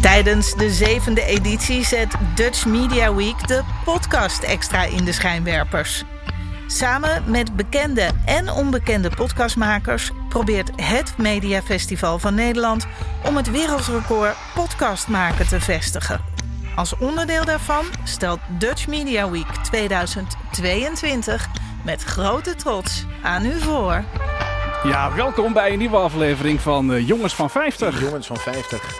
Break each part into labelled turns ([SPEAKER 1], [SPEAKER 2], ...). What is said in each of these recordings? [SPEAKER 1] Tijdens de zevende editie zet Dutch Media Week de podcast extra in de schijnwerpers. Samen met bekende en onbekende podcastmakers probeert het Media Festival van Nederland om het wereldrecord podcast maken te vestigen. Als onderdeel daarvan stelt Dutch Media Week 2022 met grote trots aan u voor.
[SPEAKER 2] Ja, welkom bij een nieuwe aflevering van eh, Jongens van 50.
[SPEAKER 3] Jongens van 50.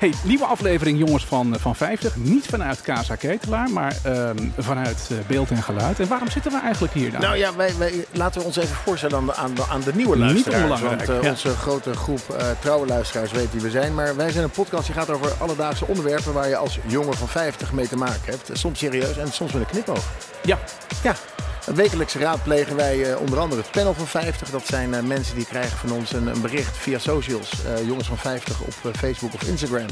[SPEAKER 2] Hey, nieuwe aflevering Jongens van, eh, van 50. Niet vanuit Casa Ketelaar, maar ehm, vanuit eh, beeld en geluid. En waarom zitten we eigenlijk hier dan?
[SPEAKER 3] Nou ja, wij, wij, laten we ons even voorstellen aan de, aan de, aan de nieuwe
[SPEAKER 2] Niet
[SPEAKER 3] luisteraars.
[SPEAKER 2] onbelangrijk,
[SPEAKER 3] Want eh,
[SPEAKER 2] ja.
[SPEAKER 3] onze grote groep eh, trouwe luisteraars weet wie we zijn. Maar wij zijn een podcast die gaat over alledaagse onderwerpen waar je als jongen van 50 mee te maken hebt. Soms serieus en soms met een knipoog.
[SPEAKER 2] Ja,
[SPEAKER 3] Ja. Wekelijks raadplegen wij eh, onder andere het panel van 50. Dat zijn eh, mensen die krijgen van ons een, een bericht via socials. eh, jongens van 50 op eh, Facebook of Instagram.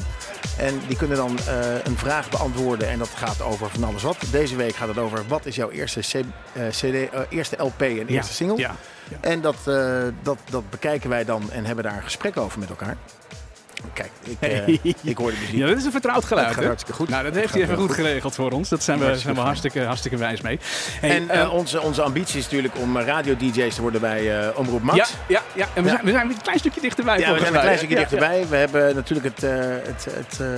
[SPEAKER 3] En die kunnen dan eh, een vraag beantwoorden. En dat gaat over van alles wat. Deze week gaat het over wat is jouw eerste, C- eh, CD, eh, eerste LP en
[SPEAKER 2] Ja,
[SPEAKER 3] eerste single.
[SPEAKER 2] ja, ja.
[SPEAKER 3] En dat, eh, dat, dat bekijken wij dan en hebben daar een gesprek over met elkaar. Kijk, ik, eh, ik hoor de muziek.
[SPEAKER 2] Ja, dat is een vertrouwd geluid.
[SPEAKER 3] Dat gaat
[SPEAKER 2] hè?
[SPEAKER 3] hartstikke goed.
[SPEAKER 2] Nou, dat
[SPEAKER 3] Dat
[SPEAKER 2] heeft
[SPEAKER 3] gaat
[SPEAKER 2] hij even
[SPEAKER 3] heel
[SPEAKER 2] goed
[SPEAKER 3] goed.
[SPEAKER 2] geregeld voor ons. Dat zijn we,
[SPEAKER 3] Hartstikke
[SPEAKER 2] zijn we
[SPEAKER 3] fijn.
[SPEAKER 2] hartstikke, hartstikke wijs mee. Hey,
[SPEAKER 3] En eh,
[SPEAKER 2] ehm,
[SPEAKER 3] onze, onze ambitie is natuurlijk om eh, radio-dj's te worden bij eh, Omroep Max.
[SPEAKER 2] ja, ja, ja, en we,
[SPEAKER 3] Ja.
[SPEAKER 2] Zijn, we zijn weer een klein stukje dichterbij.
[SPEAKER 3] Ja, we
[SPEAKER 2] volgens
[SPEAKER 3] zijn een
[SPEAKER 2] mij.
[SPEAKER 3] klein stukje
[SPEAKER 2] Ja,
[SPEAKER 3] dichterbij. We hebben natuurlijk het, eh, het, het eh,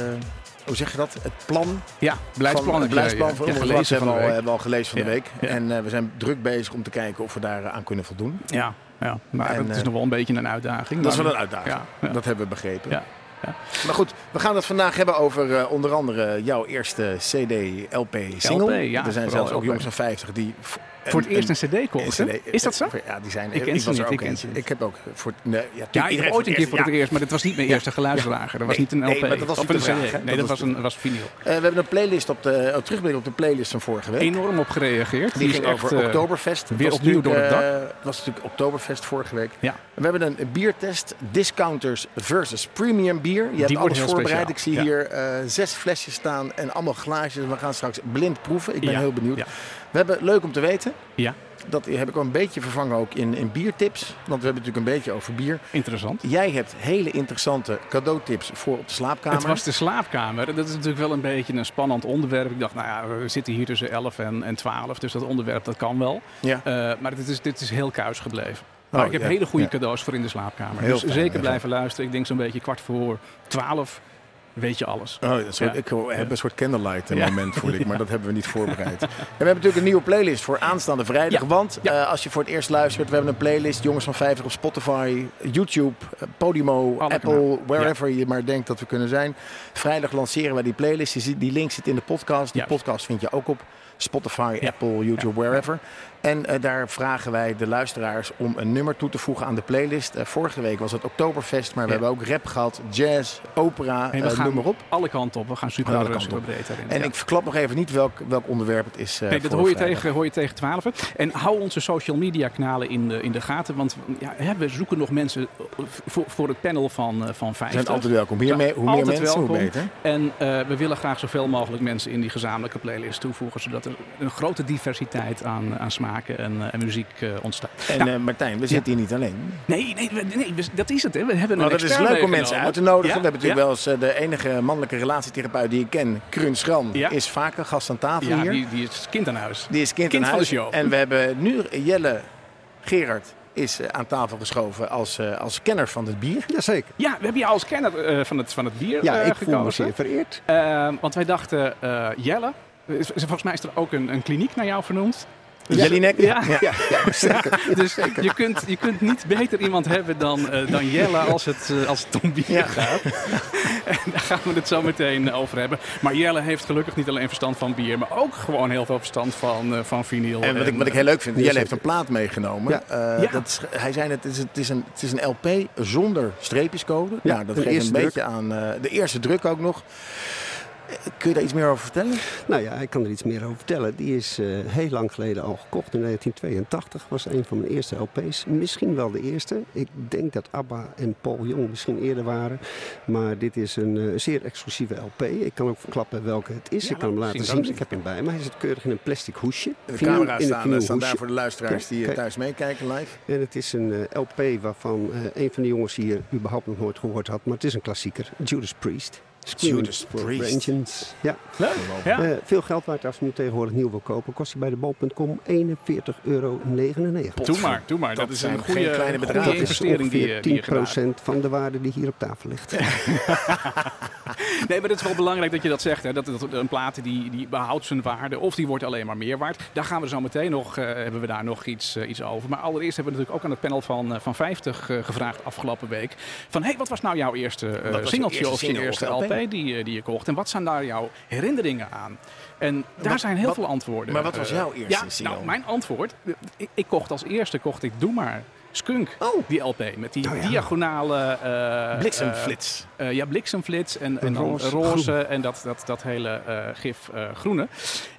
[SPEAKER 3] hoe zeg je dat? Het plan.
[SPEAKER 2] Ja, beleidsplan
[SPEAKER 3] van,
[SPEAKER 2] heb
[SPEAKER 3] het
[SPEAKER 2] je,
[SPEAKER 3] beleidsplan
[SPEAKER 2] ja,
[SPEAKER 3] van
[SPEAKER 2] ja,
[SPEAKER 3] Omroep Max
[SPEAKER 2] gelezen van de
[SPEAKER 3] hebben, we al-
[SPEAKER 2] week.
[SPEAKER 3] hebben we al gelezen van
[SPEAKER 2] Ja,
[SPEAKER 3] de week.
[SPEAKER 2] ja.
[SPEAKER 3] En eh, we zijn druk bezig om te kijken of we daar eh, aan kunnen voldoen.
[SPEAKER 2] Ja, ja, maar
[SPEAKER 3] En,
[SPEAKER 2] het is
[SPEAKER 3] eh,
[SPEAKER 2] nog wel een beetje een uitdaging.
[SPEAKER 3] Dat is
[SPEAKER 2] maar-
[SPEAKER 3] wel een uitdaging.
[SPEAKER 2] Ja, ja.
[SPEAKER 3] Dat hebben we begrepen.
[SPEAKER 2] Ja, ja.
[SPEAKER 3] Maar goed, we gaan het vandaag hebben over eh, onder andere jouw eerste CD, LP, single.
[SPEAKER 2] LP, ja,
[SPEAKER 3] er zijn
[SPEAKER 2] vooral
[SPEAKER 3] zelfs ook
[SPEAKER 2] LP.
[SPEAKER 3] jongens van 50 die... v-
[SPEAKER 2] Voor het eerst een cd kocht.
[SPEAKER 3] een eh,
[SPEAKER 2] hè? Is dat zo?
[SPEAKER 3] Ja, die zijn.
[SPEAKER 2] Ik ken ze
[SPEAKER 3] was er
[SPEAKER 2] niet,
[SPEAKER 3] ook
[SPEAKER 2] ik ken
[SPEAKER 3] eentje.
[SPEAKER 2] ze niet.
[SPEAKER 3] Ik heb ook eh, voor. Nee, ja,
[SPEAKER 2] Ja, ik heb
[SPEAKER 3] iedereen
[SPEAKER 2] ooit een keer voor
[SPEAKER 3] ja.
[SPEAKER 2] het eerst, maar dat was niet mijn eerste geluidsdrager. Dat was
[SPEAKER 3] Nee,
[SPEAKER 2] niet een LP.
[SPEAKER 3] nee, maar dat was
[SPEAKER 2] Of
[SPEAKER 3] niet
[SPEAKER 2] een
[SPEAKER 3] de
[SPEAKER 2] CD.
[SPEAKER 3] vraag, hè?
[SPEAKER 2] Nee, dat
[SPEAKER 3] Dat
[SPEAKER 2] was
[SPEAKER 3] was
[SPEAKER 2] een was vinyl.
[SPEAKER 3] Eh, we hebben een playlist op de oh, terugblik op de playlist van vorige week.
[SPEAKER 2] Enorm op gereageerd.
[SPEAKER 3] Die,
[SPEAKER 2] is
[SPEAKER 3] ging
[SPEAKER 2] echt,
[SPEAKER 3] over
[SPEAKER 2] eh,
[SPEAKER 3] Oktoberfest. Het
[SPEAKER 2] weer
[SPEAKER 3] was
[SPEAKER 2] opnieuw
[SPEAKER 3] natuurlijk,
[SPEAKER 2] door het
[SPEAKER 3] eh, Het was natuurlijk Oktoberfest vorige week.
[SPEAKER 2] Ja.
[SPEAKER 3] We hebben een biertest, discounters versus premium bier. Je hebt
[SPEAKER 2] wordt
[SPEAKER 3] alles
[SPEAKER 2] heel
[SPEAKER 3] voorbereid.
[SPEAKER 2] speciaal,
[SPEAKER 3] Ik zie
[SPEAKER 2] ja.
[SPEAKER 3] hier eh, zes flesjes staan en allemaal glaasjes. We gaan straks blind proeven. Ik ben
[SPEAKER 2] Ja,
[SPEAKER 3] heel benieuwd.
[SPEAKER 2] ja.
[SPEAKER 3] We hebben leuk om te weten.
[SPEAKER 2] Ja,
[SPEAKER 3] Dat heb ik al een beetje vervangen ook in, in biertips. Want we hebben natuurlijk een beetje over bier.
[SPEAKER 2] interessant.
[SPEAKER 3] Jij hebt hele interessante cadeautips voor op de slaapkamer.
[SPEAKER 2] Het was de slaapkamer. Dat is natuurlijk wel een beetje een spannend onderwerp. Ik dacht, nou ja, we zitten hier tussen 11 en, en 12, dus dat onderwerp dat kan wel.
[SPEAKER 3] ja.
[SPEAKER 2] Eh, maar dit is, dit is heel kuis gebleven. Maar
[SPEAKER 3] Oh,
[SPEAKER 2] ik heb
[SPEAKER 3] ja,
[SPEAKER 2] hele goede
[SPEAKER 3] ja.
[SPEAKER 2] cadeaus voor in de slaapkamer.
[SPEAKER 3] Heel
[SPEAKER 2] dus
[SPEAKER 3] fijn,
[SPEAKER 2] zeker
[SPEAKER 3] heel
[SPEAKER 2] blijven luisteren. Ik denk zo'n beetje kwart voor 12 weet je alles.
[SPEAKER 3] Oh, dat soort,
[SPEAKER 2] Ja.
[SPEAKER 3] ik hoor- heb een soort candlelight
[SPEAKER 2] Ja.
[SPEAKER 3] moment voel ik, maar dat hebben we niet voorbereid. En we hebben natuurlijk een nieuwe playlist voor aanstaande vrijdag.
[SPEAKER 2] Ja.
[SPEAKER 3] Want
[SPEAKER 2] Ja.
[SPEAKER 3] eh, als je voor het eerst luistert, we hebben een playlist Jongens van 50 op Spotify, YouTube, eh, Podimo,
[SPEAKER 2] Alle
[SPEAKER 3] Apple,
[SPEAKER 2] kanalen.
[SPEAKER 3] wherever je maar denkt dat we kunnen zijn. Vrijdag lanceren wij die playlist. Je ziet, die link zit in de podcast. Die
[SPEAKER 2] Ja.
[SPEAKER 3] podcast vind je ook op Spotify,
[SPEAKER 2] Ja.
[SPEAKER 3] Apple, YouTube, wherever. En eh, daar vragen wij de luisteraars om een nummer toe te voegen aan de playlist. Eh, vorige week was het Oktoberfest, maar we
[SPEAKER 2] Ja.
[SPEAKER 3] hebben ook rap gehad, jazz, opera,
[SPEAKER 2] En
[SPEAKER 3] eh
[SPEAKER 2] we gaan
[SPEAKER 3] noem maar op.
[SPEAKER 2] alle kanten op. We gaan super,
[SPEAKER 3] Alle kanten
[SPEAKER 2] super
[SPEAKER 3] op.
[SPEAKER 2] breed daarin.
[SPEAKER 3] En
[SPEAKER 2] Ja.
[SPEAKER 3] ik verklap nog even niet welk, welk onderwerp het is. eh,
[SPEAKER 2] Nee, dat
[SPEAKER 3] voor
[SPEAKER 2] hoor je,
[SPEAKER 3] vrijdag.
[SPEAKER 2] tegen, hoor je tegen 12. En hou onze social media kanalen in de, in de gaten. Want ja, hè, we zoeken nog mensen eh, voor, voor het panel van, eh, van
[SPEAKER 3] Ze zijn
[SPEAKER 2] 50.
[SPEAKER 3] altijd welkom. Hier
[SPEAKER 2] Ja,
[SPEAKER 3] mee, hoe meer
[SPEAKER 2] altijd
[SPEAKER 3] mensen, hoe
[SPEAKER 2] welkom.
[SPEAKER 3] beter.
[SPEAKER 2] En eh, we willen graag zoveel mogelijk mensen in die gezamenlijke playlist toevoegen. Zodat er een grote diversiteit aan, aan smaken en, eh, en muziek eh, ontstaat.
[SPEAKER 3] En
[SPEAKER 2] Nou,
[SPEAKER 3] eh, Martijn, we zitten hier niet alleen.
[SPEAKER 2] nee, nee, we- nee, we- dat is het. Hè. We hebben een
[SPEAKER 3] Maar Nou, Oh, dat is
[SPEAKER 2] expert
[SPEAKER 3] leuk om
[SPEAKER 2] meegenomen.
[SPEAKER 3] mensen uit te nodigen.
[SPEAKER 2] Ja,
[SPEAKER 3] We hebben natuurlijk wel eens eh, de enige mannelijke relatietherapeut die ik ken, Krun Schram,
[SPEAKER 2] Ja.
[SPEAKER 3] is vaker gast aan tafel
[SPEAKER 2] ja,
[SPEAKER 3] hier. Die,
[SPEAKER 2] die, die is kind aan huis.
[SPEAKER 3] is kind,
[SPEAKER 2] kind
[SPEAKER 3] aan
[SPEAKER 2] van de
[SPEAKER 3] huis.
[SPEAKER 2] show.
[SPEAKER 3] En we hebben nu Jelle Gerard is eh, aan tafel geschoven als, eh, als kenner van het bier.
[SPEAKER 4] Jazeker.
[SPEAKER 2] Ja, we hebben je als kenner eh, van, het, van het bier
[SPEAKER 4] Ja,
[SPEAKER 2] eh,
[SPEAKER 4] ik voel me
[SPEAKER 2] gekozen.
[SPEAKER 4] zeer vereerd.
[SPEAKER 2] Eh, want wij dachten, eh, Jelle, is- is- volgens mij is er ook een, een kliniek naar jou vernoemd. Dus-
[SPEAKER 3] Jellinek?
[SPEAKER 2] Ja.
[SPEAKER 4] Ja, ja zeker.
[SPEAKER 2] Dus je kunt, je kunt niet beter iemand hebben dan, eh, dan Jelle als het, eh, als het om bier
[SPEAKER 3] Ja.
[SPEAKER 2] gaat. En daar gaan we het zo meteen over hebben. Maar Jelle heeft gelukkig niet alleen verstand van bier, maar ook gewoon heel veel verstand van, eh, van vinyl.
[SPEAKER 3] En wat ik, wat ik
[SPEAKER 2] eh,
[SPEAKER 3] heel leuk vind,
[SPEAKER 4] Ja,
[SPEAKER 3] Jelle heeft
[SPEAKER 4] zeker.
[SPEAKER 3] een plaat meegenomen.
[SPEAKER 4] Ja.
[SPEAKER 3] Eh,
[SPEAKER 2] Ja.
[SPEAKER 3] Dat is, hij zei net, het is, het, is een, het is een LP zonder streepjescode. Ja,
[SPEAKER 4] Ja,
[SPEAKER 3] dat
[SPEAKER 4] de
[SPEAKER 3] geeft een
[SPEAKER 4] eerste
[SPEAKER 3] beetje aan eh, de eerste druk ook nog. Kun je daar iets meer over vertellen?
[SPEAKER 4] Nou ja, ik kan er iets meer over vertellen. Die is eh, heel lang geleden al gekocht. In 1982 was een van mijn eerste LP's. Misschien wel de eerste. Ik denk dat ABBA en Paul Jong misschien eerder waren. Maar dit is een eh, zeer exclusieve LP. Ik kan ook verklappen welke het is.
[SPEAKER 2] Ja,
[SPEAKER 4] ik kan hem
[SPEAKER 2] nou,
[SPEAKER 4] laten
[SPEAKER 2] zien we
[SPEAKER 4] zien.
[SPEAKER 2] hem.
[SPEAKER 4] Ik heb hem bij me. Hij zit keurig in een plastic hoesje.
[SPEAKER 3] De
[SPEAKER 4] Vinyl-
[SPEAKER 3] camera's
[SPEAKER 4] in een
[SPEAKER 3] staan, eh,
[SPEAKER 4] vinyl
[SPEAKER 3] staan daar
[SPEAKER 4] hoesje.
[SPEAKER 3] voor de luisteraars die eh,
[SPEAKER 4] Kijk.
[SPEAKER 3] thuis meekijken live.
[SPEAKER 4] En het is een eh, LP waarvan eh, een van de jongens hier überhaupt nog nooit gehoord had. Maar het is een klassieker. Judas Priest. Screaming
[SPEAKER 3] Judas
[SPEAKER 4] for
[SPEAKER 3] Priest.
[SPEAKER 4] Vengeance. Ja.
[SPEAKER 2] Leuk. Ja.
[SPEAKER 4] Eh, veel geld waard als je nu tegenwoordig nieuw wil kopen. Kost hij bij de bol.com 41,99 euro.
[SPEAKER 2] Doe maar, doe maar. Dat,
[SPEAKER 3] Dat
[SPEAKER 2] is een
[SPEAKER 3] zijn
[SPEAKER 2] goede,
[SPEAKER 3] geen
[SPEAKER 2] goede
[SPEAKER 3] kleine bedragen.
[SPEAKER 4] Dat is
[SPEAKER 2] investering die je,
[SPEAKER 4] ongeveer
[SPEAKER 2] die je
[SPEAKER 4] 10%
[SPEAKER 2] gedaan hebt.
[SPEAKER 4] van de waarde die hier op tafel ligt.
[SPEAKER 2] Nee, maar het is wel belangrijk dat je dat zegt. Hè? Dat, dat een plaat die, die behoudt zijn waarde of die wordt alleen maar meer waard. Daar gaan we zo meteen nog, eh, hebben we daar nog iets, eh, iets over. Maar allereerst hebben we natuurlijk ook aan het panel van, eh, van 50 eh, gevraagd afgelopen week. Van hey, wat was nou jouw eerste eh,
[SPEAKER 3] Wat was je
[SPEAKER 2] singeltje
[SPEAKER 3] eerste
[SPEAKER 2] of je
[SPEAKER 3] single
[SPEAKER 2] eerste
[SPEAKER 3] of
[SPEAKER 2] LP,
[SPEAKER 3] LP?
[SPEAKER 2] die, eh, die je kocht? En wat zijn daar jouw herinneringen aan? En daar
[SPEAKER 3] Wat-
[SPEAKER 2] zijn heel
[SPEAKER 3] wat-
[SPEAKER 2] veel antwoorden.
[SPEAKER 3] maar wat was
[SPEAKER 2] eh,
[SPEAKER 3] jouw eerste
[SPEAKER 2] ja,
[SPEAKER 3] single?
[SPEAKER 2] Nou, mijn antwoord. eh, Ik, ik kocht als eerste, kocht ik Doe Maar Skunk, die LP. Met die
[SPEAKER 4] Oh ja.
[SPEAKER 2] diagonale... eh, eh,
[SPEAKER 3] Bliksemflits.
[SPEAKER 2] eh, ja, bliksemflits en, en dan roze,
[SPEAKER 4] Roze,
[SPEAKER 2] en dat, dat, dat hele eh, gif eh, groene.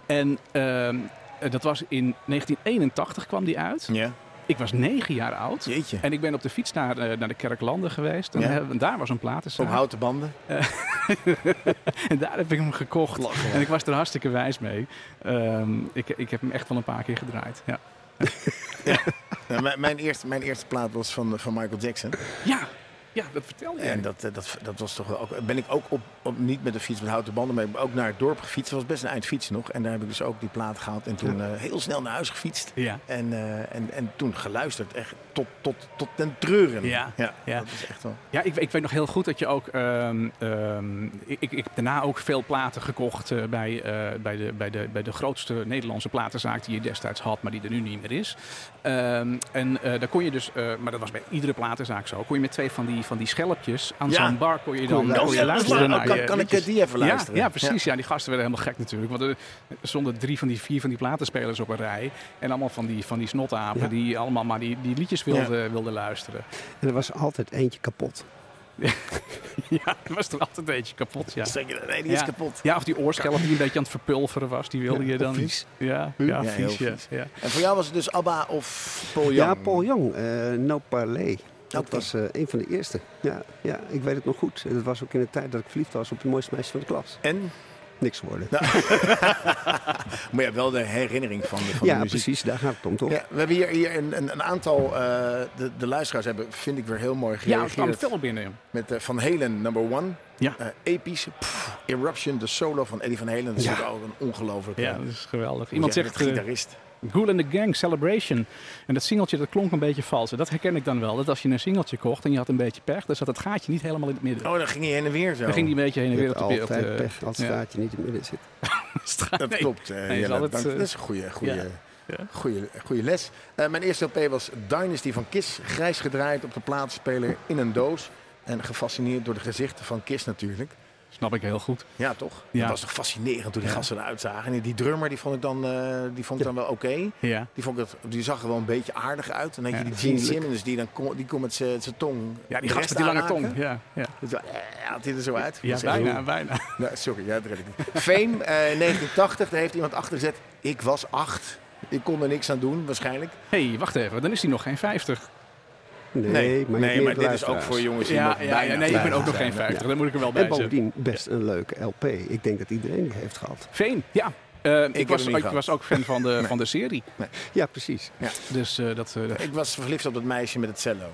[SPEAKER 2] En ehm, eh, dat was in 1981 kwam die uit.
[SPEAKER 3] ja.
[SPEAKER 2] Ik was negen jaar oud.
[SPEAKER 3] Jeetje.
[SPEAKER 2] En ik ben op de fiets naar, eh, naar de Kerklanden geweest. En,
[SPEAKER 3] Ja.
[SPEAKER 2] eh, daar was een platenzaak.
[SPEAKER 3] Op houten banden.
[SPEAKER 2] En daar heb ik hem gekocht.
[SPEAKER 3] Lachen.
[SPEAKER 2] En ik was er hartstikke wijs mee. Ehm, ik, ik heb hem echt wel een paar keer gedraaid. Ja,
[SPEAKER 3] Ja, Eh, mijn, mijn, eerste, mijn eerste plaat was van, van Michael Jackson.
[SPEAKER 2] ja, ja dat vertel je.
[SPEAKER 3] En dat, eh, dat, dat was toch wel ook. Ben ik ook op, op, niet met de fiets met houten banden, maar ik ben ook naar het dorp gefietst. Dat was best een eind fietsen nog. En daar heb ik dus ook die plaat gehaald. En toen eh, heel snel naar huis gefietst.
[SPEAKER 2] Ja.
[SPEAKER 3] En, eh, en, en toen geluisterd. Echt tot, tot, tot ten treuren.
[SPEAKER 2] Ja, ja.
[SPEAKER 3] Dat is echt wel.
[SPEAKER 2] Ja, ik, ik weet nog heel goed dat je ook. ehm, ehm, ik, ik ik heb daarna ook veel platen gekocht eh, bij, eh, bij, de, bij, de, bij de grootste Nederlandse platenzaak die je destijds had, maar die er nu niet meer is. Ehm, en eh, daar kon je dus, eh, maar dat was bij iedere platenzaak zo, kon je met twee van die, van die schelpjes aan
[SPEAKER 3] Ja.
[SPEAKER 2] zo'n bar kon je dan
[SPEAKER 4] Kon je
[SPEAKER 2] kon je
[SPEAKER 4] luisteren.
[SPEAKER 2] luisteren.
[SPEAKER 3] Oh,
[SPEAKER 2] naar
[SPEAKER 3] kan,
[SPEAKER 2] je
[SPEAKER 3] kan ik
[SPEAKER 2] liedjes.
[SPEAKER 3] eh, die even luisteren?
[SPEAKER 2] Ja, ja precies. Ja. die gasten werden helemaal gek natuurlijk. Want eh, zonder drie van die vier van die platenspelers op een rij. En allemaal van die, van die snotapen
[SPEAKER 4] Ja.
[SPEAKER 2] die allemaal maar die, die liedjes wilden, wilden luisteren.
[SPEAKER 4] En er was altijd eentje kapot.
[SPEAKER 2] Ja, dat was er altijd een beetje kapot. Ja.
[SPEAKER 3] Dan Zeg je, nee, die is
[SPEAKER 2] Ja.
[SPEAKER 3] kapot.
[SPEAKER 2] Ja, of die oorschelp die een beetje aan het verpulveren was, die wilde
[SPEAKER 4] Ja,
[SPEAKER 2] je dan.
[SPEAKER 4] of vies.
[SPEAKER 2] Ja, ja,
[SPEAKER 3] Ja, heel
[SPEAKER 2] vies. Ja,
[SPEAKER 3] vies.
[SPEAKER 2] ja.
[SPEAKER 3] En voor jou was het dus ABBA of Paul Young?
[SPEAKER 4] Ja, Paul Jong, eh No Parley. Dat
[SPEAKER 3] Oké.
[SPEAKER 4] was eh, een van de eerste. Ja, ja, ik weet het nog goed. Dat was ook in de tijd dat ik verliefd was op de mooiste meisje van de klas.
[SPEAKER 3] En?
[SPEAKER 4] Niks geworden.
[SPEAKER 3] Maar ja, wel de herinnering van de, van de
[SPEAKER 4] ja,
[SPEAKER 3] muziek.
[SPEAKER 4] precies. Daar gaat het om, toch?
[SPEAKER 3] Ja, we hebben hier, hier een, een, een aantal, eh, de, de luisteraars hebben, vind ik weer heel mooi
[SPEAKER 2] ja het kwam
[SPEAKER 3] gereageerd.
[SPEAKER 2] veel binnen.
[SPEAKER 3] met eh, Van Helen, number one.
[SPEAKER 2] Ja.
[SPEAKER 3] Eh, episch. Pff, Eruption, de solo van Eddie Van Helen. Dat is
[SPEAKER 4] Ja.
[SPEAKER 3] natuurlijk ook een ongelooflijke...
[SPEAKER 2] Ja, dat is geweldig. Iemand
[SPEAKER 3] Hoe zeg
[SPEAKER 2] zegt
[SPEAKER 3] je dat,
[SPEAKER 2] eh
[SPEAKER 3] gitarist.
[SPEAKER 2] Ghoul and the Gang Celebration. En dat singeltje dat klonk een beetje vals. En dat herken ik dan wel. Dat als je een singeltje kocht en je had een beetje pech, dan zat het gaatje niet helemaal in het midden.
[SPEAKER 3] Oh, dan ging hij heen en weer zo.
[SPEAKER 2] Dan ging die een beetje heen en
[SPEAKER 4] Je
[SPEAKER 2] weer
[SPEAKER 4] hebt
[SPEAKER 2] op de beeld.
[SPEAKER 4] altijd
[SPEAKER 2] eh,
[SPEAKER 4] pech als het
[SPEAKER 2] ja.
[SPEAKER 4] staartje niet in het midden zit.
[SPEAKER 2] straat.
[SPEAKER 3] Dat
[SPEAKER 2] Nee.
[SPEAKER 3] klopt. eh,
[SPEAKER 2] is
[SPEAKER 3] Jelle,
[SPEAKER 2] altijd,
[SPEAKER 3] dank-
[SPEAKER 2] eh,
[SPEAKER 3] dat is een goede, goede,
[SPEAKER 2] Ja. Ja.
[SPEAKER 3] goede, goede les. Eh, mijn eerste LP was Dynasty van Kiss. Grijs gedraaid op de plaatspeler in een doos. En gefascineerd door de gezichten van Kiss natuurlijk.
[SPEAKER 2] Snap ik heel goed.
[SPEAKER 3] Ja, toch?
[SPEAKER 2] Ja.
[SPEAKER 3] Dat was toch fascinerend toen die
[SPEAKER 2] Ja.
[SPEAKER 3] gasten eruit zagen. En die drummer die vond ik dan, eh, die vond ik dan wel oké.
[SPEAKER 2] Ja.
[SPEAKER 3] Die, vond ik dat, die zag er wel een beetje aardig uit. En dan had je
[SPEAKER 2] Ja,
[SPEAKER 3] die Gene
[SPEAKER 2] vriendelijk.
[SPEAKER 3] Simmons die dan kon, die kon met zijn tong.
[SPEAKER 2] Ja, die
[SPEAKER 3] de
[SPEAKER 2] gast
[SPEAKER 3] rest
[SPEAKER 2] met die lange
[SPEAKER 3] aanraken.
[SPEAKER 2] tong. Ja, ja.
[SPEAKER 3] Dat was- eh, had hij er zo uit?
[SPEAKER 2] ja
[SPEAKER 3] Dat is echt
[SPEAKER 2] bijna,
[SPEAKER 3] goed.
[SPEAKER 2] bijna.
[SPEAKER 3] Nou, sorry, ja, dat red ik niet. Fame, eh 1980, daar heeft iemand achter gezet. Ik was acht. Ik kon er niks aan doen, waarschijnlijk.
[SPEAKER 2] Hé, hey, wacht even. Dan is hij nog geen 50.
[SPEAKER 4] Nee, maar,
[SPEAKER 3] nee,
[SPEAKER 4] je
[SPEAKER 3] maar
[SPEAKER 4] hebt
[SPEAKER 3] dit is ook
[SPEAKER 4] luisteraars.
[SPEAKER 3] voor jongens die nog
[SPEAKER 2] Ja, ja,
[SPEAKER 3] bijna
[SPEAKER 2] ja, nee, ik ben ook nog geen
[SPEAKER 3] zijn.
[SPEAKER 2] 50. Dan moet ik er wel bij
[SPEAKER 4] En
[SPEAKER 2] zeggen.
[SPEAKER 4] bovendien best een leuke LP. Ik denk dat iedereen die heeft gehad.
[SPEAKER 2] Veen, ja. Eh, ik
[SPEAKER 3] heb
[SPEAKER 2] was,
[SPEAKER 3] hem
[SPEAKER 2] ik
[SPEAKER 3] niet gehad.
[SPEAKER 2] was ook fan van de, van de serie.
[SPEAKER 4] Ja, precies.
[SPEAKER 2] Dus eh, dat eh, dat
[SPEAKER 3] Ik was verliefd op dat meisje met het cello.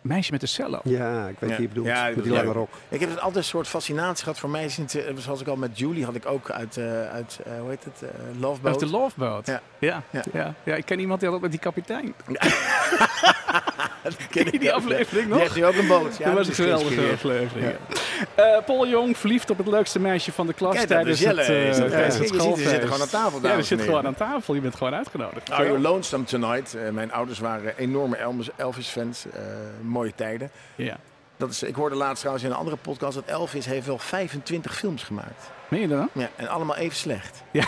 [SPEAKER 2] meisje met de cello.
[SPEAKER 4] Ja, ik weet
[SPEAKER 3] Ja.
[SPEAKER 4] wie je bedoelt.
[SPEAKER 3] Ja,
[SPEAKER 4] Met die
[SPEAKER 3] leuk.
[SPEAKER 4] lange rok.
[SPEAKER 3] Ik heb het altijd een soort fascinatie gehad voor meisjes. in het- Zoals ik al met Julie had ik ook uit, eh, uit eh, hoe heet het, eh, Love
[SPEAKER 2] Of
[SPEAKER 3] Boat.
[SPEAKER 2] de Loveboat.
[SPEAKER 3] Ja.
[SPEAKER 2] Ja. Ja.
[SPEAKER 3] Ja.
[SPEAKER 2] Ja. Ja, ik ken iemand die had dat met die kapitein.
[SPEAKER 3] Dat
[SPEAKER 2] Ken je die aflevering
[SPEAKER 3] Die
[SPEAKER 2] nog?
[SPEAKER 3] heeft nu ook een boot. Ja,
[SPEAKER 2] dat was een
[SPEAKER 3] is
[SPEAKER 2] geweldige
[SPEAKER 3] geïnspireerd.
[SPEAKER 2] aflevering. Eh, Paul Jong, verliefd op het leukste meisje van de klas
[SPEAKER 3] Kijk, dat is
[SPEAKER 2] tijdens het,
[SPEAKER 3] Jelle.
[SPEAKER 2] eh,
[SPEAKER 3] Is dat-
[SPEAKER 2] tijdens
[SPEAKER 3] Kijk,
[SPEAKER 2] het
[SPEAKER 3] je ziet,
[SPEAKER 2] schoolfeest.
[SPEAKER 3] we zitten gewoon aan tafel,
[SPEAKER 2] Ja, we
[SPEAKER 3] dames en
[SPEAKER 2] zitten gewoon
[SPEAKER 3] heren. Nou,
[SPEAKER 2] aan tafel. Je bent gewoon uitgenodigd.
[SPEAKER 3] Are You Lonesome Tonight. Eh, mijn ouders waren enorme Elvis- Elvis-fans. Eh, mooie tijden.
[SPEAKER 2] Ja.
[SPEAKER 3] Dat is, ik hoorde laatst trouwens in een andere podcast dat Elvis heeft wel 25 films gemaakt.
[SPEAKER 2] Meen je dat dan?
[SPEAKER 3] Ja, en allemaal even slecht.
[SPEAKER 2] Ja.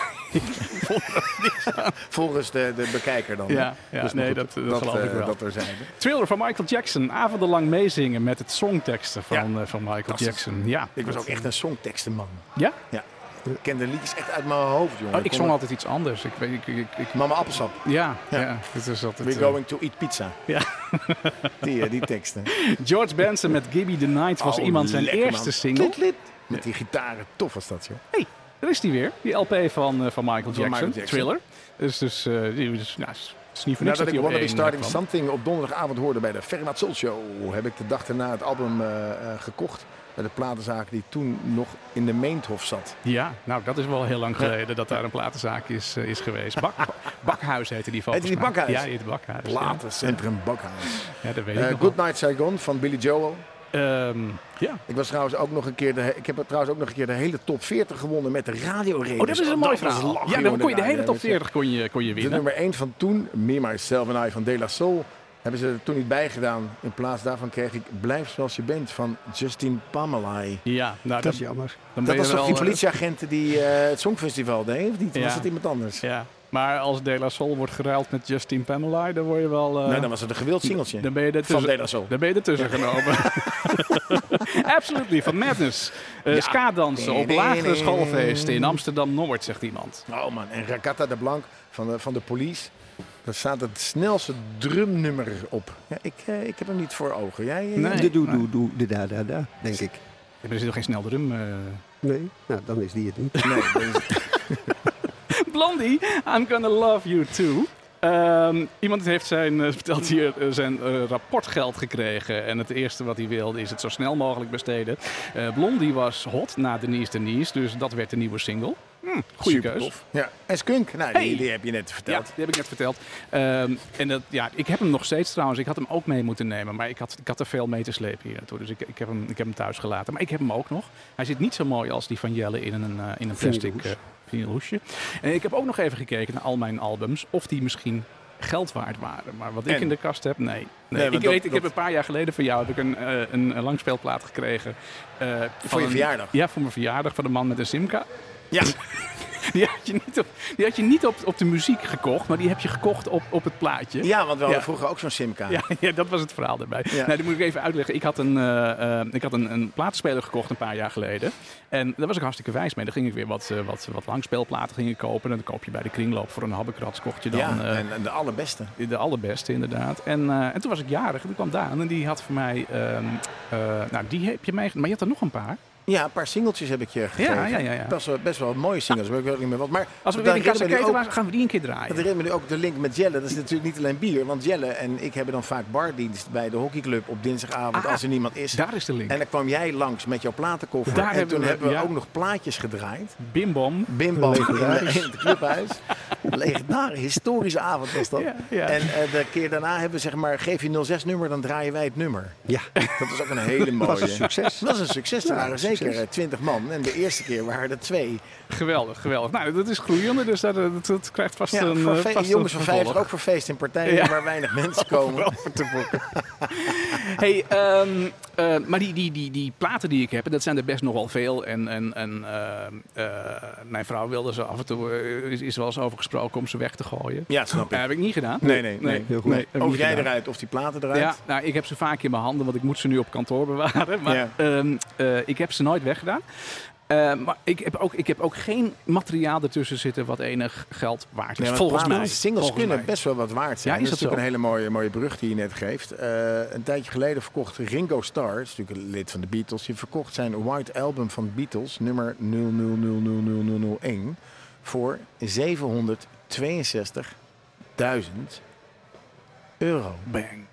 [SPEAKER 3] Volgens de, de bekijker dan. hè? Dus
[SPEAKER 2] Ja, ja,
[SPEAKER 3] maar
[SPEAKER 2] nee,
[SPEAKER 3] goed,
[SPEAKER 2] dat- dat geloof ik
[SPEAKER 3] eh,
[SPEAKER 2] wel.
[SPEAKER 3] Dat er zijn.
[SPEAKER 2] Thriller van Michael Jackson. Avondenlang meezingen met het songteksten van, eh, van Michael
[SPEAKER 3] Fantastisch.
[SPEAKER 2] Jackson. Ja.
[SPEAKER 3] Ik was ook echt een songtekstenman.
[SPEAKER 2] Ja?
[SPEAKER 3] Ja. Ik kende liedjes echt uit mijn hoofd, jongen.
[SPEAKER 2] Oh, ik
[SPEAKER 3] kon
[SPEAKER 2] zong
[SPEAKER 3] het-
[SPEAKER 2] altijd iets anders. Ik, weet- ik, ik, ik-
[SPEAKER 3] Mama Appelsap.
[SPEAKER 2] ja, ja.
[SPEAKER 3] Ja.
[SPEAKER 2] Het is altijd,
[SPEAKER 3] We're
[SPEAKER 2] eh,
[SPEAKER 3] going to eat pizza.
[SPEAKER 2] Ja.
[SPEAKER 3] Die, eh, die teksten.
[SPEAKER 2] George Benson met Gibby the Night was
[SPEAKER 3] Oh,
[SPEAKER 2] iemand zijn
[SPEAKER 3] lekker, man.
[SPEAKER 2] eerste single.
[SPEAKER 3] Lid, lid. Met die gitaren. Tof was dat, joh.
[SPEAKER 2] Hé, hey, daar is die weer. Die LP van, eh, van Michael Jackson.
[SPEAKER 3] Michael Jackson.
[SPEAKER 2] Thriller. Dus, dus, eh, die, dus nou, is- is niet voor niks eh,
[SPEAKER 3] Nadat
[SPEAKER 2] dat
[SPEAKER 3] ik
[SPEAKER 2] hij op
[SPEAKER 3] Wanna Be
[SPEAKER 2] één
[SPEAKER 3] Starting
[SPEAKER 2] kwam.
[SPEAKER 3] Something op donderdagavond hoorde bij de Fermat Soul Show, heb ik de dag daarna het album eh, eh, gekocht bij de platenzaak die toen nog in de Meenthof zat.
[SPEAKER 2] Ja, nou dat is wel heel lang geleden dat daar een platenzaak is, eh, is geweest. Bak, bakhuis heette die volgens
[SPEAKER 3] Heette die
[SPEAKER 2] mij.
[SPEAKER 3] Bakhuis?
[SPEAKER 2] Ja, die heette Bakhuis. ja.
[SPEAKER 3] Platencentrum Bakhuis.
[SPEAKER 2] Ja, dat weet
[SPEAKER 3] Eh,
[SPEAKER 2] ik nog
[SPEAKER 3] Good Night Saigon van Billy Joel.
[SPEAKER 2] wel. Ehm, ja.
[SPEAKER 3] Ik, was trouwens ook nog een keer de, he- ik heb trouwens ook nog een keer de hele top 40 gewonnen met de radio
[SPEAKER 2] Oh, dat is een mooi verhaal. ja, dan kon je de hele top 40 kon je, kon je
[SPEAKER 3] De
[SPEAKER 2] winnen.
[SPEAKER 3] nummer 1 van toen, Me, Myself en I van De La Soul, hebben ze er toen niet bij gedaan. In plaats daarvan kreeg ik Blijf Zoals Je Bent van Justin Pamelai.
[SPEAKER 2] Ja, nou,
[SPEAKER 4] Dat
[SPEAKER 2] dat,
[SPEAKER 4] is jammer.
[SPEAKER 2] dan ben
[SPEAKER 3] Dat
[SPEAKER 2] je
[SPEAKER 3] was toch
[SPEAKER 2] wel,
[SPEAKER 3] die
[SPEAKER 2] eh,
[SPEAKER 3] politieagent die eh, het Songfestival deed, of niet?
[SPEAKER 2] Ja.
[SPEAKER 3] Was het iemand anders?
[SPEAKER 2] Ja, maar als De La Soul wordt geruild met Justin Pamela, dan word je wel... eh,
[SPEAKER 3] nee, dan was het een gewild singeltje
[SPEAKER 2] dan ben je er
[SPEAKER 3] van
[SPEAKER 2] tussen,
[SPEAKER 3] De La Soul.
[SPEAKER 2] dan ben je ertussen genomen. Absolutely, van Madness. Eh Ska-dansen op lagere schoolfeesten in Amsterdam-Noord, zegt iemand.
[SPEAKER 3] Oh man, en Rakata de Blanc van de, van de police. Daar staat het snelste drumnummer op. Ja, ik, eh, ik heb hem niet voor ogen. Jij, eh,
[SPEAKER 2] Nee,
[SPEAKER 4] de doe,
[SPEAKER 2] nee.
[SPEAKER 4] doe, doe, de da, da, da, denk ik.
[SPEAKER 2] Er is nog geen snel drum. eh,
[SPEAKER 4] Nee? Nou, dan is die het niet.
[SPEAKER 3] Nee, dat is-
[SPEAKER 2] Blondie, I'm gonna love you too. Ehm, iemand heeft zijn, eh, vertelt hier, eh, zijn eh, rapportgeld gekregen. En het eerste wat hij wilde is het zo snel mogelijk besteden. Eh, Blondie was hot na Denise Denise, dus dat werd de nieuwe single. Hm, goede
[SPEAKER 3] Super
[SPEAKER 2] keus.
[SPEAKER 3] tof. Ja. En Skunk, nou,
[SPEAKER 2] Hey.
[SPEAKER 3] die, die heb je net
[SPEAKER 2] Ja,
[SPEAKER 3] verteld.
[SPEAKER 2] die heb ik net verteld. Ehm, en dat, ja, ik heb hem nog steeds trouwens. Ik had hem ook mee moeten nemen. Maar ik had, ik had er veel mee te slepen hier naartoe. Dus ik, ik, heb hem, ik heb hem thuis gelaten. Maar ik heb hem ook nog. Hij zit niet zo mooi als die van Jelle in een, eh, in een plastic
[SPEAKER 4] Vinylhoes.
[SPEAKER 2] eh, vinylhoesje. En ik heb ook nog even gekeken naar al mijn albums. Of die misschien geld waard waren. Maar wat ik
[SPEAKER 3] En?
[SPEAKER 2] in de kast heb, nee. nee,
[SPEAKER 3] want
[SPEAKER 2] ik
[SPEAKER 3] dat-
[SPEAKER 2] weet, ik heb
[SPEAKER 3] dat-
[SPEAKER 2] een paar jaar geleden van jou heb ik een, eh, een, een langspeelplaat gekregen. eh, van
[SPEAKER 3] je
[SPEAKER 2] een-
[SPEAKER 3] verjaardag?
[SPEAKER 2] Ja, voor mijn verjaardag van een man met een simka.
[SPEAKER 3] Ja.
[SPEAKER 2] Die had je niet op, die had je niet op, op de muziek gekocht, maar die heb je gekocht op, op het plaatje.
[SPEAKER 3] ja, want we hadden
[SPEAKER 2] Ja.
[SPEAKER 3] vroeger ook zo'n simkaart.
[SPEAKER 2] Ja, ja, dat was het verhaal daarbij.
[SPEAKER 3] Ja.
[SPEAKER 2] Nou, dat moet ik even uitleggen. Ik had, een, eh, eh, ik had een, een plaatspeler gekocht een paar jaar geleden. En daar was ik hartstikke wijs mee. Dan ging ik weer wat, eh, wat, wat langspeelplaten gingen kopen. En dan koop je bij de kringloop voor een habbekrats. Kocht je dan
[SPEAKER 3] Ja,
[SPEAKER 2] eh,
[SPEAKER 3] en, en de allerbeste.
[SPEAKER 2] de allerbeste, inderdaad. En, eh, en toen was ik jarig. En toen kwam Daan en die had voor mij... ehm, eh, nou, die heb je meegenomen. Maar je had er nog een paar.
[SPEAKER 3] Ja, een paar singeltjes heb ik je gegeven.
[SPEAKER 2] ja, ja, ja.
[SPEAKER 3] Best, wel, best wel mooie singles, maar ik weet ook niet meer wat. Maar
[SPEAKER 2] Als we
[SPEAKER 3] dan
[SPEAKER 2] weer in Casa
[SPEAKER 3] herinner me nu
[SPEAKER 2] Keten
[SPEAKER 3] ook-
[SPEAKER 2] waren, gaan we die een keer draaien.
[SPEAKER 3] Dat herinnert me nu ook de link met Jelle. Dat is natuurlijk niet alleen bier. Want Jelle en ik hebben dan vaak bardienst bij de hockeyclub op dinsdagavond
[SPEAKER 2] Ah,
[SPEAKER 3] als er niemand is.
[SPEAKER 2] Daar is de link.
[SPEAKER 3] En dan kwam jij langs met jouw platenkoffer.
[SPEAKER 2] Daar
[SPEAKER 3] en
[SPEAKER 2] hebben
[SPEAKER 3] toen
[SPEAKER 2] we-
[SPEAKER 3] hebben we
[SPEAKER 2] ja.
[SPEAKER 3] ook nog plaatjes gedraaid.
[SPEAKER 2] Bimbom.
[SPEAKER 3] Bimbal in,
[SPEAKER 4] Legendarisch.
[SPEAKER 3] in het clubhuis. Legendarische, historische avond was dat.
[SPEAKER 2] Ja, ja.
[SPEAKER 3] En eh, de keer daarna hebben we zeg maar, geef je 06 nummer, dan draaien wij het nummer.
[SPEAKER 4] Ja,
[SPEAKER 3] Dat was ook een hele mooie.
[SPEAKER 4] was een succes.
[SPEAKER 3] Oh, Dat was een succes. Er
[SPEAKER 4] Ja,
[SPEAKER 3] waren
[SPEAKER 4] succes.
[SPEAKER 3] zeker eh, 20 man. En de eerste keer waren er twee.
[SPEAKER 2] Geweldig, geweldig. Nou, dat is groeiende, dus dat, dat, dat krijgt vast
[SPEAKER 3] Ja,
[SPEAKER 2] een
[SPEAKER 3] voor
[SPEAKER 2] eh,
[SPEAKER 3] fe-
[SPEAKER 2] vast
[SPEAKER 3] jongens
[SPEAKER 2] een
[SPEAKER 3] van 50, ook
[SPEAKER 2] vervolg.
[SPEAKER 3] voor feesten en partijen
[SPEAKER 2] Ja.
[SPEAKER 3] waar weinig mensen komen.
[SPEAKER 2] Hey, ehm, eh, maar die, die, die, die platen die ik heb, dat zijn er best nogal veel. En, en, en ehm, eh, mijn vrouw wilde ze af en toe, eh, is, is wel eens over gesproken om ze weg te gooien.
[SPEAKER 3] Ja, snap
[SPEAKER 2] Dat
[SPEAKER 3] ik.
[SPEAKER 2] heb ik niet gedaan.
[SPEAKER 3] Nee, nee, nee.
[SPEAKER 4] heel goed.
[SPEAKER 2] heb ik
[SPEAKER 3] Of
[SPEAKER 2] niet
[SPEAKER 3] jij
[SPEAKER 2] gedaan.
[SPEAKER 3] eruit of die platen eruit.
[SPEAKER 2] Ja, nou, ik heb ze vaak in mijn handen, want ik moet ze nu op kantoor bewaren. Maar
[SPEAKER 3] Ja.
[SPEAKER 2] ehm, eh, ik heb ze nooit weggedaan. Eh, maar ik heb, ook, ik heb ook geen materiaal ertussen zitten wat enig geld waard is.
[SPEAKER 3] Nee, want
[SPEAKER 2] volgens
[SPEAKER 3] platen-
[SPEAKER 2] mij.
[SPEAKER 3] Singles
[SPEAKER 2] volgens
[SPEAKER 3] kunnen
[SPEAKER 2] mij.
[SPEAKER 3] best wel wat waard zijn.
[SPEAKER 2] Ja, is
[SPEAKER 3] dat is
[SPEAKER 2] dat
[SPEAKER 3] natuurlijk een hele mooie, mooie brug die je net geeft. Eh, een tijdje geleden verkocht Ringo Starr, is natuurlijk een lid van de Beatles, die verkocht zijn White Album van Beatles, nummer 0000001, voor 762.000 euro.
[SPEAKER 2] Bang.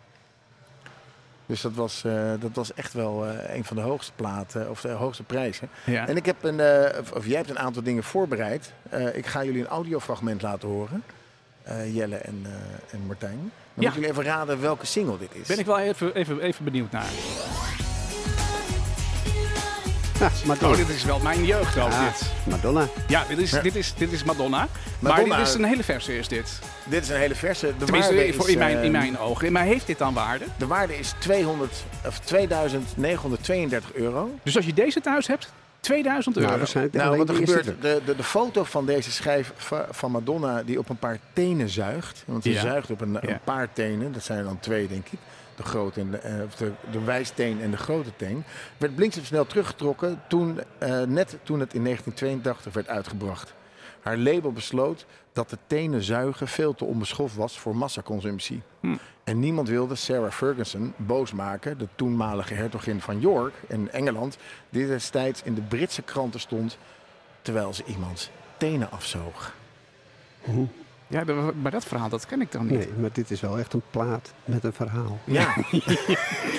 [SPEAKER 3] Dus dat was, eh, dat was echt wel eh, een van de hoogste platen, of de hoogste prijzen.
[SPEAKER 2] Ja.
[SPEAKER 3] En ik heb een, eh, of- of jij hebt een aantal dingen voorbereid. Eh, ik ga jullie een audiofragment laten horen. Eh, Jelle en, eh, en Martijn. Dan moeten jullie even raden welke single dit is.
[SPEAKER 2] Ben ik wel even, even, even benieuwd naar.
[SPEAKER 5] You run it, you run it,
[SPEAKER 4] Ja,
[SPEAKER 2] Oh,
[SPEAKER 4] Ah, Madonna.
[SPEAKER 2] dit is wel mijn jeugd ook,
[SPEAKER 4] Ja,
[SPEAKER 2] dit.
[SPEAKER 4] Madonna. Nou,
[SPEAKER 2] Ja, dit is, Dit, is, dit is Madonna. Maar
[SPEAKER 3] Madonna-
[SPEAKER 2] dit is een hele verse, is dit.
[SPEAKER 3] Dit is een hele verse. De waarde
[SPEAKER 2] Tenminste,
[SPEAKER 3] is,
[SPEAKER 2] voor, in, mijn,
[SPEAKER 3] eh,
[SPEAKER 2] in mijn ogen. Maar heeft dit dan waarde?
[SPEAKER 3] De waarde is 200, of 2.932 euro.
[SPEAKER 2] Dus als je deze thuis hebt, 2000 euro.
[SPEAKER 4] Nou, waarschijnlijk
[SPEAKER 3] Nou,
[SPEAKER 4] alleen
[SPEAKER 3] wat er
[SPEAKER 4] de eerste
[SPEAKER 3] gebeurt, de, de, de foto van deze schijf va- van Madonna die op een paar tenen zuigt. Want ze
[SPEAKER 2] Ja.
[SPEAKER 3] zuigt op een,
[SPEAKER 2] Ja.
[SPEAKER 3] een paar tenen, dat zijn er dan twee denk ik. De, grote en de, eh, of de, de wijsteen en de grote teen. Werd bliksemsnel teruggetrokken toen, eh, net toen het in 1982 werd uitgebracht. Haar label besloot dat de tenen zuigen veel te onbeschoft was voor massaconsumptie.
[SPEAKER 2] Hm.
[SPEAKER 3] En niemand wilde Sarah Ferguson boos maken, de toenmalige hertogin van York in Engeland, die destijds in de Britse kranten stond terwijl ze iemands tenen afzoog.
[SPEAKER 2] Ja, dat- maar dat verhaal, dat ken ik dan niet.
[SPEAKER 4] Nee, maar dit is wel echt een plaat met een verhaal.
[SPEAKER 3] Ja.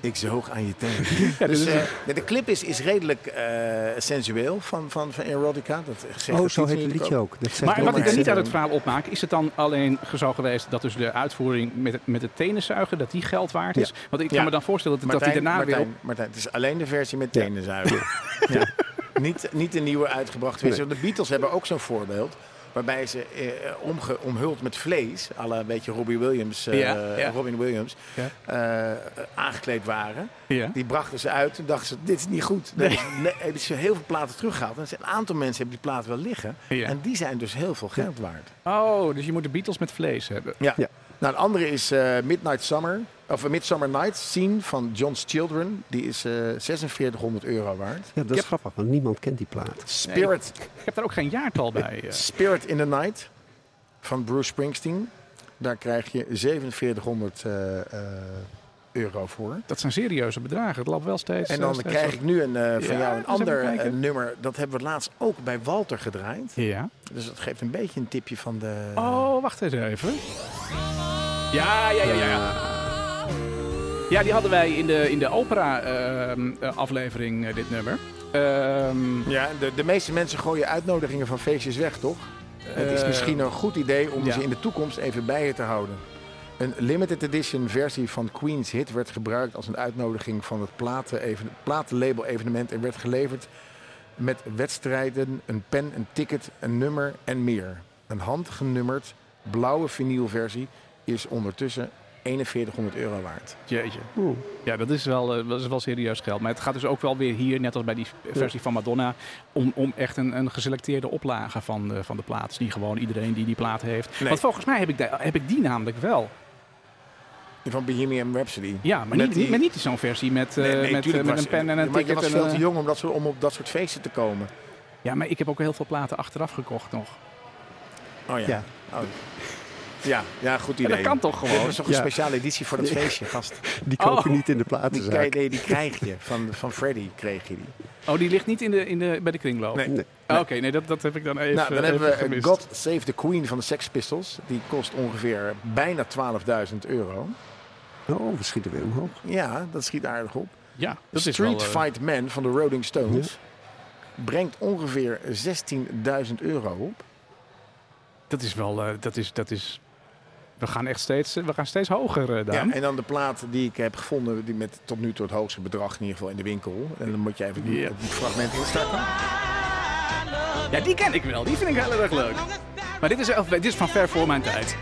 [SPEAKER 3] Ik zoog aan je tenen.
[SPEAKER 2] dit
[SPEAKER 3] dus,
[SPEAKER 2] is
[SPEAKER 3] eh, de clip is, is redelijk eh, sensueel van, van, van Erotica. Dat zegt
[SPEAKER 4] Oh,
[SPEAKER 3] het
[SPEAKER 4] zo
[SPEAKER 3] lied
[SPEAKER 4] heet het
[SPEAKER 3] natuurlijk
[SPEAKER 4] liedje
[SPEAKER 3] ook.
[SPEAKER 4] ook. Dat zegt
[SPEAKER 2] Maar
[SPEAKER 4] wel
[SPEAKER 2] wat ik
[SPEAKER 4] iets.
[SPEAKER 2] er
[SPEAKER 3] maar-
[SPEAKER 2] niet uit het verhaal opmaak, is het dan alleen zo geweest dat dus de uitvoering met, het- met het tenenzuigen, dat die geld waard is? Want ik kan
[SPEAKER 3] Ja.
[SPEAKER 2] me dan voorstellen dat, dat die daarna
[SPEAKER 3] Martijn,
[SPEAKER 2] weer op...
[SPEAKER 3] Martijn, het is alleen de versie met tenen zuigen. Ja. Niet, niet de nieuwe uitgebracht versie. Want De Beatles hebben ook zo'n voorbeeld. Waarbij ze eh, omge, omhuld met vlees, à la een beetje Robbie Williams, eh,
[SPEAKER 2] Ja, ja.
[SPEAKER 3] Robin Williams,
[SPEAKER 2] Ja.
[SPEAKER 3] eh, aangekleed waren.
[SPEAKER 2] Ja.
[SPEAKER 3] Die brachten ze uit en dachten ze, dit is niet goed. Dan hebben ze- nee, hebben ze heel veel platen teruggehaald. En er zijn een aantal mensen hebben die platen wel liggen.
[SPEAKER 2] Ja.
[SPEAKER 3] En die zijn dus heel veel geld waard.
[SPEAKER 2] Oh, dus je moet de Beatles met vlees hebben.
[SPEAKER 3] Ja.
[SPEAKER 4] Ja.
[SPEAKER 3] Nou, een andere is eh, Midnight Summer, of eh, Midsummer Night's Scene van John's Children. Die is eh 4600 euro waard.
[SPEAKER 4] Ja, dat is grappig, want niemand kent die plaat.
[SPEAKER 3] Spirit,
[SPEAKER 2] Ik heb daar ook geen jaartal bij. eh.
[SPEAKER 3] Spirit in the Night van Bruce Springsteen. Daar krijg je 4700 eh, eh, euro voor.
[SPEAKER 2] Dat zijn serieuze bedragen. Het loopt wel steeds.
[SPEAKER 3] En
[SPEAKER 2] eh,
[SPEAKER 3] dan
[SPEAKER 2] steeds
[SPEAKER 3] krijg ik nu een, eh, van
[SPEAKER 2] Ja,
[SPEAKER 3] jou een
[SPEAKER 2] eens even
[SPEAKER 3] ander eh,
[SPEAKER 2] kijken.
[SPEAKER 3] nummer. Dat hebben we laatst ook bij Walter gedraaid.
[SPEAKER 2] wat. Ja.
[SPEAKER 3] Dus dat geeft een beetje een tipje van de...
[SPEAKER 2] Oh, wacht eens even. Ja, ja, ja, ja. ja. Ja, die hadden wij in de, in de ehm, opera-aflevering, eh, dit nummer. Ehm,
[SPEAKER 3] Ja, de, de meeste mensen gooien uitnodigingen van feestjes weg, toch? Het is
[SPEAKER 2] Eh,
[SPEAKER 3] misschien een goed idee om
[SPEAKER 2] ja.
[SPEAKER 3] ze in de toekomst even bij je te houden. Een limited edition versie van Queen's Hit werd gebruikt als een uitnodiging van het platen even, platenlabel evenement en werd geleverd met wedstrijden, een pen, een ticket, een nummer en meer. Een handgenummerd blauwe vinylversie is ondertussen 4100 euro waard.
[SPEAKER 2] jeetje.
[SPEAKER 4] Oeh.
[SPEAKER 2] Ja, dat is, wel, eh, dat is wel serieus geld. Maar het gaat dus ook wel weer hier, net als bij die versie van Madonna, om, om echt een, een geselecteerde oplage van de, van de plaat. Dus niet gewoon iedereen die die plaat heeft.
[SPEAKER 3] Nee.
[SPEAKER 2] Want volgens mij heb ik, da- heb ik die namelijk wel.
[SPEAKER 3] Van Bohemian Rhapsody.
[SPEAKER 2] Ja, maar
[SPEAKER 3] Met
[SPEAKER 2] niet,
[SPEAKER 3] die-
[SPEAKER 2] maar niet zo'n versie met, eh, met, eh,
[SPEAKER 3] tuurlijk
[SPEAKER 2] met
[SPEAKER 3] was-
[SPEAKER 2] een pen en een
[SPEAKER 3] maar je
[SPEAKER 2] ticket.
[SPEAKER 3] was
[SPEAKER 2] en
[SPEAKER 3] veel
[SPEAKER 2] een-
[SPEAKER 3] te jong om, dat soort, om op dat soort feesten te komen.
[SPEAKER 2] Ja, maar ik heb ook heel veel platen achteraf gekocht nog.
[SPEAKER 3] Oh ja.
[SPEAKER 4] Ja.
[SPEAKER 3] Oh. Ja, ja, goed idee.
[SPEAKER 2] En dat kan toch
[SPEAKER 3] Dit
[SPEAKER 2] gewoon?
[SPEAKER 3] was toch een
[SPEAKER 4] Ja.
[SPEAKER 3] speciale editie voor dat feestje, gast.
[SPEAKER 4] Die koop je
[SPEAKER 2] Oh.
[SPEAKER 4] niet in de
[SPEAKER 3] Die, krijg-
[SPEAKER 4] platenzaak.
[SPEAKER 3] nee, die krijg je. Van, van Freddy kreeg je die.
[SPEAKER 2] Oh, die ligt niet in de, in de, bij de kringloop?
[SPEAKER 3] Nee.
[SPEAKER 4] Nee.
[SPEAKER 2] Oh, Oké, nee, dat, dat heb ik dan even
[SPEAKER 3] nou,
[SPEAKER 2] eh,
[SPEAKER 3] dan
[SPEAKER 2] even
[SPEAKER 3] hebben we
[SPEAKER 2] gemist.
[SPEAKER 3] God Save the Queen van de Sex Pistols. Die kost ongeveer bijna 12.000 euro.
[SPEAKER 4] Oh, we schieten weer omhoog.
[SPEAKER 3] Ja, dat schiet aardig op.
[SPEAKER 2] Ja, dat is
[SPEAKER 3] Street
[SPEAKER 2] wel, eh,
[SPEAKER 3] Fight Man van de Rolling Stones brengt ongeveer 16.000 euro op.
[SPEAKER 2] Dat is wel... eh, dat is, dat is, we gaan echt steeds, eh, we gaan steeds hoger, eh, Daan.
[SPEAKER 3] Ja, en dan de plaat die ik heb gevonden, die met tot nu toe het hoogste bedrag in ieder geval in de winkel. En dan moet je even die
[SPEAKER 2] Ja.
[SPEAKER 3] het fragment instarten.
[SPEAKER 2] Ja, die ken ik wel. Die vind ik heel erg leuk. Maar dit is, eh, dit is van ver voor mijn tijd.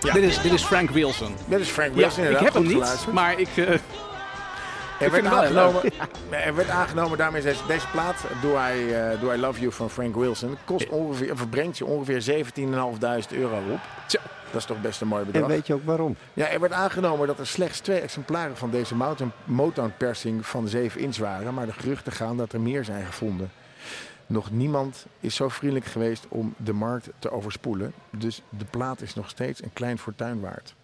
[SPEAKER 2] Dit, is, dit is Frank Wilson.
[SPEAKER 3] Dit is Frank
[SPEAKER 2] Ja,
[SPEAKER 3] Wilson
[SPEAKER 2] ik
[SPEAKER 3] inderdaad.
[SPEAKER 2] heb hem
[SPEAKER 3] Goed
[SPEAKER 2] niet,
[SPEAKER 3] geluisterd.
[SPEAKER 2] maar ik... eh,
[SPEAKER 3] Er
[SPEAKER 2] vind
[SPEAKER 3] werd,
[SPEAKER 2] hem wel heel
[SPEAKER 3] aangenomen, er werd aangenomen, daarmee is deze, deze plaat, Do I, eh, Do I Love You van Frank Wilson, kost ongeveer, of brengt je ongeveer 17.500 euro op.
[SPEAKER 2] tja,
[SPEAKER 3] Dat is toch best een mooi
[SPEAKER 4] En
[SPEAKER 3] bedrag.
[SPEAKER 4] weet je ook waarom?
[SPEAKER 3] Ja, er werd aangenomen dat er slechts twee exemplaren van deze Mountain- Motown-persing van 7 inch waren, maar de geruchten gaan dat er meer zijn gevonden. Nog niemand is zo vriendelijk geweest om de markt te overspoelen. Dus de plaat is nog steeds een klein fortuin waard.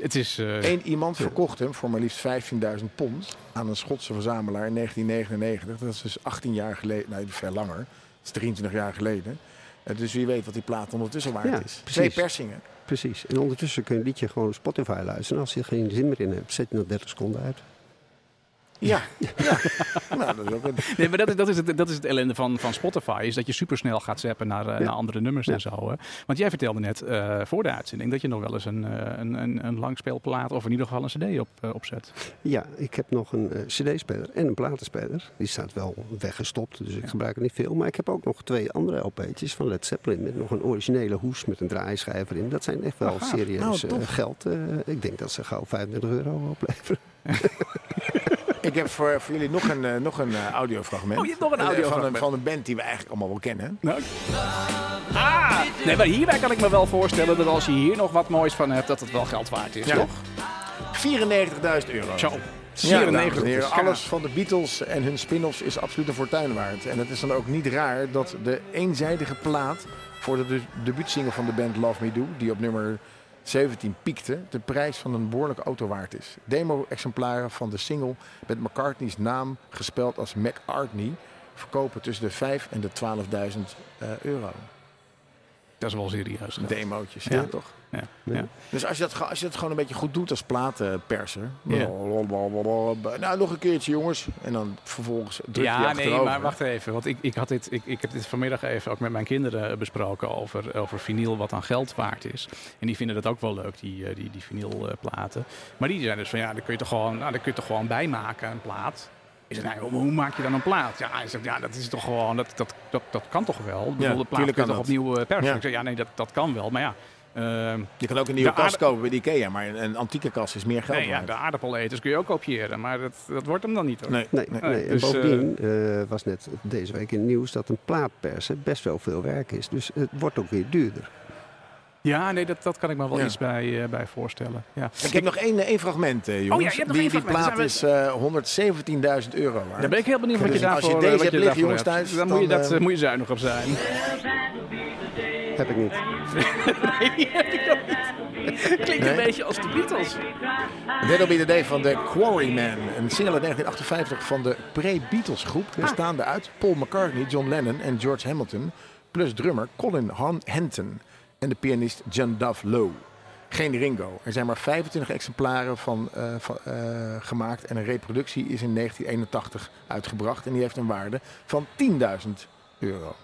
[SPEAKER 2] het is... eh,
[SPEAKER 3] Eén iemand verkocht hem voor maar liefst 15.000 pond aan een Schotse verzamelaar in 1999. Dat is dus 18 jaar geleden, nou veel langer. Dat is 23 jaar geleden. Eh, Dus wie weet wat die plaat ondertussen waard
[SPEAKER 4] Ja,
[SPEAKER 3] is.
[SPEAKER 4] precies.
[SPEAKER 3] Twee persingen.
[SPEAKER 4] Precies. En ondertussen kun je een liedje gewoon op Spotify luisteren. En als je er geen zin meer in hebt, zet je dat 30 seconden uit.
[SPEAKER 3] Ja, ja. nou, dat is ook een...
[SPEAKER 2] Nee, maar dat is, dat is, het, dat is het ellende van, van Spotify. Is dat je supersnel gaat zappen naar, eh, naar andere nummers en zo. hè. Want jij vertelde net eh, voor de uitzending dat je nog wel eens een, eh, een, een, een langspeelplaat of in ieder geval een cd op, eh, opzet.
[SPEAKER 4] Ja, ik heb nog een eh, cd-speler en een platenspeler. Die staat wel weggestopt, dus ik gebruik het niet veel. Maar ik heb ook nog twee andere LP'tjes van Led Zeppelin. Met nog een originele hoes met een draaischijf erin. Dat zijn echt wel
[SPEAKER 2] Oh, gaaf.
[SPEAKER 4] serieus
[SPEAKER 3] Nou,
[SPEAKER 4] eh,
[SPEAKER 3] tof.
[SPEAKER 4] geld. eh, ik denk dat ze gauw 35 euro opleveren.
[SPEAKER 3] Ik heb voor, voor jullie nog een, eh, nog een eh, audiofragment.
[SPEAKER 2] Oh, je hebt nog een
[SPEAKER 3] Eh, Van
[SPEAKER 2] audiofragment.
[SPEAKER 3] een, van een band die we eigenlijk allemaal wel kennen.
[SPEAKER 2] Nou, ah, nee, maar hierbij kan ik me wel voorstellen dat als je hier nog wat moois van hebt, dat het wel geld waard is,
[SPEAKER 3] Ja.
[SPEAKER 2] toch?
[SPEAKER 3] 94.000 euro.
[SPEAKER 2] Zo.
[SPEAKER 3] Ja, dames en
[SPEAKER 2] 94
[SPEAKER 3] heren,
[SPEAKER 2] is
[SPEAKER 3] alles van de Beatles en hun spin-offs is absoluut een fortuin waard. En het is dan ook niet raar dat de eenzijdige plaat voor de de- debuutsingle van de band Love Me Do, die op nummer 17 piekte, de prijs van een behoorlijke auto waard is. Demo-exemplaren van de single met McCartney's naam gespeld als McCartney verkopen tussen de 5 en de 12.000 eh, euro.
[SPEAKER 2] Dat is wel serieus. geld.
[SPEAKER 3] Demootjes, ja,
[SPEAKER 2] Ja.
[SPEAKER 3] toch?
[SPEAKER 2] Ja.
[SPEAKER 4] Ja.
[SPEAKER 2] Ja.
[SPEAKER 3] Dus als je, dat, ge- als je dat gewoon een beetje goed doet als platenperser.
[SPEAKER 2] Ja.
[SPEAKER 3] Blablabla. Nou, nog een keertje jongens. En dan vervolgens druk je
[SPEAKER 2] Ja, nee,
[SPEAKER 3] achterover.
[SPEAKER 2] maar wacht even. Want ik, ik, had dit, ik, ik heb dit vanmiddag even ook met mijn kinderen eh, besproken over, over vinyl wat aan geld waard is. En die vinden dat ook wel leuk, die, eh, die, die vinylplaten. Maar die zijn dus van, ja, dan kun je toch gewoon, nou, dan kun je toch gewoon bijmaken, een plaat. Ik zeg, nou, joh, maar hoe maak je dan een plaat? Ja, hij zegt, ja dat is toch gewoon, dat, dat, dat, dat kan toch wel? Ik bedoel, de plaat
[SPEAKER 3] tuurlijk
[SPEAKER 2] kan
[SPEAKER 3] kan
[SPEAKER 2] toch
[SPEAKER 3] dat.
[SPEAKER 2] opnieuw eh, persen?
[SPEAKER 3] Ja.
[SPEAKER 2] Ik zeg, ja, nee, dat, dat kan wel. Maar ja, ehm,
[SPEAKER 3] Je kan ook een nieuwe
[SPEAKER 2] De
[SPEAKER 3] kast
[SPEAKER 2] aarde-
[SPEAKER 3] kopen bij de Ikea. Maar een, een antieke kast is meer geld
[SPEAKER 2] nee, ja,
[SPEAKER 3] waard.
[SPEAKER 2] de aardappeleters kun je ook kopiëren. Maar dat, dat wordt hem dan niet, hoor.
[SPEAKER 3] Nee,
[SPEAKER 4] Nee,
[SPEAKER 3] nee.
[SPEAKER 4] nee.
[SPEAKER 2] Nee,
[SPEAKER 4] en
[SPEAKER 2] dus,
[SPEAKER 4] bovendien eh, was net deze week in het nieuws dat een plaatpersen best wel veel werk is. Dus het wordt ook weer duurder.
[SPEAKER 2] Ja, nee, dat, dat kan ik me wel
[SPEAKER 3] Ja.
[SPEAKER 2] iets bij, eh, bij voorstellen. Ja.
[SPEAKER 3] Ik heb nog één, één fragment, eh, jongens.
[SPEAKER 2] Oh ja, je hebt nog
[SPEAKER 3] die,
[SPEAKER 2] één
[SPEAKER 3] die
[SPEAKER 2] fragment.
[SPEAKER 3] plaat
[SPEAKER 2] Zijn
[SPEAKER 3] is eh 117.000 euro waard.
[SPEAKER 2] Dan ben ik heel benieuwd wat je
[SPEAKER 3] Dus als je
[SPEAKER 2] daarvoor
[SPEAKER 3] deze
[SPEAKER 2] eh, wat
[SPEAKER 3] hebt liggen,
[SPEAKER 2] daarvoor
[SPEAKER 3] jongens,
[SPEAKER 2] hebt.
[SPEAKER 3] thuis,
[SPEAKER 2] dan, moet je,
[SPEAKER 3] dan,
[SPEAKER 2] dat,
[SPEAKER 3] eh,
[SPEAKER 2] eh, moet je zuinig op zijn.
[SPEAKER 4] Heb ik niet.
[SPEAKER 2] Klinkt
[SPEAKER 3] Nee.
[SPEAKER 2] een beetje als de Beatles.
[SPEAKER 3] That'll be the day van de Quarrymen. Een single uit 1958 van de pre-Beatles groep.
[SPEAKER 2] Ah.
[SPEAKER 3] Bestaande uit Paul McCartney, John Lennon en George Hamilton. Plus drummer Colin Han Henton. En de pianist John Duff Lowe. Geen Ringo. Er zijn maar 25 exemplaren van, eh, van, eh, gemaakt. En een reproductie is in 1981 uitgebracht. En die heeft een waarde van 10.000 euro.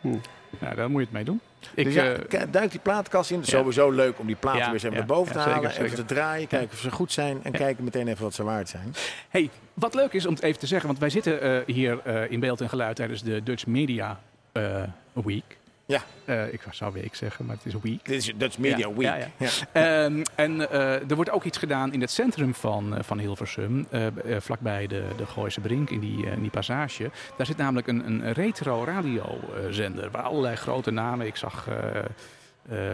[SPEAKER 2] Nou, daar moet je het mee doen. Ik,
[SPEAKER 3] dus ja,
[SPEAKER 2] eh,
[SPEAKER 3] k- duik die plaatkast in. Sowieso leuk om die platen
[SPEAKER 2] Ja,
[SPEAKER 3] weer eens even
[SPEAKER 2] ja,
[SPEAKER 3] naar boven
[SPEAKER 2] ja,
[SPEAKER 3] te
[SPEAKER 2] zeker,
[SPEAKER 3] halen. Even
[SPEAKER 2] zeker.
[SPEAKER 3] te draaien. Kijken of ze goed zijn. En kijken meteen even wat ze waard zijn.
[SPEAKER 2] hey, wat leuk is om het even te zeggen, want wij zitten eh, hier eh, in beeld en geluid tijdens de Dutch Media eh, Week.
[SPEAKER 3] Ja.
[SPEAKER 2] Eh, ik zou week zeggen, maar het is week.
[SPEAKER 3] Dit is Dutch Media
[SPEAKER 2] Ja,
[SPEAKER 3] Week.
[SPEAKER 2] ja, ja. Ehm, en eh, er wordt ook iets gedaan in het centrum van, eh, van Hilversum, eh, b- eh, vlakbij de, de Gooise Brink in die, eh, in die passage. Daar zit namelijk een, een retro radiozender waar allerlei grote namen. Ik zag eh,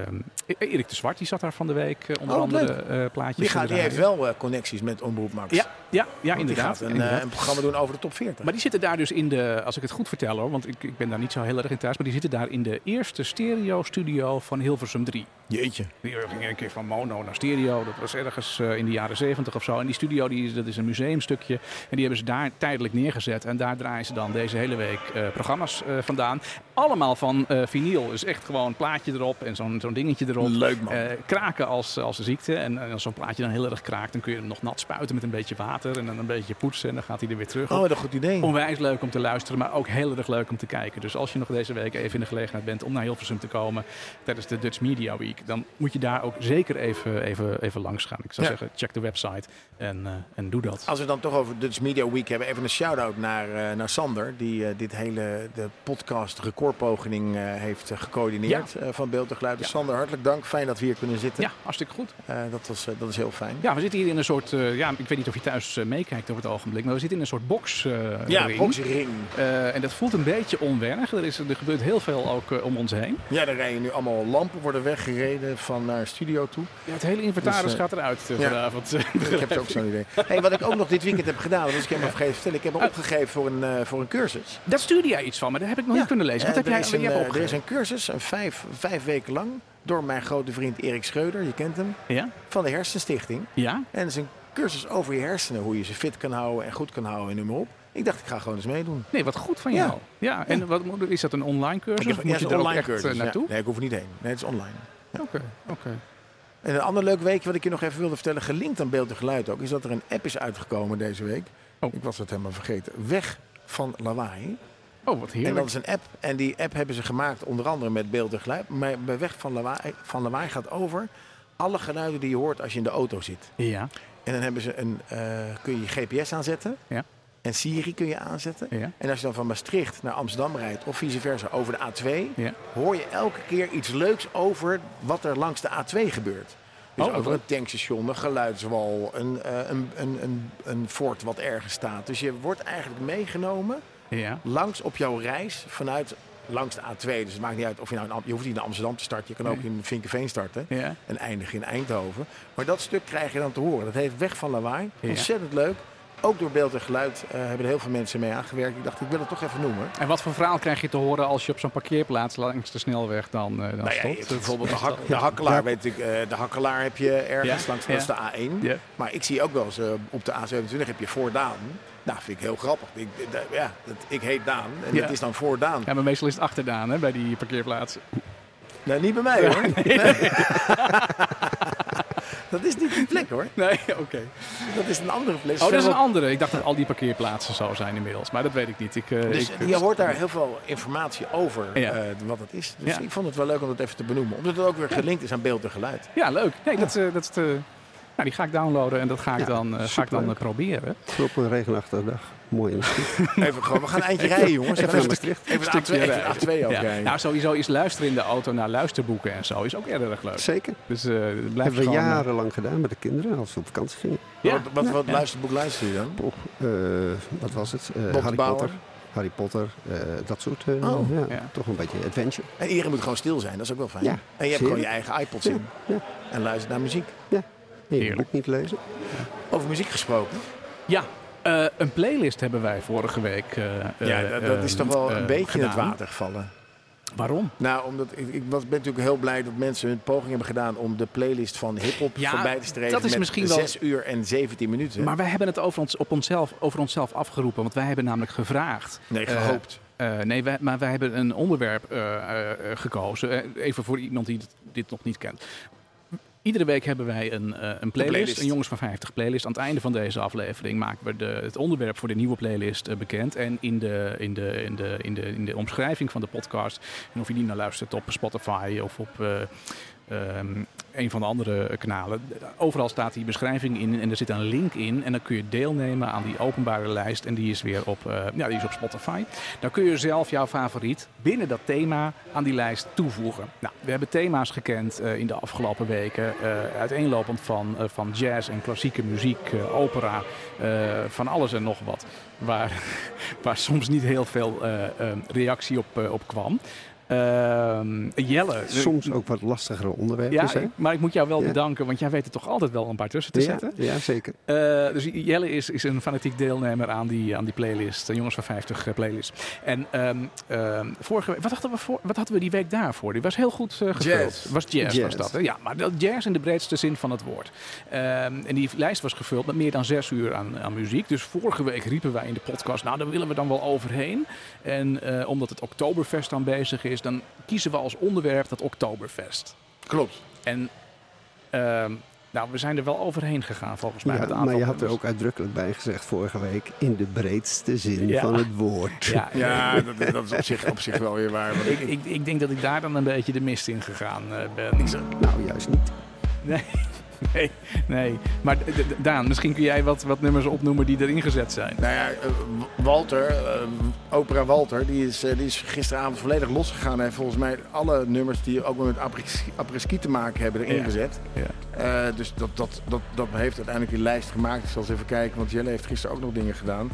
[SPEAKER 2] ehm, E- Erik de Zwart, die zat daar van de week eh, onder
[SPEAKER 3] Oh,
[SPEAKER 2] andere
[SPEAKER 3] leuk.
[SPEAKER 2] eh, plaatjes.
[SPEAKER 3] Die,
[SPEAKER 2] te
[SPEAKER 3] gaat, die
[SPEAKER 2] draaien.
[SPEAKER 3] heeft wel eh, connecties met Omroep Max.
[SPEAKER 2] Ja, ja, ja
[SPEAKER 3] Want die
[SPEAKER 2] inderdaad.
[SPEAKER 3] gaat een,
[SPEAKER 2] inderdaad.
[SPEAKER 3] eh, een programma doen over de top 40.
[SPEAKER 2] Maar die zitten daar dus in de, als ik het goed vertel hoor, want ik, ik ben daar niet zo heel erg in thuis, maar die zitten daar in de eerste stereo-studio van Hilversum 3.
[SPEAKER 3] Jeetje.
[SPEAKER 2] Die eh, ging een keer van mono naar stereo. Dat was ergens eh, in de jaren zeventig of zo. En die studio, die, is- dat is een museumstukje. En die hebben ze daar tijdelijk neergezet. En daar draaien ze dan deze hele week eh, programma's eh, vandaan. Allemaal van eh vinyl. Dus echt gewoon een plaatje erop en zo'n zo'n dingetje erop.
[SPEAKER 3] Leuk, man.
[SPEAKER 2] Eh, kraken als, als ziekte. En, en als zo'n plaatje dan heel erg kraakt, dan kun je hem nog nat spuiten met een beetje water. En dan een beetje poetsen. En dan gaat hij er weer terug
[SPEAKER 3] Oh,
[SPEAKER 2] op.
[SPEAKER 3] wat een goed idee.
[SPEAKER 2] Onwijs leuk om te luisteren, maar ook heel erg leuk om te kijken. Dus als je nog deze week even in de gelegenheid bent om naar Hilversum te komen tijdens de Dutch Media Week, dan moet je daar ook zeker even, even, even langs gaan. Ik zou
[SPEAKER 3] Ja.
[SPEAKER 2] zeggen, check de website en, eh, en doe dat.
[SPEAKER 3] Als we het dan toch over Dutch Media Week hebben, even een shout-out naar, eh, naar Sander. Die eh, dit hele de podcast recordpoging eh, heeft eh, gecoördineerd eh, van Beeld en Geluid. Dus
[SPEAKER 2] Ja.
[SPEAKER 3] Sander, hartelijk dank. Fijn dat we hier kunnen zitten.
[SPEAKER 2] Ja, hartstikke goed.
[SPEAKER 3] Eh, dat, was, eh, dat is heel fijn.
[SPEAKER 2] Ja, we zitten hier in een soort, eh, ja, ik weet niet of je thuis eh, meekijkt op het ogenblik, maar we zitten in een soort box. eh, ring.
[SPEAKER 3] boxring.
[SPEAKER 2] Eh, en dat voelt een beetje onwennig. Er, is, er gebeurt heel veel ook eh, om ons heen.
[SPEAKER 3] Ja, daar rijden nu allemaal lampen, worden weggereden van naar studio toe.
[SPEAKER 2] Ja, het hele inventaris
[SPEAKER 3] Dus, eh,
[SPEAKER 2] gaat eruit eh,
[SPEAKER 3] ja.
[SPEAKER 2] vanavond.
[SPEAKER 3] Ik heb het ook zo'n idee. Hey, wat ik ook nog dit weekend heb gedaan, dat was ik helemaal vergeten te vertellen. Ik heb
[SPEAKER 2] Oh.
[SPEAKER 3] me opgegeven voor een, eh, voor een cursus.
[SPEAKER 2] Daar stuurde jij iets van, maar dat heb ik nog
[SPEAKER 3] Ja.
[SPEAKER 2] niet Oh, kunnen lezen. Wat
[SPEAKER 3] Eh,
[SPEAKER 2] heb jij, oh,
[SPEAKER 3] er, is een,
[SPEAKER 2] jij
[SPEAKER 3] eh,
[SPEAKER 2] hebt
[SPEAKER 3] er is
[SPEAKER 2] opgegeven?
[SPEAKER 3] een cursus, een vijf, vijf weken lang, door mijn grote vriend Erik Schreuder, je kent hem,
[SPEAKER 2] Ja?
[SPEAKER 3] van de Hersenstichting.
[SPEAKER 2] Ja?
[SPEAKER 3] En het is een cursus over je hersenen, hoe je ze fit kan houden en goed kan houden en noem maar op. Ik dacht, ik ga gewoon eens meedoen.
[SPEAKER 2] Nee, wat goed van
[SPEAKER 3] Ja.
[SPEAKER 2] jou. Ja, en wat, moet- is dat een online cursus?
[SPEAKER 3] Ik heb
[SPEAKER 2] Of
[SPEAKER 3] ja,
[SPEAKER 2] moet
[SPEAKER 3] het is
[SPEAKER 2] je
[SPEAKER 3] een
[SPEAKER 2] daar ook
[SPEAKER 3] online
[SPEAKER 2] echt eh,
[SPEAKER 3] cursus. ja.
[SPEAKER 2] naartoe?
[SPEAKER 3] Nee, ik hoef niet heen. Nee, het is online.
[SPEAKER 2] Oké, oké.
[SPEAKER 3] En een ander leuk weekje wat ik je nog even wilde vertellen, gelinkt aan beeld en geluid ook, is dat er een app is uitgekomen deze week.
[SPEAKER 2] Oh.
[SPEAKER 3] Ik was het helemaal vergeten. Weg van lawaai.
[SPEAKER 2] Oh, wat
[SPEAKER 3] En dat
[SPEAKER 2] heerlijk.
[SPEAKER 3] is een app. En die app hebben ze gemaakt onder andere met beeld en geluid. Maar bij weg van lawaai, van lawaai gaat over alle geluiden die je hoort als je in de auto zit.
[SPEAKER 2] Ja,
[SPEAKER 3] En dan hebben ze een, eh, kun je je GPS aanzetten.
[SPEAKER 2] Ja.
[SPEAKER 3] En Siri kun je aanzetten.
[SPEAKER 2] ja,
[SPEAKER 3] En als je dan van Maastricht naar Amsterdam rijdt of vice versa over de A2,
[SPEAKER 2] ja.
[SPEAKER 3] hoor je elke keer iets leuks over wat er langs de A2 gebeurt. Dus
[SPEAKER 2] Oh, wat
[SPEAKER 3] over
[SPEAKER 2] leuk.
[SPEAKER 3] een tankstation, een geluidswal, een, eh, een, een, een, een fort wat ergens staat. Dus je wordt eigenlijk meegenomen
[SPEAKER 2] ja.
[SPEAKER 3] langs op jouw reis vanuit langs de A2. Dus het maakt niet uit of je nou in, Am- je hoeft niet in Amsterdam te starten. Je kan ook
[SPEAKER 2] Nee.
[SPEAKER 3] in Vinkenveen starten
[SPEAKER 2] Ja,
[SPEAKER 3] en eindigen in Eindhoven. Maar dat stuk krijg je dan te horen. Dat heeft weg van lawaai.
[SPEAKER 2] Ja.
[SPEAKER 3] Ontzettend leuk. Ook door beeld en geluid eh, hebben er heel veel mensen mee aangewerkt. Ik dacht, ik wil het toch even noemen.
[SPEAKER 2] en wat voor verhaal krijg je te horen als je op zo'n parkeerplaats langs de snelweg dan, eh dan
[SPEAKER 3] Nou ja,
[SPEAKER 2] stopt?
[SPEAKER 3] je- bijvoorbeeld de, hak, de hakkelaar, weet ik, eh, de hakkelaar heb je ergens
[SPEAKER 2] Ja,
[SPEAKER 3] langs dat is
[SPEAKER 2] ja.
[SPEAKER 3] de A1.
[SPEAKER 2] Ja.
[SPEAKER 3] Maar ik zie ook wel eens eh, op de A27 heb je voor Daan. Nou, vind ik heel grappig. Ik, ik- da- ja, dat, ik heet Daan en
[SPEAKER 2] Ja.
[SPEAKER 3] dat is dan voor Daan.
[SPEAKER 2] Ja, maar meestal is het achterdaan hè, bij die parkeerplaats.
[SPEAKER 3] Nou, niet bij mij hoor. Nee. dat is niet die plek hoor.
[SPEAKER 2] Nee, oké.
[SPEAKER 3] Dat is een andere plek.
[SPEAKER 2] Oh, dat is een
[SPEAKER 3] Verderop-
[SPEAKER 2] andere. Ik dacht dat al die parkeerplaatsen zo zijn inmiddels. Maar dat weet ik niet. Ik, eh,
[SPEAKER 3] Dus
[SPEAKER 2] ik,
[SPEAKER 3] je hoort daar heel veel informatie over
[SPEAKER 2] Ja.
[SPEAKER 3] eh, wat het is. Dus
[SPEAKER 2] Ja.
[SPEAKER 3] ik vond het wel leuk om dat even te benoemen. Omdat het ook weer gelinkt is aan beeld en geluid.
[SPEAKER 2] Ja, leuk. Nee, dat, eh, dat is de- nou, die ga ik downloaden en dat ga ik
[SPEAKER 4] Ja,
[SPEAKER 2] dan, eh, ga ik dan eh,
[SPEAKER 4] superleuk.
[SPEAKER 2] proberen.
[SPEAKER 4] Op een regenachtige dag. Mooi in de schiet.
[SPEAKER 3] Even gewoon, we gaan een eindje rijden jongens. Even,
[SPEAKER 4] naar
[SPEAKER 3] een
[SPEAKER 4] Maastricht.
[SPEAKER 3] stuk- even, een A2 even een A2 ook
[SPEAKER 2] Ja.
[SPEAKER 3] rijden.
[SPEAKER 2] Nou, sowieso is luisteren in de auto naar luisterboeken en zo is ook erg leuk.
[SPEAKER 4] Zeker.
[SPEAKER 2] Dus eh blijf
[SPEAKER 4] Hebben we
[SPEAKER 2] gewoon... eh,
[SPEAKER 4] jarenlang gedaan met de kinderen als ze op vakantie gingen.
[SPEAKER 2] ja.
[SPEAKER 3] Wat, wat, wat luisterboek luister je dan?
[SPEAKER 4] Op, eh, wat was het? Eh,
[SPEAKER 3] de
[SPEAKER 4] Harry
[SPEAKER 3] Bauer.
[SPEAKER 4] Potter. Harry Potter, eh, dat soort. eh,
[SPEAKER 3] Oh,
[SPEAKER 4] ja,
[SPEAKER 2] ja.
[SPEAKER 4] Toch een beetje adventure.
[SPEAKER 3] En iedereen moet gewoon stil zijn, dat is ook wel fijn.
[SPEAKER 4] Ja,
[SPEAKER 3] en je hebt
[SPEAKER 4] zeker.
[SPEAKER 3] gewoon je eigen iPods in.
[SPEAKER 4] Ja, ja.
[SPEAKER 3] En luistert naar muziek.
[SPEAKER 4] En je
[SPEAKER 2] Heerlijk.
[SPEAKER 4] boek niet lezen.
[SPEAKER 3] Over muziek gesproken.
[SPEAKER 2] Ja, eh, een playlist hebben wij vorige week eh,
[SPEAKER 3] ja,
[SPEAKER 2] eh,
[SPEAKER 3] dat, dat is toch wel
[SPEAKER 2] eh,
[SPEAKER 3] een beetje in het
[SPEAKER 2] gedaan.
[SPEAKER 3] water gevallen.
[SPEAKER 2] Waarom?
[SPEAKER 3] Nou, omdat ik, ik was, ben natuurlijk heel blij dat mensen hun poging hebben gedaan om de playlist van hip-hop
[SPEAKER 2] Ja,
[SPEAKER 3] voorbij te streven.
[SPEAKER 2] dat is
[SPEAKER 3] met
[SPEAKER 2] misschien wel-
[SPEAKER 3] 6 uur en 17 minuten.
[SPEAKER 2] Maar wij hebben het over, ons, op onszelf, over onszelf afgeroepen. Want wij hebben namelijk gevraagd.
[SPEAKER 3] nee,
[SPEAKER 2] eh,
[SPEAKER 3] gehoopt.
[SPEAKER 2] Eh, nee, wij- maar wij hebben een onderwerp eh, eh, eh, gekozen. Eh, even voor iemand die dit, dit nog niet kent. Iedere week hebben wij een, eh, een playlist,
[SPEAKER 3] playlist.
[SPEAKER 2] een Jongens van 50 playlist. Aan het einde van deze aflevering maken we de, het onderwerp voor de nieuwe playlist eh, bekend. En in de, in, de, in, de, in, de, in de omschrijving van de podcast, en of je die nou luistert op Spotify of op eh, ehm, een van de andere kanalen, overal staat die beschrijving in en er zit een link in. En dan kun je deelnemen aan die openbare lijst en die is weer op, eh, ja, die is op Spotify. Dan kun je zelf jouw favoriet binnen dat thema aan die lijst toevoegen. Nou, we hebben thema's gekend eh, in de afgelopen weken. eh, uiteenlopend van, eh, van jazz en klassieke muziek, eh, opera, eh, van alles en nog wat. Waar, waar soms niet heel veel eh, eh, reactie op, eh, op kwam. Ehm, Jelle.
[SPEAKER 4] Soms ook wat lastigere onderwerpen.
[SPEAKER 2] Ja,
[SPEAKER 4] hè?
[SPEAKER 2] ik- maar ik moet jou wel
[SPEAKER 4] Ja.
[SPEAKER 2] bedanken, want jij weet er toch altijd wel een paar tussen te
[SPEAKER 4] ja,
[SPEAKER 2] zetten.
[SPEAKER 4] ja, zeker.
[SPEAKER 2] Eh, dus Jelle is, is een fanatiek deelnemer aan die, aan die playlist, de Jongens van 50 eh, playlist. En ehm, ehm, vorige week, wat hadden, we voor, wat hadden we die week daarvoor? Die was heel goed eh gevuld.
[SPEAKER 3] Jazz.
[SPEAKER 2] Was jazz, was
[SPEAKER 4] Jazz.
[SPEAKER 2] dat. hè? Ja, maar dat jazz in de breedste zin van het woord. Ehm, en die lijst was gevuld met meer dan zes uur aan, aan muziek. Dus vorige week riepen wij in de podcast, nou daar willen we dan wel overheen. En eh, omdat het Oktoberfest dan bezig is, dan kiezen we als onderwerp dat Oktoberfest.
[SPEAKER 3] Klopt.
[SPEAKER 2] En ehm, nou, we zijn er wel overheen gegaan volgens mij.
[SPEAKER 4] Ja,
[SPEAKER 2] met een
[SPEAKER 4] maar
[SPEAKER 2] aantal
[SPEAKER 4] je had er
[SPEAKER 2] nummers.
[SPEAKER 4] ook uitdrukkelijk bij gezegd vorige week. In de breedste zin
[SPEAKER 2] Ja.
[SPEAKER 4] van het woord.
[SPEAKER 2] Ja,
[SPEAKER 3] Ja, dat, dat is op zich, op zich wel weer waar. Want ik,
[SPEAKER 2] ik, ik, ik denk dat ik daar dan een beetje de mist in gegaan eh, ben.
[SPEAKER 4] Nou, juist niet.
[SPEAKER 2] Nee, nee. Maar d- d- Daan, misschien kun jij wat, wat nummers opnoemen die erin gezet zijn.
[SPEAKER 3] nou ja, eh, Walter, eh, opera Walter, die is, eh, die is gisteravond volledig losgegaan. Hij heeft volgens mij alle nummers die ook met apres- apres-ski te maken hebben erin
[SPEAKER 2] Ja.
[SPEAKER 3] gezet.
[SPEAKER 2] Ja.
[SPEAKER 3] Eh, dus dat, dat, dat, dat heeft uiteindelijk die lijst gemaakt. Ik zal eens even kijken, want Jelle heeft gisteren ook nog dingen gedaan.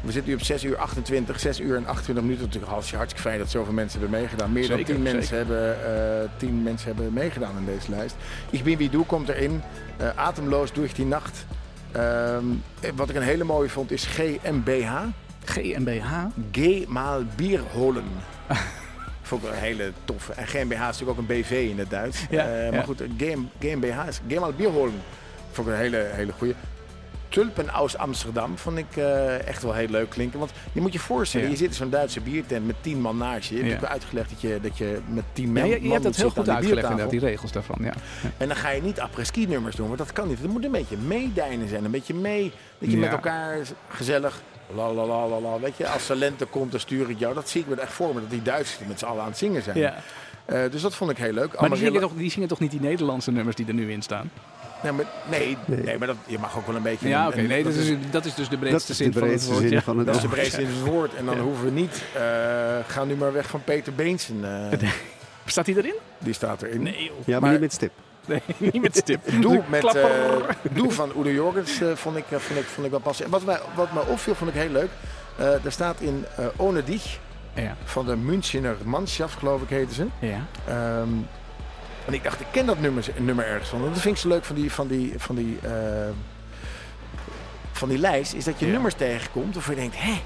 [SPEAKER 3] We zitten nu op 6 uur 28, 6 uur en 28 minuten. Natuurlijk hartst- hartstikke fijn dat zoveel mensen hebben meegedaan. Meer
[SPEAKER 2] Zeker,
[SPEAKER 3] dan 10 mensen,
[SPEAKER 2] zeker.
[SPEAKER 3] hebben, eh 10 mensen hebben meegedaan in deze lijst. Ik bin wie doe komt erin. Eh, Atemloos doe ik die nacht. Ehm, eh, wat ik een hele mooie vond is GMBH.
[SPEAKER 2] GmbH.
[SPEAKER 3] Geh mal Bier holen. Vond ik wel een hele toffe. En GmbH is natuurlijk ook een BV in het Duits.
[SPEAKER 2] Ja,
[SPEAKER 3] Eh,
[SPEAKER 2] ja.
[SPEAKER 3] Maar goed, GM, GmbH is Geh mal Bier holen. Vond ik een hele, hele goede. Tulpen aus Amsterdam vond ik eh, echt wel heel leuk klinken. Want je moet je voorstellen,
[SPEAKER 2] Ja.
[SPEAKER 3] je zit in zo'n Duitse biertent met tien man naast je. Je
[SPEAKER 2] Ja.
[SPEAKER 3] hebt ook uitgelegd dat je, dat je met tien
[SPEAKER 2] Ja, je,
[SPEAKER 3] man
[SPEAKER 2] je
[SPEAKER 3] man
[SPEAKER 2] hebt dat
[SPEAKER 3] moet
[SPEAKER 2] heel
[SPEAKER 3] zitten
[SPEAKER 2] goed
[SPEAKER 3] aan
[SPEAKER 2] uitgelegd
[SPEAKER 3] die biertafel.
[SPEAKER 2] inderdaad, die regels daarvan. Ja.
[SPEAKER 3] En dan ga je niet après-ski nummers doen, want dat kan niet. Het moet een beetje meedijnen zijn, een beetje mee. Dat je
[SPEAKER 2] Ja.
[SPEAKER 3] met elkaar gezellig, la la la la la. Weet je, als Salente komt, dan stuur ik jou. Dat zie ik me echt voor me, dat die Duitsers met z'n allen aan het zingen zijn. Eh, dus dat vond ik heel leuk.
[SPEAKER 2] Maar die zingen,
[SPEAKER 3] Amarillo-
[SPEAKER 2] toch, die zingen toch niet die Nederlandse nummers die er nu in staan?
[SPEAKER 3] Nee, maar, nee, nee, maar dat, je mag ook wel een beetje...
[SPEAKER 2] Ja,
[SPEAKER 3] een-
[SPEAKER 2] oké.
[SPEAKER 3] een-
[SPEAKER 2] Nee, dat
[SPEAKER 3] is-
[SPEAKER 2] is, dat is dus de
[SPEAKER 4] Dat
[SPEAKER 2] breedste
[SPEAKER 4] is de
[SPEAKER 2] zin van het
[SPEAKER 4] breedste
[SPEAKER 2] woord.
[SPEAKER 4] zin
[SPEAKER 2] ja.
[SPEAKER 4] van het
[SPEAKER 3] Dat is de
[SPEAKER 4] woord.
[SPEAKER 3] breedste in het woord. En dan hoeven we niet. eh ga nu maar weg van Peter Beensen. eh,
[SPEAKER 2] Staat die erin?
[SPEAKER 3] die staat erin.
[SPEAKER 2] Nee, joh.
[SPEAKER 4] Ja, maar,
[SPEAKER 3] maar-
[SPEAKER 4] niet met stip.
[SPEAKER 2] Nee, niet met stip. Dus
[SPEAKER 3] Doe,
[SPEAKER 2] De
[SPEAKER 3] met,
[SPEAKER 2] klapper.
[SPEAKER 3] eh, doe van Oede Jorgens eh, vond, ik, eh, vond, ik, vond ik wel passen. En wat mij, wat mij opviel, vond ik heel leuk. Eh er staat in eh Ohne Dich
[SPEAKER 2] Ja.
[SPEAKER 3] van de Münchener Mannschaft, geloof ik, heten ze.
[SPEAKER 2] ja.
[SPEAKER 3] Ehm, en ik dacht, ik ken dat nummer, nummer ergens van. En Dat vind ik zo leuk van die, van die, van die, eh, van die lijst, is dat je
[SPEAKER 2] Ja.
[SPEAKER 3] nummers tegenkomt waarvan je denkt, hé,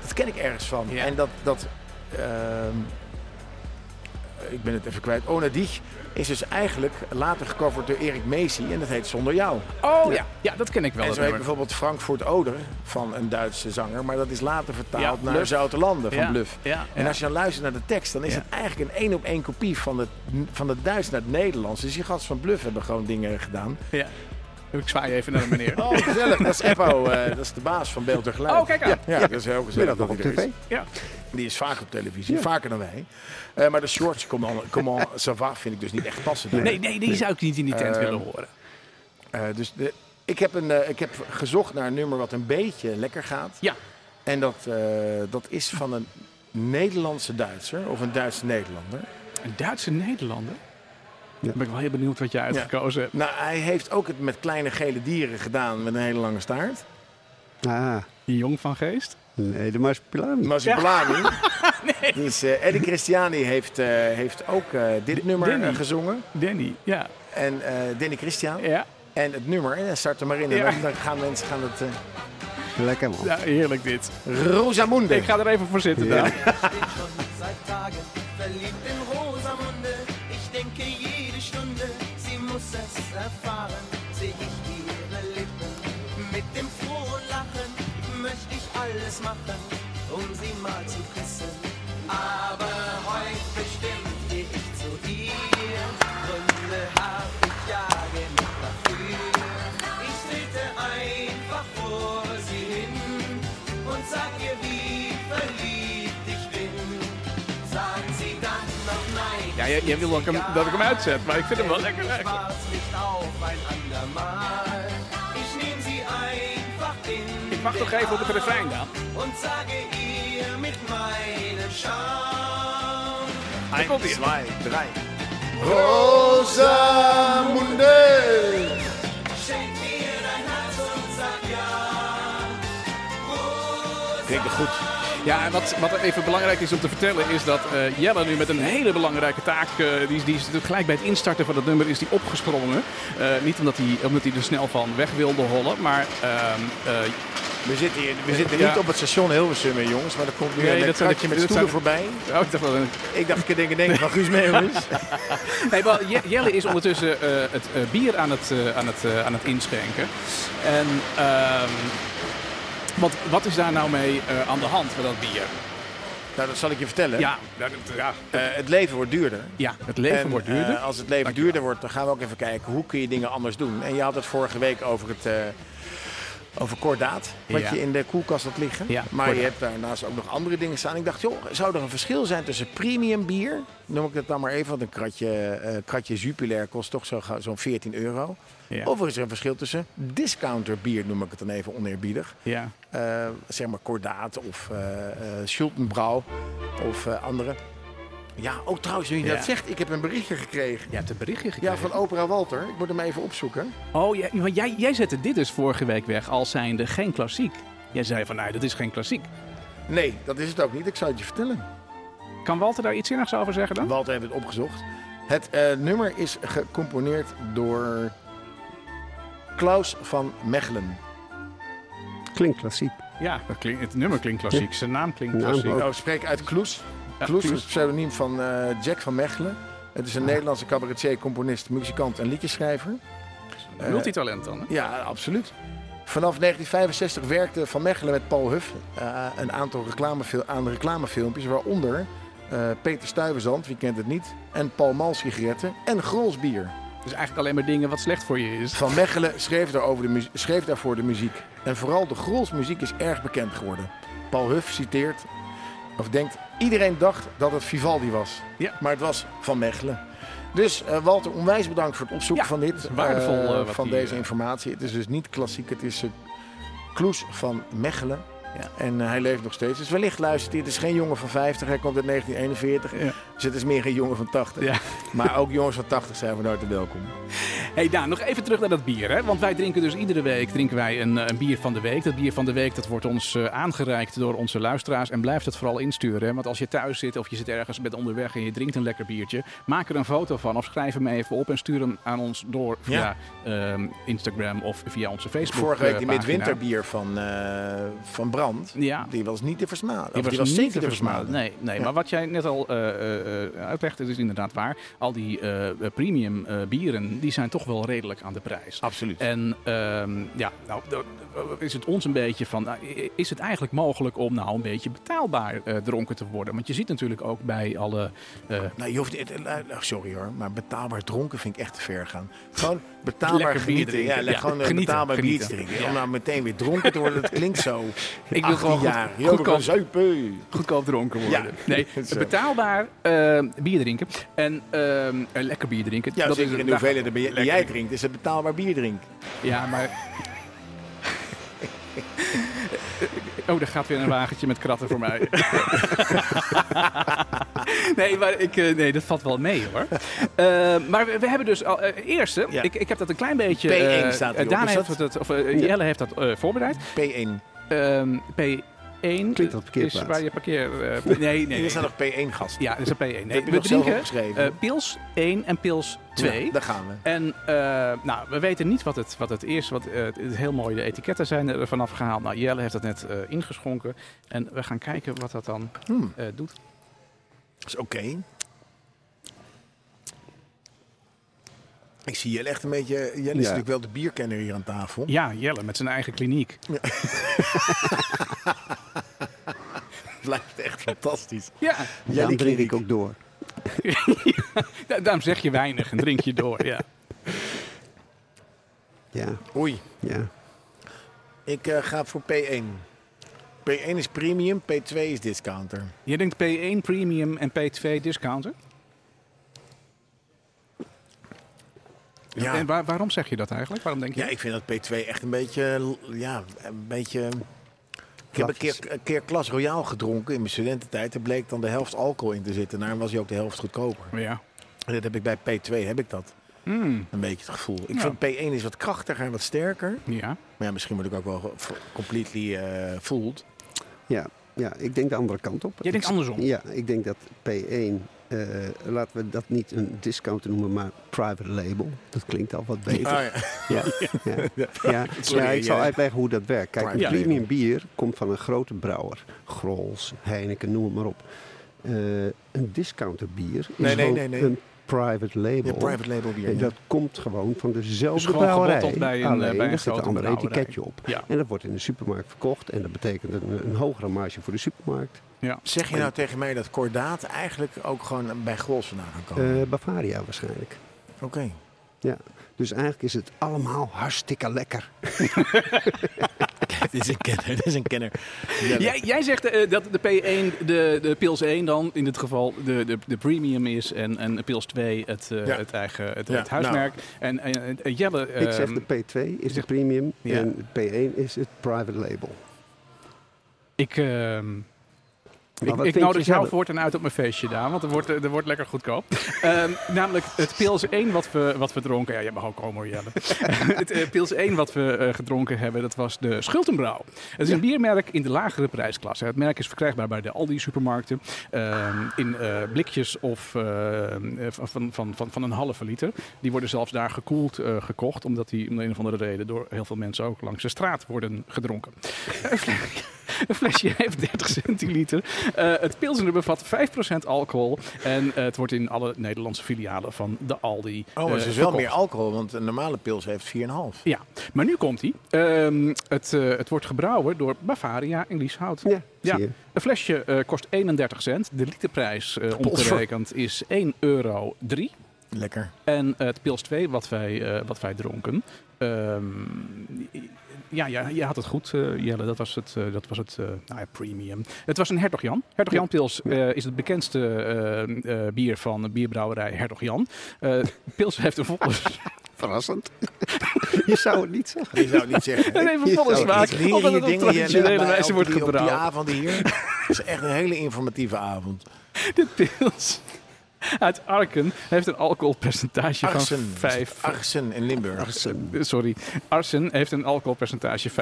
[SPEAKER 3] dat ken ik ergens van.
[SPEAKER 2] Ja.
[SPEAKER 3] En dat, dat ehm, ik ben het even kwijt, Ona Dich is dus eigenlijk later gecoverd door Erik Messi en dat heet Zonder Jou.
[SPEAKER 2] Oh ja. ja, dat ken ik wel.
[SPEAKER 3] en
[SPEAKER 2] dat
[SPEAKER 3] zo heet
[SPEAKER 2] nummer.
[SPEAKER 3] bijvoorbeeld Frankfurt Oder van een Duitse zanger, maar dat is later vertaald
[SPEAKER 2] Ja,
[SPEAKER 3] naar
[SPEAKER 2] Bluff.
[SPEAKER 3] Zoute Landen van
[SPEAKER 2] ja.
[SPEAKER 3] Bluff.
[SPEAKER 2] Ja.
[SPEAKER 3] En als je dan luistert naar de tekst, dan is
[SPEAKER 2] Ja.
[SPEAKER 3] het eigenlijk een één op één kopie van het, van het Duits naar het Nederlands. Dus die gasten van Bluff hebben gewoon dingen gedaan.
[SPEAKER 2] ja. Ik zwaai even naar de meneer.
[SPEAKER 3] Oh, gezellig. dat is Eppo, eh, dat is de baas van Beeld en Geluid.
[SPEAKER 2] Oh, kijk aan.
[SPEAKER 3] Ja, ja, dat is heel gezellig.
[SPEAKER 4] Middag nog op
[SPEAKER 3] dat hij er
[SPEAKER 4] tv.
[SPEAKER 2] Ja.
[SPEAKER 3] is. Die is vaak op televisie,
[SPEAKER 4] Ja.
[SPEAKER 3] vaker dan wij. Eh, maar de shorts, comment, comment ça va, vind ik dus niet echt passend.
[SPEAKER 2] Nee, nee, Ehm, die zou ik niet in die tent
[SPEAKER 3] Eh,
[SPEAKER 2] willen horen.
[SPEAKER 3] Eh, dus de, ik, heb een, eh, ik heb gezocht naar een nummer wat een beetje lekker gaat.
[SPEAKER 2] Ja.
[SPEAKER 3] En dat, eh, dat is van een Nederlandse Duitser of een Duitse Nederlander.
[SPEAKER 2] Een Duitse Nederlander?
[SPEAKER 4] Ja.
[SPEAKER 2] Dan ben ik wel heel benieuwd wat jij uitgekozen hebt.
[SPEAKER 3] Nou, hij heeft ook het met kleine gele dieren gedaan met een hele lange staart.
[SPEAKER 4] Ah,
[SPEAKER 2] Jong van Geest?
[SPEAKER 4] nee, de Marsupilami.
[SPEAKER 3] Mazipelani. Dus eh, Eddie Christiani heeft, eh, heeft ook eh, dit nummer
[SPEAKER 2] Danny.
[SPEAKER 3] eh, gezongen.
[SPEAKER 2] Danny, ja.
[SPEAKER 3] En eh, Danny Christian.
[SPEAKER 2] Ja,
[SPEAKER 3] En het nummer, eh, start er maar in. En
[SPEAKER 2] Ja.
[SPEAKER 3] dan- dan gaan mensen gaan het... eh
[SPEAKER 4] Lekker man.
[SPEAKER 2] ja, nou, heerlijk dit.
[SPEAKER 3] Rosamunde.
[SPEAKER 2] Ik ga er even voor zitten.
[SPEAKER 4] Ja.
[SPEAKER 2] Dan.
[SPEAKER 5] bin schon seit Tagen verliebt in Rosamunde. Ich denke jede Stunde, sie muss es erfahren. Seh ich ihre Lippen mit dem frohen Lachen, möchte ich alles machen, um sie mal zu küssen. Aber heute bestimmt geh ich zu ihr. Gründe hab ich ja genug dafür. Ich trete einfach vor sie hin und sag ihr, wie verliebt ich bin. Sagt sie dan noch nein.
[SPEAKER 2] Ja, jij, jij wil ook hem- dat ik hem uitzet, maar ik vind hem wel lekker. eigenlijk.
[SPEAKER 5] Schwarz nicht auf ein andermal. Ich nehm sie einfach in
[SPEAKER 2] Ik mag toch even op het refrein dan?
[SPEAKER 5] und sage ihr mit meinem Charme.
[SPEAKER 2] Daar komt hij.
[SPEAKER 3] Zwei, drei. Rosamunde.
[SPEAKER 5] Schenk mir dein Herz und sag ja.
[SPEAKER 3] Klinkt er goed.
[SPEAKER 2] Ja, en wat, wat even belangrijk is om te vertellen is dat eh, Jelle nu met een hele belangrijke taak, eh, die, is- die is gelijk bij het instarten van dat nummer is die opgesprongen. Eh, niet omdat hij, omdat hij er snel van weg wilde hollen, maar ehm, eh,
[SPEAKER 3] We zitten, hier, we zitten
[SPEAKER 2] Ja.
[SPEAKER 3] niet op het station Hilversum, hè, jongens. Maar er komt nu
[SPEAKER 2] Nee,
[SPEAKER 3] een eh,
[SPEAKER 2] dat zijn de-
[SPEAKER 3] kratje met
[SPEAKER 2] dat
[SPEAKER 3] stoelen
[SPEAKER 2] zijn-
[SPEAKER 3] voorbij.
[SPEAKER 2] oh, ik dacht wel een-
[SPEAKER 3] Ik dacht, ik denk, denk van Guus Meeuwis.
[SPEAKER 2] Nee, wel, Je- Jelle is ondertussen eh, het eh, bier aan het, eh, aan, het, eh, aan het inschenken. En ehm, wat, wat is daar nou mee eh, aan de hand met dat bier?
[SPEAKER 3] nou, dat zal ik je vertellen.
[SPEAKER 2] Ja, dat- dat- ja,
[SPEAKER 3] Eh, het leven wordt duurder.
[SPEAKER 2] ja het leven
[SPEAKER 3] En,
[SPEAKER 2] wordt duurder.
[SPEAKER 3] eh, als het leven
[SPEAKER 2] Dankjewel.
[SPEAKER 3] duurder wordt, dan gaan we ook even kijken hoe kun je dingen anders doen. En je had het vorige week over het. eh, over kordaat, wat
[SPEAKER 2] Ja.
[SPEAKER 3] je in de koelkast had liggen.
[SPEAKER 2] Ja,
[SPEAKER 3] maar je
[SPEAKER 2] kordaat.
[SPEAKER 3] hebt daarnaast ook nog andere dingen staan. Ik dacht, joh, zou er een verschil zijn tussen premium bier? Noem ik dat dan maar even, want een kratje, eh kratje Jupiler kost toch zo ga- zo'n 14 euro.
[SPEAKER 2] Ja.
[SPEAKER 3] Of er is er een verschil tussen discounter bier, noem ik het dan even oneerbiedig.
[SPEAKER 2] Ja.
[SPEAKER 3] eh, zeg maar Kordaat of eh eh Schultenbrouw of eh, andere. Ja, ook trouwens, nu je
[SPEAKER 2] Ja.
[SPEAKER 3] dat zegt, ik heb een berichtje gekregen.
[SPEAKER 2] Je hebt een berichtje
[SPEAKER 3] Ja,
[SPEAKER 2] gekregen.
[SPEAKER 3] van Opera Walter. Ik moet hem even opzoeken.
[SPEAKER 2] Oh, jij, want jij, jij zette dit dus vorige week weg als zijnde geen klassiek. Jij zei van, nou, dat is geen klassiek.
[SPEAKER 3] Nee, dat is het ook niet. Ik zou het je vertellen.
[SPEAKER 2] Kan Walter daar iets zinnigs over zeggen dan?
[SPEAKER 3] Walter heeft het opgezocht. Het eh, nummer is gecomponeerd door Klaus van Mechelen.
[SPEAKER 4] Klinkt klassiek.
[SPEAKER 2] Ja, dat klink- het nummer klinkt klassiek. Zijn naam klinkt
[SPEAKER 4] Naam
[SPEAKER 2] klassiek.
[SPEAKER 4] ook.
[SPEAKER 3] Oh, spreek uit Kloes.
[SPEAKER 2] Ja,
[SPEAKER 3] Kloes is
[SPEAKER 2] Kloes. Ah.
[SPEAKER 3] het pseudoniem van eh, Jack van Mechelen. Het is een Nederlandse cabaretier, componist, muzikant en liedjeschrijver.
[SPEAKER 2] Multitalent dan, hè?
[SPEAKER 3] Ja, absoluut. Vanaf 1965 werkte Van Mechelen met Paul Huff eh, een aantal reclamefil- aan reclamefilmpjes, waaronder eh, Peter Stuyvesant, wie kent het niet, en Paul Mal sigaretten en Grols bier.
[SPEAKER 2] Dus eigenlijk alleen maar dingen wat slecht voor je is.
[SPEAKER 3] Van Mechelen schreef, daarover de mu- schreef daarvoor de muziek. En vooral de Grols muziek is erg bekend geworden. Paul Huff citeert, of denkt, iedereen dacht dat het Vivaldi was.
[SPEAKER 2] Ja.
[SPEAKER 3] Maar het was Van Mechelen. Dus eh, Walter, onwijs bedankt voor het opzoeken
[SPEAKER 2] Ja,
[SPEAKER 3] van dit.
[SPEAKER 2] waardevol,
[SPEAKER 3] eh,
[SPEAKER 2] eh, wat
[SPEAKER 3] van
[SPEAKER 2] die,
[SPEAKER 3] deze
[SPEAKER 2] eh,
[SPEAKER 3] informatie. Het is dus niet klassiek, het is eh, Kloes van Mechelen.
[SPEAKER 2] Ja.
[SPEAKER 3] En eh, hij leeft nog steeds. Dus wellicht luistert hij. Het is geen jongen van 50, hij komt uit 1941.
[SPEAKER 2] Ja.
[SPEAKER 3] Dus het is meer geen jongen van 80.
[SPEAKER 2] Ja.
[SPEAKER 3] Maar ook jongens van 80 zijn van harte welkom.
[SPEAKER 2] Hey Daan, nog even terug naar dat bier. Hè? Want wij drinken dus iedere week drinken wij een, eh, een bier van de week. Dat bier van de week dat wordt ons eh, aangereikt door onze luisteraars. En blijf dat vooral insturen. Hè? Want als je thuis zit of je zit ergens met onderweg en je drinkt een lekker biertje. Maak er een foto van of schrijf hem even op en stuur hem aan ons door via ehm, Instagram of via onze Facebook
[SPEAKER 3] Vorige week
[SPEAKER 2] eh,
[SPEAKER 3] die
[SPEAKER 2] pagina.
[SPEAKER 3] midwinterbier van, eh, van Brand.
[SPEAKER 2] Ja.
[SPEAKER 3] Die was niet te versmaden.
[SPEAKER 2] Die
[SPEAKER 3] Of
[SPEAKER 2] was,
[SPEAKER 3] die was
[SPEAKER 2] niet
[SPEAKER 3] zeker
[SPEAKER 2] te versmaden.
[SPEAKER 3] Nee.
[SPEAKER 2] Nee, nee
[SPEAKER 3] Ja.
[SPEAKER 2] maar wat jij net al eh, eh, eh, uitlegde, dat is inderdaad waar. Al die eh, premium eh, bieren, die zijn toch wel redelijk aan de prijs.
[SPEAKER 3] Absoluut.
[SPEAKER 2] En ehm, ja, nou d- d- is het ons een beetje van, nou, i- is het eigenlijk mogelijk om nou een beetje betaalbaar eh, dronken te worden? Want je ziet natuurlijk ook bij alle... eh,
[SPEAKER 3] Nou, je hoeft, het- eh, eh, sorry hoor, maar betaalbaar dronken vind ik echt te ver gaan. Gewoon betaalbaar
[SPEAKER 2] Lekker bier
[SPEAKER 3] genieten.
[SPEAKER 2] drinken.
[SPEAKER 3] Ja, le-
[SPEAKER 2] Ja,
[SPEAKER 3] gewoon eh,
[SPEAKER 2] genieten,
[SPEAKER 3] betaalbaar bier
[SPEAKER 2] genieten.
[SPEAKER 3] drinken.
[SPEAKER 2] Ja.
[SPEAKER 3] Om nou meteen weer dronken te worden, dat klinkt zo.
[SPEAKER 2] wil
[SPEAKER 3] 18
[SPEAKER 2] gewoon goed-
[SPEAKER 3] jaar.
[SPEAKER 2] goed
[SPEAKER 3] Yo, we
[SPEAKER 2] komen.
[SPEAKER 3] gaan zuipen.
[SPEAKER 2] goedkoop dronken worden.
[SPEAKER 3] Ja.
[SPEAKER 2] Nee,
[SPEAKER 3] Zo.
[SPEAKER 2] betaalbaar eh, bier drinken en ehm, eh, lekker bier drinken.
[SPEAKER 3] Ja, zeker in de
[SPEAKER 2] inderdaad-
[SPEAKER 3] hoeveelheid die
[SPEAKER 2] Nou, lekker
[SPEAKER 3] jij
[SPEAKER 2] bier.
[SPEAKER 3] drinkt, is het betaalbaar bier drinken.
[SPEAKER 2] Ja, maar. Oh, daar gaat weer een wagentje met kratten voor mij. nee, maar ik, eh, nee, dat valt wel mee hoor. Eh, maar we, we hebben dus al. eh, eerst, hè,
[SPEAKER 3] Ja.
[SPEAKER 2] ik, ik heb dat een klein beetje.
[SPEAKER 3] P1
[SPEAKER 2] eh,
[SPEAKER 3] staat erop,
[SPEAKER 2] Daan
[SPEAKER 3] is
[SPEAKER 2] heeft
[SPEAKER 3] dat-
[SPEAKER 2] dat, of eh, Jelle heeft dat eh, voorbereid.
[SPEAKER 3] P1.
[SPEAKER 2] Ehm, P1
[SPEAKER 4] Klinkt als
[SPEAKER 2] is
[SPEAKER 4] parkeerplaats.
[SPEAKER 2] waar je parkeer. eh, nee, nee.
[SPEAKER 3] Hier
[SPEAKER 2] nee.
[SPEAKER 3] staat nog P1 gast.
[SPEAKER 2] Ja, dat is een P1. Nee,
[SPEAKER 3] heb je
[SPEAKER 2] we
[SPEAKER 3] nog zelf
[SPEAKER 2] drinken
[SPEAKER 3] opgeschreven.
[SPEAKER 2] eh, pils 1 en pils 2.
[SPEAKER 3] Ja, daar gaan we.
[SPEAKER 2] En eh, nou, we weten niet wat het, wat het is. Wat, eh, het, het heel mooie de etiketten zijn er vanaf gehaald. Nou, Jelle heeft dat net eh, ingeschonken. En we gaan kijken wat dat dan
[SPEAKER 3] Hmm.
[SPEAKER 2] eh, doet.
[SPEAKER 3] Dat is oké. Ik zie Jelle echt een beetje... Jelle is natuurlijk wel de bierkenner hier aan tafel.
[SPEAKER 2] Ja, Jelle met zijn eigen kliniek.
[SPEAKER 3] Het lijkt echt fantastisch.
[SPEAKER 2] Ja,
[SPEAKER 3] Ja,
[SPEAKER 4] Daarom drink ik ook door.
[SPEAKER 2] da- daarom zeg je weinig en drink je door. Ja.
[SPEAKER 4] Ja,
[SPEAKER 3] Oei,
[SPEAKER 4] ja.
[SPEAKER 3] ik eh, ga voor P1. P1 is premium, P2 is discounter.
[SPEAKER 2] Je denkt P1 premium en P2 discounter.
[SPEAKER 3] Ja.
[SPEAKER 2] En waar- waarom zeg je dat eigenlijk? Waarom denk je
[SPEAKER 3] ja, ik vind dat P2 echt een beetje... eh, Ja, een beetje... Ik heb een
[SPEAKER 4] Vlakjes.
[SPEAKER 3] keer, een keer Klas Royaal gedronken in mijn studententijd. Er bleek dan de helft alcohol in te zitten. Daarom was hij ook de helft goedkoper.
[SPEAKER 2] Ja.
[SPEAKER 3] En dat heb ik bij P2, heb ik dat.
[SPEAKER 2] Hmm,
[SPEAKER 3] Een beetje het gevoel. Ik
[SPEAKER 2] Ja.
[SPEAKER 3] vind P1 is wat krachtiger en wat sterker.
[SPEAKER 2] ja.
[SPEAKER 3] Maar ja, misschien word ik ook wel ge- vo- completely eh fooled.
[SPEAKER 4] Ja, ja, ik denk de andere kant op.
[SPEAKER 2] Jij denkt
[SPEAKER 4] Ik-
[SPEAKER 2] andersom.
[SPEAKER 4] Ja, ik denk dat P1, eh, laten we dat niet een discounter noemen, maar private label. Dat klinkt al wat beter.
[SPEAKER 3] Ah, ja.
[SPEAKER 4] Ja, ja. ja.
[SPEAKER 3] Sorry,
[SPEAKER 4] ja, ik zal
[SPEAKER 3] ja.
[SPEAKER 4] uitleggen hoe dat werkt. Kijk, een
[SPEAKER 3] Ja.
[SPEAKER 4] premium bier komt van een grote brouwer. Grols, Heineken, noem het maar op. Eh, een discounter bier is
[SPEAKER 3] Nee, nee,
[SPEAKER 4] gewoon
[SPEAKER 3] nee, nee.
[SPEAKER 4] een private
[SPEAKER 3] Ja,
[SPEAKER 4] label.
[SPEAKER 3] private label bier.
[SPEAKER 4] En
[SPEAKER 3] ja.
[SPEAKER 4] dat komt gewoon van dezelfde
[SPEAKER 2] Dus gewoon
[SPEAKER 4] brouwerij.
[SPEAKER 2] gebotteld bij een, eh,
[SPEAKER 4] Alleen,
[SPEAKER 2] bij een
[SPEAKER 4] er zit een
[SPEAKER 2] grote
[SPEAKER 4] ander
[SPEAKER 2] brouwerij.
[SPEAKER 4] etiketje op.
[SPEAKER 2] Ja.
[SPEAKER 4] En dat wordt in de supermarkt verkocht. En dat betekent een, een hogere marge voor de supermarkt.
[SPEAKER 2] ja.
[SPEAKER 3] Zeg je nou tegen mij dat kordaat eigenlijk ook gewoon bij Grols vandaan kan komen?
[SPEAKER 4] Eh, Bavaria waarschijnlijk.
[SPEAKER 3] Oké.
[SPEAKER 4] Ja. Dus eigenlijk is het allemaal hartstikke lekker.
[SPEAKER 3] dit is een kenner. Dit is een kenner. Jelle.
[SPEAKER 2] Jij, jij zegt eh, dat de P1, de, de Pils 1 dan in dit geval de, de, de premium is en, en Pils 2 het, eh,
[SPEAKER 3] Ja.
[SPEAKER 2] het eigen het,
[SPEAKER 3] Ja, Nou.
[SPEAKER 2] het huismerk. En, en, en- en Jelle,
[SPEAKER 4] ik zeg
[SPEAKER 2] ehm,
[SPEAKER 4] de P2 is de
[SPEAKER 2] zegt-
[SPEAKER 4] premium
[SPEAKER 2] Ja.
[SPEAKER 4] en P1 is het private label.
[SPEAKER 2] ik, ehm,
[SPEAKER 4] Maar wat
[SPEAKER 2] ik, ik
[SPEAKER 4] vind
[SPEAKER 2] nodig
[SPEAKER 4] je
[SPEAKER 2] jou
[SPEAKER 4] zelf?
[SPEAKER 2] voortaan uit op mijn feestje, Daan, want er wordt, eh, er wordt lekker goedkoop. Ehm, namelijk het Pils 1 wat we, wat we dronken. Ja, jij mag ook komen hoor, Jelle. het eh, Pils 1 wat we eh, gedronken hebben, dat was de Schultenbrouw. Het is een biermerk in de lagere prijsklasse. Het merk is verkrijgbaar bij de Aldi-supermarkten ehm, in eh, blikjes of eh, van, van, van, van een halve liter. Die worden zelfs daar gekoeld eh, gekocht, omdat die om de een of andere reden door heel veel mensen ook langs de straat worden gedronken. Een flesje heeft 30 centiliter. Eh, het pilsner bevat 5% alcohol. En eh, het wordt in alle Nederlandse filialen van de Aldi
[SPEAKER 3] Oh, maar
[SPEAKER 2] eh,
[SPEAKER 3] het is wel
[SPEAKER 2] verkocht.
[SPEAKER 3] meer alcohol, want een normale pils heeft 4,5.
[SPEAKER 2] Ja, maar nu komt hij. het, eh, het wordt gebrouwen door Bavaria in Lieshout.
[SPEAKER 4] Ja,
[SPEAKER 2] Ja.
[SPEAKER 4] zie je.
[SPEAKER 2] Een flesje eh, kost 31 cent. De literprijs eh omgerekend is 1,03 euro.
[SPEAKER 3] Lekker.
[SPEAKER 2] En eh, het pils 2 wat wij, eh, wat wij dronken. ehm, ja, ja, je had het goed, eh, Jelle. Dat was het, eh, dat was het eh, nou ja, premium. Het was een Hertog Jan. Hertog Jan Pils eh, is het bekendste eh, eh, bier van de bierbrouwerij Hertog Jan. Eh, pils heeft een volle,
[SPEAKER 4] Verrassend. je zou het niet zeggen.
[SPEAKER 3] Je zou het niet zeggen.
[SPEAKER 2] een even volle
[SPEAKER 4] zou
[SPEAKER 2] smaak.
[SPEAKER 3] Drie
[SPEAKER 2] Omdat het
[SPEAKER 3] hier
[SPEAKER 2] op
[SPEAKER 3] dingen die je
[SPEAKER 2] traditionele
[SPEAKER 3] net bij
[SPEAKER 2] wijze
[SPEAKER 3] op
[SPEAKER 2] wordt
[SPEAKER 3] die- op Die
[SPEAKER 2] gebrouwen.
[SPEAKER 3] avond hier. Het is echt een hele informatieve avond.
[SPEAKER 2] De pils uit Arken heeft een alcoholpercentage
[SPEAKER 3] Arsen.
[SPEAKER 2] van 5.
[SPEAKER 3] Arsen in Limburg.
[SPEAKER 2] Eh, Sorry, Arsen heeft een alcoholpercentage 5,1%.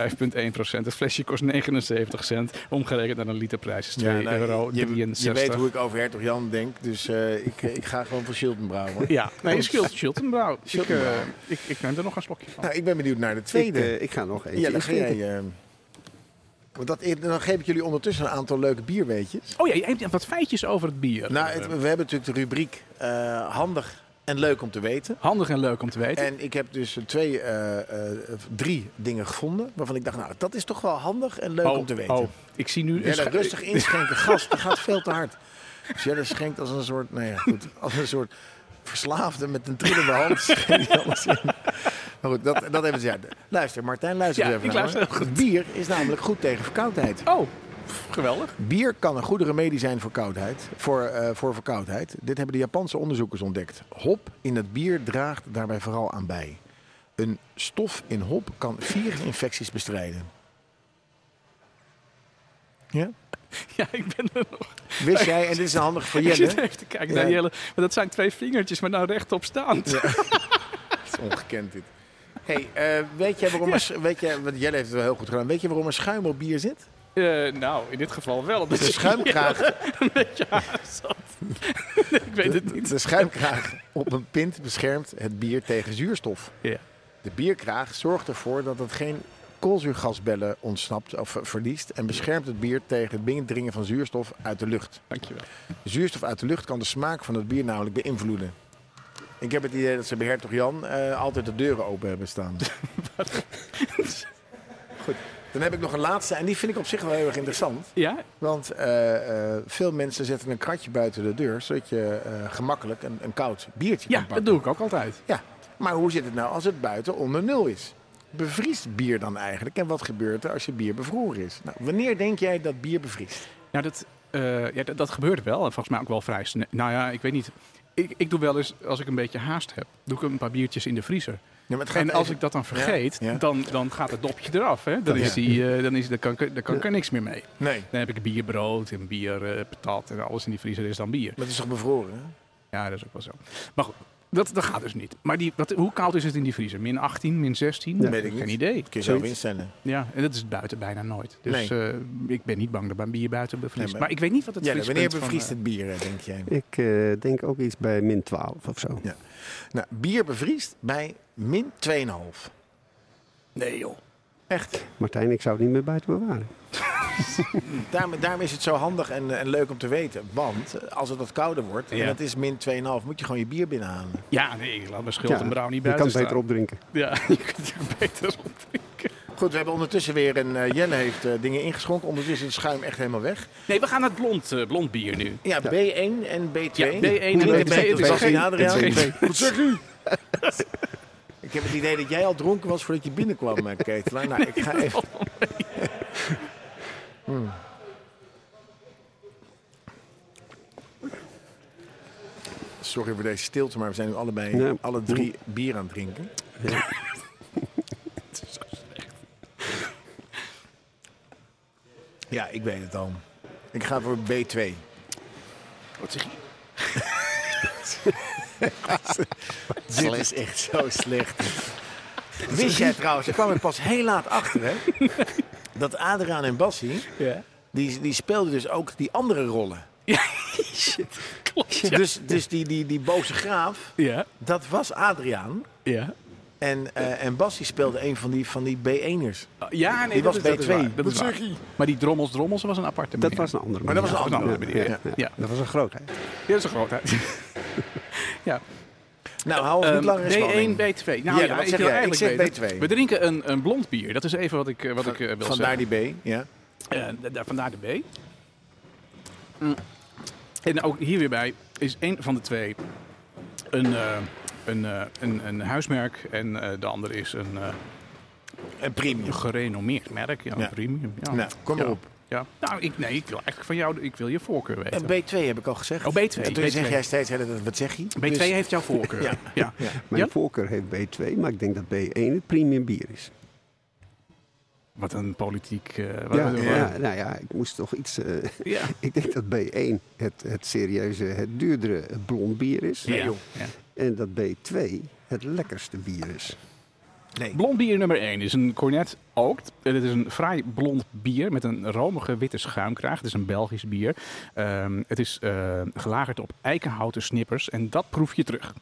[SPEAKER 2] Het flesje kost 79 cent. Omgerekend naar een literprijs is 2
[SPEAKER 3] Ja, nou,
[SPEAKER 2] euro.
[SPEAKER 3] je,
[SPEAKER 2] 63.
[SPEAKER 3] je weet hoe ik over Hertog Jan denk, dus eh, ik, ik ga gewoon voor Schilden brouwen.
[SPEAKER 2] Ja, nee, Schild, Schiltenbrouw. Ik, eh,
[SPEAKER 3] Schiltenbrouw.
[SPEAKER 2] ik, ik neem er nog een slokje van.
[SPEAKER 3] Nou, ik ben benieuwd naar de
[SPEAKER 4] Ik,
[SPEAKER 3] tweede.
[SPEAKER 4] eh, ik ga nog eentje
[SPEAKER 3] ja, dan ga
[SPEAKER 4] inschenken.
[SPEAKER 3] jij... eh, want dat, dan geef ik jullie ondertussen een aantal leuke bierweetjes.
[SPEAKER 2] Oh ja, je hebt wat feitjes over het bier. Eh,
[SPEAKER 3] Nou, het- we hebben natuurlijk de rubriek eh, handig en leuk om te weten.
[SPEAKER 2] Handig en leuk om te weten.
[SPEAKER 3] En ik heb dus twee, eh, eh, drie dingen gevonden waarvan ik dacht, nou, dat is toch wel handig en leuk
[SPEAKER 2] oh,
[SPEAKER 3] om te weten.
[SPEAKER 2] oh, ik zie nu... een
[SPEAKER 3] Ja,
[SPEAKER 2] scha-
[SPEAKER 3] dan rustig inschenken, gast, dat gaat veel te hard. Dus jij dat schenkt als een soort, nou ja, goed, als een soort verslaafde met een trillende hand. schenkt hij alles in. Maar goed, dat, dat even zij. Luister, Martijn, luister
[SPEAKER 2] Ja,
[SPEAKER 3] eens
[SPEAKER 2] ik
[SPEAKER 3] even. naar
[SPEAKER 2] luister
[SPEAKER 3] me.
[SPEAKER 2] heel goed.
[SPEAKER 3] Bier is namelijk goed tegen verkoudheid.
[SPEAKER 2] Oh, geweldig.
[SPEAKER 3] Bier kan een goede remedie zijn voor, koudheid, voor, eh, voor verkoudheid. Dit hebben de Japanse onderzoekers ontdekt. Hop in het bier draagt daarbij vooral aan bij. Een stof in hop kan virusinfecties bestrijden. Ja?
[SPEAKER 2] Ja, ik ben er nog.
[SPEAKER 3] Wist jij, en dit is handig voor
[SPEAKER 2] Ik zit
[SPEAKER 3] Jelle.
[SPEAKER 2] even te kijken
[SPEAKER 3] Ja.
[SPEAKER 2] naar Jelle. Maar dat zijn twee vingertjes, maar nou rechtop staand.
[SPEAKER 3] Het is ongekend dit. Hey, eh, weet jij waarom... er- weet jij, want Jelle heeft het wel heel goed gedaan. Weet je waarom er schuim op bier zit?
[SPEAKER 2] Eh, nou, in dit geval wel. dus omdat
[SPEAKER 3] De
[SPEAKER 2] ik
[SPEAKER 3] schuimkraag,
[SPEAKER 2] een beetje aan zat. Nee, ik weet het niet.
[SPEAKER 3] de schuimkraag op een pint beschermt het bier tegen zuurstof.
[SPEAKER 2] Ja.
[SPEAKER 3] De bierkraag zorgt ervoor dat het geen koolzuurgasbellen ontsnapt of eh, verliest en beschermt het bier tegen het binnendringen van zuurstof uit de lucht.
[SPEAKER 2] Dankjewel.
[SPEAKER 3] Zuurstof uit de lucht kan de smaak van het bier namelijk beïnvloeden. Ik heb het idee dat ze bij Hertog Jan eh, altijd de deuren open hebben staan. Goed, dan heb ik nog een laatste en die vind ik op zich wel heel erg interessant.
[SPEAKER 2] Ja,
[SPEAKER 3] Want eh, eh, veel mensen zetten een kratje buiten de deur, zodat je eh, gemakkelijk een, een koud biertje
[SPEAKER 2] ja
[SPEAKER 3] kan
[SPEAKER 2] dat
[SPEAKER 3] pakken.
[SPEAKER 2] doe ik ook altijd.
[SPEAKER 3] Ja, maar hoe zit het nou als het buiten onder nul is? Bevriest bier dan eigenlijk? En wat gebeurt er als je bier bevroren is? Nou, wanneer denk jij dat bier bevriest?
[SPEAKER 2] Nou, dat, eh, ja, dat, dat gebeurt wel. En volgens mij ook wel vrij snel. Nou ja, ik weet niet. Ik, ik doe wel eens, als ik een beetje haast heb, doe ik een paar biertjes in de vriezer.
[SPEAKER 3] Ja, maar het gaat
[SPEAKER 2] En als
[SPEAKER 3] even-
[SPEAKER 2] ik dat dan vergeet,
[SPEAKER 3] Ja, ja.
[SPEAKER 2] Dan, dan gaat het dopje eraf. Hè? Dan,
[SPEAKER 3] Ja.
[SPEAKER 2] is die, eh, dan, is, dan kan, ik- dan kan ik er niks meer mee.
[SPEAKER 3] Nee,
[SPEAKER 2] Dan heb ik bierbrood en bier, eh, patat en alles in die vriezer is dan bier.
[SPEAKER 3] dat is toch bevroren? hè?
[SPEAKER 2] Ja, dat is ook wel zo. Maar goed, dat, dat gaat dus niet. Maar die, wat, hoe koud is het in die vriezer? Min 18, min 16?
[SPEAKER 3] weet ik
[SPEAKER 2] Geen
[SPEAKER 3] niet.
[SPEAKER 2] idee.
[SPEAKER 3] Dat kun je zelf instellen.
[SPEAKER 2] Ja, en dat is buiten bijna nooit. Dus eh, ik ben niet bang dat mijn bier buiten bevriest.
[SPEAKER 3] Nee, maar-
[SPEAKER 2] maar... ik weet niet wat het
[SPEAKER 3] Ja,
[SPEAKER 2] vriespunt
[SPEAKER 3] wanneer
[SPEAKER 2] van,
[SPEAKER 3] bevriest
[SPEAKER 2] eh,
[SPEAKER 3] het bier, eh, denk jij?
[SPEAKER 4] Ik eh, denk ook iets bij min 12 of zo.
[SPEAKER 3] Ja. Nou, bier bevriest bij min 2,5.
[SPEAKER 2] eh, Nee joh.
[SPEAKER 3] Echt.
[SPEAKER 4] Martijn, ik zou het niet meer buiten bewaren.
[SPEAKER 3] Daarom, daarom is het zo handig en, eh, en leuk om te weten. Want eh, als het wat kouder wordt,
[SPEAKER 2] Ja.
[SPEAKER 3] en dat is min 2,5, moet je gewoon je bier binnenhalen.
[SPEAKER 2] Ja, nee, ik laat mijn schild
[SPEAKER 4] Ja,
[SPEAKER 2] en brouw niet
[SPEAKER 4] je kan
[SPEAKER 2] buiten
[SPEAKER 4] het beter
[SPEAKER 2] staan.
[SPEAKER 4] opdrinken.
[SPEAKER 2] Ja, je kunt het beter opdrinken.
[SPEAKER 3] Goed, we hebben ondertussen weer een... eh, Jelle heeft eh, dingen ingeschonken. Ondertussen is het schuim echt helemaal weg.
[SPEAKER 2] Nee, we gaan naar het blond, eh, blond bier nu.
[SPEAKER 3] Ja, B1 en B2.
[SPEAKER 2] Ja, B1
[SPEAKER 3] Hoe
[SPEAKER 2] en B2.
[SPEAKER 3] heet het?
[SPEAKER 2] Het is
[SPEAKER 3] Dat was
[SPEAKER 2] geen-
[SPEAKER 3] in Adriaan.
[SPEAKER 2] het is geen-
[SPEAKER 3] Wat zeg u? Ik heb het idee dat jij al dronken was voordat je binnenkwam, eh, Ketelaar. Nou, ik ga even... Hmm. Sorry voor deze stilte, maar we zijn nu allebei
[SPEAKER 4] Ja.
[SPEAKER 3] alle drie bier aan het drinken. Ja, ik weet het al. Ik ga voor B2.
[SPEAKER 2] Wat zeg je?
[SPEAKER 3] Dit is echt zo slecht. Wist jij trouwens, ik kwam er pas heel laat achter, hè? Dat Adriaan en Bassie,
[SPEAKER 2] Ja.
[SPEAKER 3] die, die speelden dus ook die andere rollen.
[SPEAKER 2] Shit, klopt. Ja.
[SPEAKER 3] Dus, dus die, die, die boze graaf,
[SPEAKER 2] ja,
[SPEAKER 3] dat was Adriaan.
[SPEAKER 2] ja.
[SPEAKER 3] En, eh en Bas die speelde een van die, van die B1'ers.
[SPEAKER 2] Oh, Ja, nee,
[SPEAKER 3] Die
[SPEAKER 2] dat is,
[SPEAKER 3] was
[SPEAKER 2] dat is
[SPEAKER 3] B2.
[SPEAKER 2] waar, Dat is waar. Maar die drommels drommels was een aparte
[SPEAKER 4] Dat
[SPEAKER 2] meneer.
[SPEAKER 4] was een andere
[SPEAKER 3] Maar dat was een andere
[SPEAKER 4] Ja,
[SPEAKER 2] meneer,
[SPEAKER 4] ja,
[SPEAKER 2] ja.
[SPEAKER 4] ja. Dat was een grootheid.
[SPEAKER 2] Ja, dat is een grootheid. ja.
[SPEAKER 3] Nou, hou ons
[SPEAKER 2] Ehm,
[SPEAKER 3] niet langer in
[SPEAKER 2] B1,
[SPEAKER 3] spanning.
[SPEAKER 2] B2.
[SPEAKER 3] Ja,
[SPEAKER 2] Nou ja,
[SPEAKER 3] wat
[SPEAKER 2] ik
[SPEAKER 3] zeg
[SPEAKER 2] wil
[SPEAKER 3] jij? Ik
[SPEAKER 2] eigenlijk
[SPEAKER 3] zeg
[SPEAKER 2] weten-
[SPEAKER 3] B2.
[SPEAKER 2] We drinken een, een blond bier. Dat is even wat ik, eh, wat ik eh, wil
[SPEAKER 3] Vandaar
[SPEAKER 2] zeggen.
[SPEAKER 3] die B. Ja.
[SPEAKER 2] Eh, da- da- vandaar de B. Mm. En ook hier weer bij is een van de twee een, eh, een, eh, een, een huismerk en eh, de ander is een eh,
[SPEAKER 3] En premium.
[SPEAKER 2] gerenommeerd merk. Ja,
[SPEAKER 3] Ja.
[SPEAKER 2] premium. Ja.
[SPEAKER 3] Nou, kom
[SPEAKER 2] ja.
[SPEAKER 3] maar op.
[SPEAKER 2] Ja. Nou, ik, nee, ik wil eigenlijk van jou, ik wil je voorkeur weten.
[SPEAKER 3] En B2 heb ik al gezegd.
[SPEAKER 2] Oh, B2,
[SPEAKER 3] En toen
[SPEAKER 2] B2.
[SPEAKER 3] zeg jij steeds, hè, dat- wat zeg je?
[SPEAKER 2] B2
[SPEAKER 3] Dus-
[SPEAKER 2] heeft jouw voorkeur.
[SPEAKER 3] Ja.
[SPEAKER 2] Ja.
[SPEAKER 4] Mijn
[SPEAKER 2] Ja?
[SPEAKER 4] voorkeur heeft B2, maar ik denk dat B1 het premium bier is.
[SPEAKER 2] Wat een politiek. eh, wat-
[SPEAKER 4] Ja,
[SPEAKER 2] wat-
[SPEAKER 4] ja, nou ja, ik moest toch iets... eh,
[SPEAKER 2] ja.
[SPEAKER 4] ik denk dat B1 het, het serieuze, het duurdere het blond bier is.
[SPEAKER 2] Ja. Ja.
[SPEAKER 4] En dat B2 het lekkerste bier is.
[SPEAKER 3] Nee.
[SPEAKER 2] Blond bier nummer 1 is een Cornet Ookt. Eh, Dit is een fraai blond bier met een romige witte schuimkraag. Het is een Belgisch bier. Ehm, het is eh, gelagerd op eikenhouten snippers en dat proef je terug.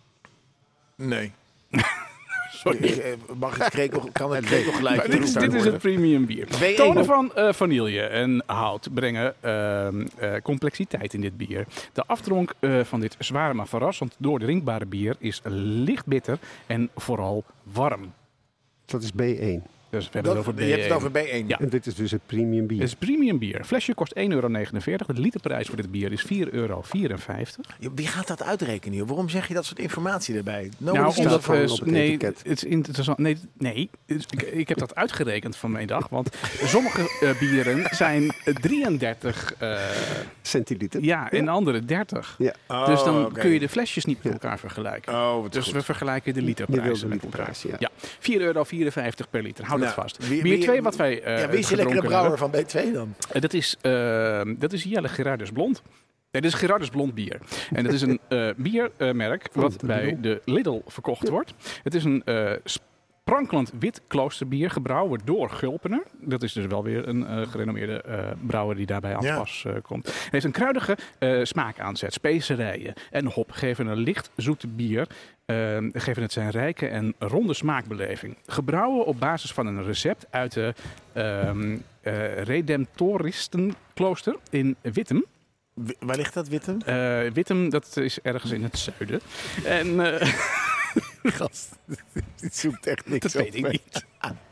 [SPEAKER 3] Dus, Nee.
[SPEAKER 2] Sorry.
[SPEAKER 3] Eh, Mag het krekel, kan het krekelgeluid
[SPEAKER 2] Maar dit, is,
[SPEAKER 3] toestaan
[SPEAKER 2] dit is het
[SPEAKER 3] worden?
[SPEAKER 2] premium bier.
[SPEAKER 3] B1.
[SPEAKER 2] Tonen van eh, vanille en hout brengen ehm, eh, complexiteit in dit bier. De afdronk eh, van dit zware maar verrassend doordrinkbare bier is licht bitter en vooral warm.
[SPEAKER 4] Dat is B1.
[SPEAKER 2] Dus we hebben
[SPEAKER 3] Dat-
[SPEAKER 2] het over
[SPEAKER 3] je hebt het
[SPEAKER 2] B1.
[SPEAKER 3] over B1.
[SPEAKER 2] Ja.
[SPEAKER 4] En dit is dus het premium bier.
[SPEAKER 2] Het is premium bier. Flesje kost 1,49 euro. De literprijs voor dit bier is 4,54 euro.
[SPEAKER 3] Wie gaat dat uitrekenen? joh? Waarom zeg je dat soort informatie erbij?
[SPEAKER 2] Nou,
[SPEAKER 3] Nobody's
[SPEAKER 4] omdat-
[SPEAKER 3] dat-
[SPEAKER 2] omdat
[SPEAKER 4] gewoon
[SPEAKER 2] we.
[SPEAKER 4] op het
[SPEAKER 2] nee,
[SPEAKER 4] etiket.
[SPEAKER 2] het is interessant. Nee, nee het- ik, ik heb dat uitgerekend van mijn dag. Want sommige eh, bieren zijn 33 eh,
[SPEAKER 4] Centiliter.
[SPEAKER 2] ja, en andere 30.
[SPEAKER 4] Ja.
[SPEAKER 3] Oh,
[SPEAKER 2] dus dan
[SPEAKER 3] oké.
[SPEAKER 2] kun je de flesjes niet met elkaar vergelijken.
[SPEAKER 3] Oh, wat
[SPEAKER 2] dus
[SPEAKER 3] goed.
[SPEAKER 2] we vergelijken de
[SPEAKER 4] Je wil
[SPEAKER 2] literprijzen
[SPEAKER 4] de
[SPEAKER 2] met elkaar.
[SPEAKER 4] literprijs,
[SPEAKER 2] Ja. 4,54 euro per liter. Hou dat
[SPEAKER 3] Nou,
[SPEAKER 2] vast.
[SPEAKER 3] wie-
[SPEAKER 2] bier
[SPEAKER 3] wie-
[SPEAKER 2] 2 wat wij eh
[SPEAKER 3] ja, wie is de lekkere
[SPEAKER 2] gedronken
[SPEAKER 3] brouwer
[SPEAKER 2] hebben,
[SPEAKER 3] van B2 dan?
[SPEAKER 2] eh, dat, is, eh, dat is Jelle Gerardus Blond. Nee, dit is Gerardus Blond bier. En dat is een eh, biermerk eh, wat
[SPEAKER 4] de
[SPEAKER 2] bij
[SPEAKER 4] Lidl.
[SPEAKER 2] de Lidl verkocht wordt. Het is een eh sprankelend wit kloosterbier gebrouwen door Gulpener. Dat is dus wel weer een eh, gerenommeerde eh, brouwer die daarbij aan
[SPEAKER 3] Ja.
[SPEAKER 2] pas eh, komt. Het heeft een kruidige eh smaak aanzet. Specerijen en hop geven een licht zoete bier. eh, geven het zijn rijke en ronde smaakbeleving. Gebrouwen op basis van een recept uit de ehm eh, Redemptoristenklooster in Wittem.
[SPEAKER 3] W- Waar ligt dat, Wittem?
[SPEAKER 2] Eh, Wittem, dat is ergens in het zuiden. En eh,
[SPEAKER 3] Gast, dit zoekt echt niks
[SPEAKER 2] dat
[SPEAKER 3] op.
[SPEAKER 2] weet ik niet.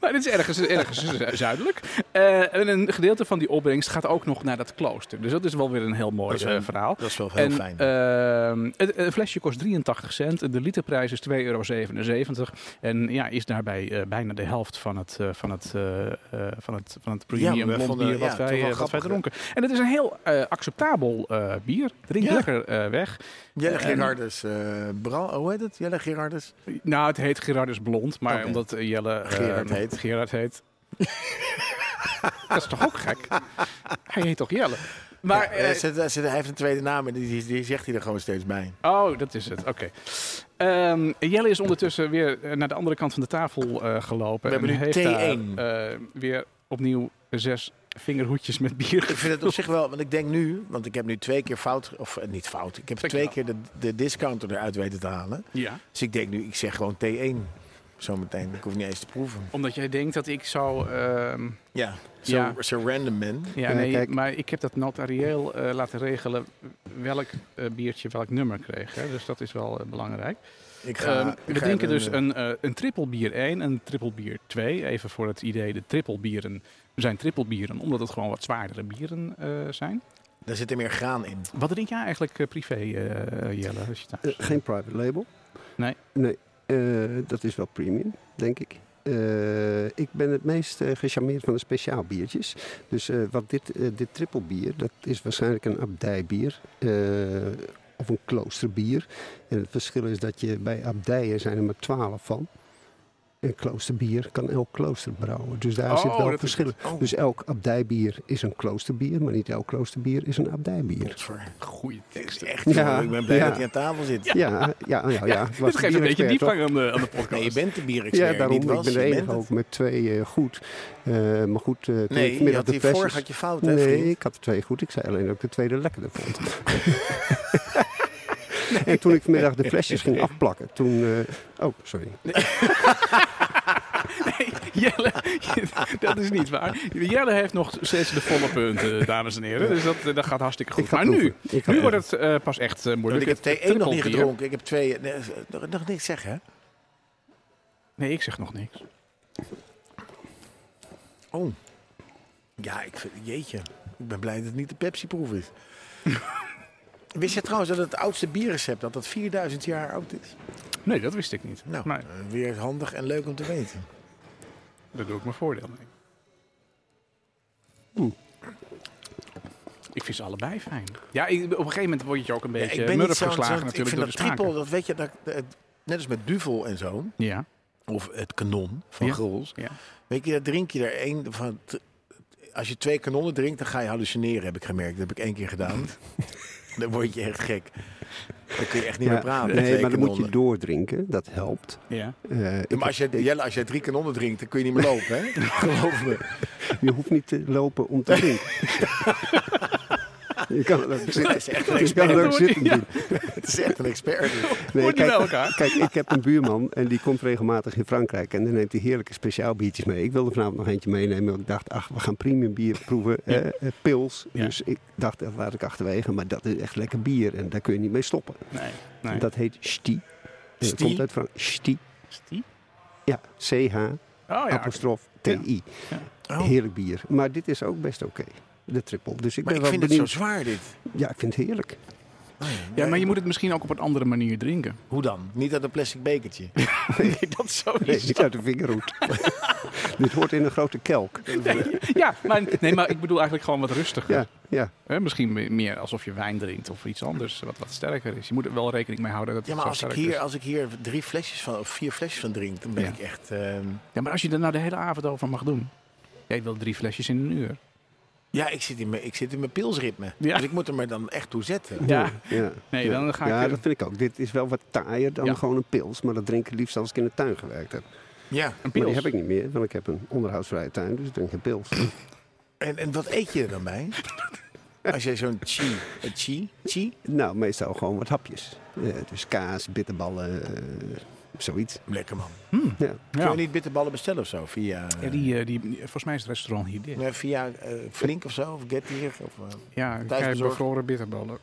[SPEAKER 2] maar het is ergens, ergens zu- zuidelijk. Eh, en een gedeelte van die opbrengst gaat ook nog naar dat klooster. Dus dat is wel weer een heel mooi
[SPEAKER 3] Dat is wel-
[SPEAKER 2] eh, verhaal.
[SPEAKER 3] Dat is wel heel
[SPEAKER 2] En,
[SPEAKER 3] fijn.
[SPEAKER 2] ehm, het, een flesje kost 83 cent. De literprijs is 2,77 euro. En ja, is daarbij eh, bijna de helft van het, eh, van het, eh, eh, van het, van het
[SPEAKER 3] Ja,
[SPEAKER 2] premium
[SPEAKER 3] maar we
[SPEAKER 2] blond
[SPEAKER 3] vonden-
[SPEAKER 2] bier wat,
[SPEAKER 3] ja, toch
[SPEAKER 2] wij,
[SPEAKER 3] wel
[SPEAKER 2] eh, wat wij
[SPEAKER 3] grappig, hè?
[SPEAKER 2] dronken. En het is een heel eh, acceptabel eh, bier. Drink
[SPEAKER 3] Ja.
[SPEAKER 2] lekker eh, weg.
[SPEAKER 3] Jelle
[SPEAKER 2] en-
[SPEAKER 3] Gerardus, eh, Bra- hoe heet het? Jelle Gerardus?
[SPEAKER 2] Nou, het heet Gerardus Blond, maar
[SPEAKER 3] Oké.
[SPEAKER 2] omdat eh, Jelle eh,
[SPEAKER 3] Gerard heet.
[SPEAKER 2] Gerard heet. dat is toch ook gek? Hij heet toch Jelle? Maar,
[SPEAKER 3] Eh,
[SPEAKER 2] eh,
[SPEAKER 3] zit- eh, zit- hij heeft een tweede naam en die, die, die zegt hij er gewoon steeds bij.
[SPEAKER 2] oh, dat is het. Oké. Ehm, Jelle is ondertussen weer eh, naar de andere kant van de tafel eh, gelopen.
[SPEAKER 3] We hebben
[SPEAKER 2] en
[SPEAKER 3] nu
[SPEAKER 2] heeft
[SPEAKER 3] T1.
[SPEAKER 2] daar, eh, weer opnieuw zes vingerhoedjes met
[SPEAKER 3] Ik
[SPEAKER 2] bier.
[SPEAKER 3] vind het op zich wel, want ik denk nu, want ik heb nu twee keer fout, of eh, niet fout, ik heb
[SPEAKER 2] Zeg
[SPEAKER 3] twee
[SPEAKER 2] maar.
[SPEAKER 3] keer de, de discounter eruit weten te halen.
[SPEAKER 2] Ja.
[SPEAKER 3] Dus ik denk nu, ik zeg gewoon T1 zometeen. Ik hoef niet eens te proeven.
[SPEAKER 2] Omdat jij denkt dat ik zo... ehm,
[SPEAKER 3] Ja, zo,
[SPEAKER 2] Ja.
[SPEAKER 3] zo random man.
[SPEAKER 2] ja,
[SPEAKER 4] Ja,
[SPEAKER 2] nee,
[SPEAKER 4] kijk.
[SPEAKER 2] maar ik heb dat notarieel eh, laten regelen welk eh, biertje welk nummer kreeg. Hè? Dus dat is wel eh, belangrijk.
[SPEAKER 3] Ik
[SPEAKER 2] Ehm,
[SPEAKER 3] ik
[SPEAKER 2] we drinken
[SPEAKER 3] even-
[SPEAKER 2] dus een, eh een triple bier 1 en een triple bier 2. Even voor het idee, de triple bieren zijn triple bieren, omdat het gewoon wat zwaardere bieren eh, zijn.
[SPEAKER 3] Daar zit er meer graan in.
[SPEAKER 2] Wat drink jij eigenlijk eh, privé, eh, Jelle, als je
[SPEAKER 4] Eh,
[SPEAKER 2] thuis
[SPEAKER 4] geen private label.
[SPEAKER 2] Nee.
[SPEAKER 4] Nee, eh, dat is wel premium, denk ik. Eh, ik ben het meest eh, gecharmeerd van de speciaal biertjes. Dus eh, wat dit, eh dit trippelbier, dat is waarschijnlijk een abdijbier. eh, of een kloosterbier. En het verschil is dat je bij abdijen zijn er maar twaalf van. En kloosterbier kan elk klooster brouwen. Dus daar
[SPEAKER 2] Oh,
[SPEAKER 4] zit
[SPEAKER 2] dat
[SPEAKER 4] wel
[SPEAKER 2] is
[SPEAKER 4] verschil.
[SPEAKER 3] het. Oh.
[SPEAKER 4] Dus elk abdijbier is een kloosterbier, maar niet elk kloosterbier is een abdijbier.
[SPEAKER 3] Potver.
[SPEAKER 2] goede
[SPEAKER 3] Echt,
[SPEAKER 2] teksten?
[SPEAKER 3] echt
[SPEAKER 4] Ja,
[SPEAKER 3] joh, ik ben blij
[SPEAKER 4] ja.
[SPEAKER 3] dat hij aan tafel zit.
[SPEAKER 4] Ja, ja, ja. ja, ja.
[SPEAKER 2] Dit
[SPEAKER 4] Was de
[SPEAKER 2] geeft een beetje
[SPEAKER 4] bierexpert, hoor.
[SPEAKER 2] diepgang aan de, aan de podcast.
[SPEAKER 3] Nee, je bent de bierexpert,
[SPEAKER 4] Ja, daarom.
[SPEAKER 3] niet
[SPEAKER 4] Ik
[SPEAKER 3] was.
[SPEAKER 4] ben de
[SPEAKER 3] je
[SPEAKER 4] enige
[SPEAKER 3] bent
[SPEAKER 4] ook
[SPEAKER 3] het.
[SPEAKER 4] met twee eh, goed. Eh, maar goed, eh, toen ik
[SPEAKER 3] Nee, je
[SPEAKER 4] vanmiddag
[SPEAKER 3] had
[SPEAKER 4] de
[SPEAKER 3] die
[SPEAKER 4] pers-
[SPEAKER 3] vorig had je fout, hè,
[SPEAKER 4] Nee,
[SPEAKER 3] vriend?
[SPEAKER 4] ik had de twee goed. Ik zei alleen dat ik de tweede lekkerder vond. En toen ik vanmiddag de flesjes ging afplakken, toen... eh, oh, sorry.
[SPEAKER 2] Nee, Jelle, dat is niet waar. Jelle heeft nog steeds de volle punten, dames en heren. Dus dat, dat gaat hartstikke goed.
[SPEAKER 4] Ik ga
[SPEAKER 2] maar nu,
[SPEAKER 4] proeven. Ik ga
[SPEAKER 2] nu wordt het eh, pas echt eh,
[SPEAKER 3] Want
[SPEAKER 2] moeilijk.
[SPEAKER 3] ik heb
[SPEAKER 2] Het- het
[SPEAKER 3] thee 1 nog
[SPEAKER 2] druppelt
[SPEAKER 3] niet
[SPEAKER 2] hier.
[SPEAKER 3] gedronken. Ik heb twee... nee, nog- Nog niks zeggen, hè?
[SPEAKER 2] Nee, ik zeg nog niks.
[SPEAKER 3] Oh. Ja, ik vind, jeetje. Ik ben blij dat het niet de Pepsi-proef is. Wist je trouwens dat het oudste bierrecept dat dat 4000 jaar oud is?
[SPEAKER 2] Nee, dat wist ik niet.
[SPEAKER 3] Nou,
[SPEAKER 2] Maar
[SPEAKER 3] eh, weer handig en leuk om te weten.
[SPEAKER 2] daar doe ik mijn voordeel mee.
[SPEAKER 3] Hm.
[SPEAKER 2] Ik vind ze allebei fijn. Ja, ik- op een gegeven moment word je ook een
[SPEAKER 3] Ja,
[SPEAKER 2] beetje
[SPEAKER 3] ik
[SPEAKER 2] murf
[SPEAKER 3] ben niet zo'n-
[SPEAKER 2] geslagen
[SPEAKER 3] zo'n-
[SPEAKER 2] natuurlijk
[SPEAKER 3] Ik
[SPEAKER 2] door
[SPEAKER 3] vind
[SPEAKER 2] de smaken.
[SPEAKER 3] dat triple, dat weet je, dat, dat- net als met Duvel en zo,
[SPEAKER 2] Ja,
[SPEAKER 3] of het kanon van
[SPEAKER 2] Ja.
[SPEAKER 3] Grols.
[SPEAKER 2] ja.
[SPEAKER 3] Weet je, daar drink je er één van. t- Als je twee kanonnen drinkt, dan ga je hallucineren, heb ik gemerkt. Dat heb ik één keer gedaan. dan word je echt gek. Dan kun je echt niet meer praten. met
[SPEAKER 4] nee,
[SPEAKER 3] twee
[SPEAKER 4] maar dan moet je
[SPEAKER 3] kanonnen.
[SPEAKER 4] doordrinken. Dat helpt.
[SPEAKER 2] ja.
[SPEAKER 4] Eh, ik-
[SPEAKER 3] Ja, maar als jij, Jelle, als jij drie kanonnen drinkt, dan kun je niet meer lopen, hè? Geloof me.
[SPEAKER 4] je hoeft niet te lopen om te drinken. je kan het ook
[SPEAKER 3] Dit
[SPEAKER 4] zitten,
[SPEAKER 3] is echt een
[SPEAKER 4] je kan
[SPEAKER 3] expert.
[SPEAKER 4] het ook zitten
[SPEAKER 2] Ja.
[SPEAKER 4] doen.
[SPEAKER 3] Het is echt een expert. dit.
[SPEAKER 4] Nee,
[SPEAKER 2] Hoort niet bij
[SPEAKER 4] kijk,
[SPEAKER 2] elkaar.
[SPEAKER 4] kijk, ik heb een buurman en die komt regelmatig in Frankrijk. En dan neemt hij heerlijke speciaal biertjes mee. Ik wilde vanavond nog eentje meenemen. want Ik dacht, ach, we gaan premium bier proeven. eh, eh, pils.
[SPEAKER 2] Ja.
[SPEAKER 4] Dus ik dacht, dat laat ik achterwege. Maar dat is echt lekker bier. En daar kun je niet mee stoppen.
[SPEAKER 2] Nee, nee.
[SPEAKER 4] Dat heet Sti. Dat
[SPEAKER 3] Sti?
[SPEAKER 4] komt uit Frankrijk. Sti.
[SPEAKER 2] Is die?
[SPEAKER 4] Ja, CH,
[SPEAKER 2] Oh ja,
[SPEAKER 4] apostrof,
[SPEAKER 2] Ja.
[SPEAKER 4] TI.
[SPEAKER 3] Oh,
[SPEAKER 4] Heerlijk bier. Maar dit is ook best oké. De triple. Dus ik
[SPEAKER 3] maar
[SPEAKER 4] ben
[SPEAKER 3] ik
[SPEAKER 4] wel
[SPEAKER 3] vind het zo
[SPEAKER 4] benieuwd.
[SPEAKER 3] zwaar, dit.
[SPEAKER 4] Ja, ik vind het heerlijk.
[SPEAKER 2] ja, maar je moet het misschien ook op een andere manier drinken.
[SPEAKER 3] Hoe dan? Niet uit een plastic bekertje.
[SPEAKER 2] Nee, dat zou
[SPEAKER 4] Nee, niet uit de vingerhoed. dit hoort in een grote kelk.
[SPEAKER 2] Ja, maar, nee, maar ik bedoel eigenlijk gewoon wat rustiger.
[SPEAKER 4] Ja, ja.
[SPEAKER 2] Hè, misschien me- meer alsof je wijn drinkt of iets anders wat, wat sterker is. Je moet er wel rekening mee houden dat het
[SPEAKER 3] Ja, maar
[SPEAKER 2] zo
[SPEAKER 3] als ik, dus-
[SPEAKER 2] sterk
[SPEAKER 3] hier,
[SPEAKER 2] is.
[SPEAKER 3] als ik hier drie flesjes van, of vier flesjes van drink, dan ben
[SPEAKER 2] Ja.
[SPEAKER 3] ik echt... ehm,
[SPEAKER 2] Ja, maar als je er nou de hele avond over mag doen. Jij wil drie flesjes in een uur.
[SPEAKER 3] ja, ik zit in mijn, ik zit in mijn pilsritme.
[SPEAKER 2] Ja.
[SPEAKER 3] Dus ik moet er me dan echt toe zetten.
[SPEAKER 2] Ja.
[SPEAKER 4] Ja.
[SPEAKER 2] Nee, dan ga ik
[SPEAKER 4] ja,
[SPEAKER 2] weer-
[SPEAKER 4] dat vind ik ook. Dit is wel wat taaier dan
[SPEAKER 2] Ja.
[SPEAKER 4] gewoon een pils. Maar dat drink ik liefst als ik in de tuin gewerkt heb.
[SPEAKER 3] Ja.
[SPEAKER 2] Een
[SPEAKER 4] Maar
[SPEAKER 2] pils.
[SPEAKER 4] die heb ik niet meer, want ik heb een onderhoudsvrije tuin. Dus ik drink geen pils.
[SPEAKER 3] En, en wat eet je er dan bij? Als jij zo'n chi, een chi, chi,
[SPEAKER 4] nou, meestal gewoon wat hapjes. Eh, dus kaas, bitterballen, eh, zoiets.
[SPEAKER 3] lekker man.
[SPEAKER 4] Ja.
[SPEAKER 3] Kun
[SPEAKER 2] Ja.
[SPEAKER 3] je niet bitterballen bestellen of zo? Via,
[SPEAKER 2] Ja, die, eh, die, die- volgens mij is het restaurant hier dit.
[SPEAKER 3] eh, via eh, Flink of zo, of Get Here, Of, eh,
[SPEAKER 2] Ja, ik krijg
[SPEAKER 3] Thuisbezorgd.
[SPEAKER 2] bevroren bitterballen.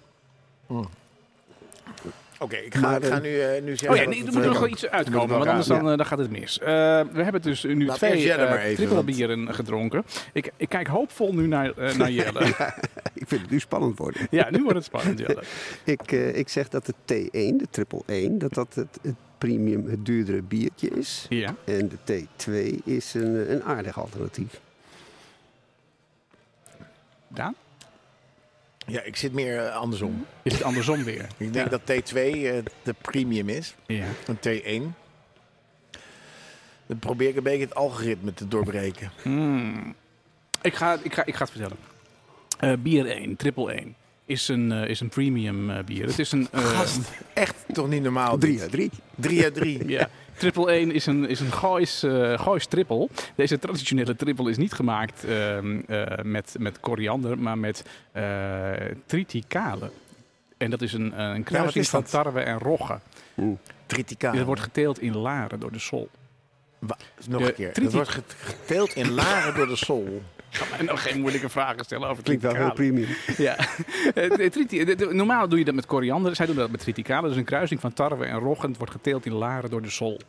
[SPEAKER 3] Oké, ik ga,
[SPEAKER 4] Maar,
[SPEAKER 3] ik ga
[SPEAKER 4] eh,
[SPEAKER 3] nu, eh, nu zeggen...
[SPEAKER 2] Oh ja,
[SPEAKER 3] wat
[SPEAKER 2] nee, er
[SPEAKER 3] het
[SPEAKER 2] moet
[SPEAKER 3] is.
[SPEAKER 2] nog wel iets
[SPEAKER 3] Moet
[SPEAKER 2] uitkomen,
[SPEAKER 3] wel
[SPEAKER 2] want anders
[SPEAKER 3] raar.
[SPEAKER 2] dan, eh, dan gaat het mis. Eh, we hebben dus nu
[SPEAKER 3] Laat eerst
[SPEAKER 2] twee
[SPEAKER 3] Jelle maar
[SPEAKER 2] eh,
[SPEAKER 3] even,
[SPEAKER 2] triple
[SPEAKER 3] want-
[SPEAKER 2] bieren gedronken. Ik, ik kijk hoopvol nu naar, eh, naar Jelle.
[SPEAKER 4] Ik vind het nu spannend worden.
[SPEAKER 2] ja, nu wordt het spannend, Jelle.
[SPEAKER 4] Ik, eh, ik zeg dat de T1, de triple 1, dat dat het, het premium, het duurdere biertje is.
[SPEAKER 2] Ja.
[SPEAKER 4] En de T2 is een, eh, een aardig alternatief.
[SPEAKER 2] Daan?
[SPEAKER 3] Ja, ik zit meer eh, andersom.
[SPEAKER 2] Is het andersom weer?
[SPEAKER 3] Ik denk dat T2 eh, de premium is.
[SPEAKER 2] Ja.
[SPEAKER 3] Een T1. Dan probeer ik een beetje het algoritme te doorbreken.
[SPEAKER 2] Hmm. Ik, ga, ik, ga, ik ga het vertellen. Eh, bier 1, triple 1, is een, eh, is een premium eh, bier. Het is een... eh,
[SPEAKER 3] Gast, echt toch niet normaal.
[SPEAKER 4] 3
[SPEAKER 3] dit.
[SPEAKER 4] uit 3.
[SPEAKER 3] Drie uit drie.
[SPEAKER 2] Ja, triple 1 is een, is een Goois, eh, Goois triple. Deze traditionele triple is niet gemaakt ehm, eh, met, met koriander, maar met eh triticale. En dat is een, een
[SPEAKER 3] wat
[SPEAKER 2] kruising
[SPEAKER 3] is
[SPEAKER 2] van
[SPEAKER 3] dat? Ah.
[SPEAKER 2] tarwe en rogge.
[SPEAKER 3] Triticale.
[SPEAKER 2] Dat wordt geteeld in laren door de sol.
[SPEAKER 3] Wa- Nog
[SPEAKER 2] de
[SPEAKER 3] een keer.
[SPEAKER 2] triti-
[SPEAKER 3] Dat wordt get- geteeld in laren door de sol.
[SPEAKER 2] Kan mij nog geen moeilijke vragen stellen over
[SPEAKER 4] Klinkt wel heel
[SPEAKER 2] triticale.
[SPEAKER 4] premium.
[SPEAKER 2] Ja. Eh, eh, triti- de- de- Normaal doe je dat met koriander. Zij doen dat met triticale. Dus een kruising van tarwe en roggen. Het wordt geteeld in laren door de sol.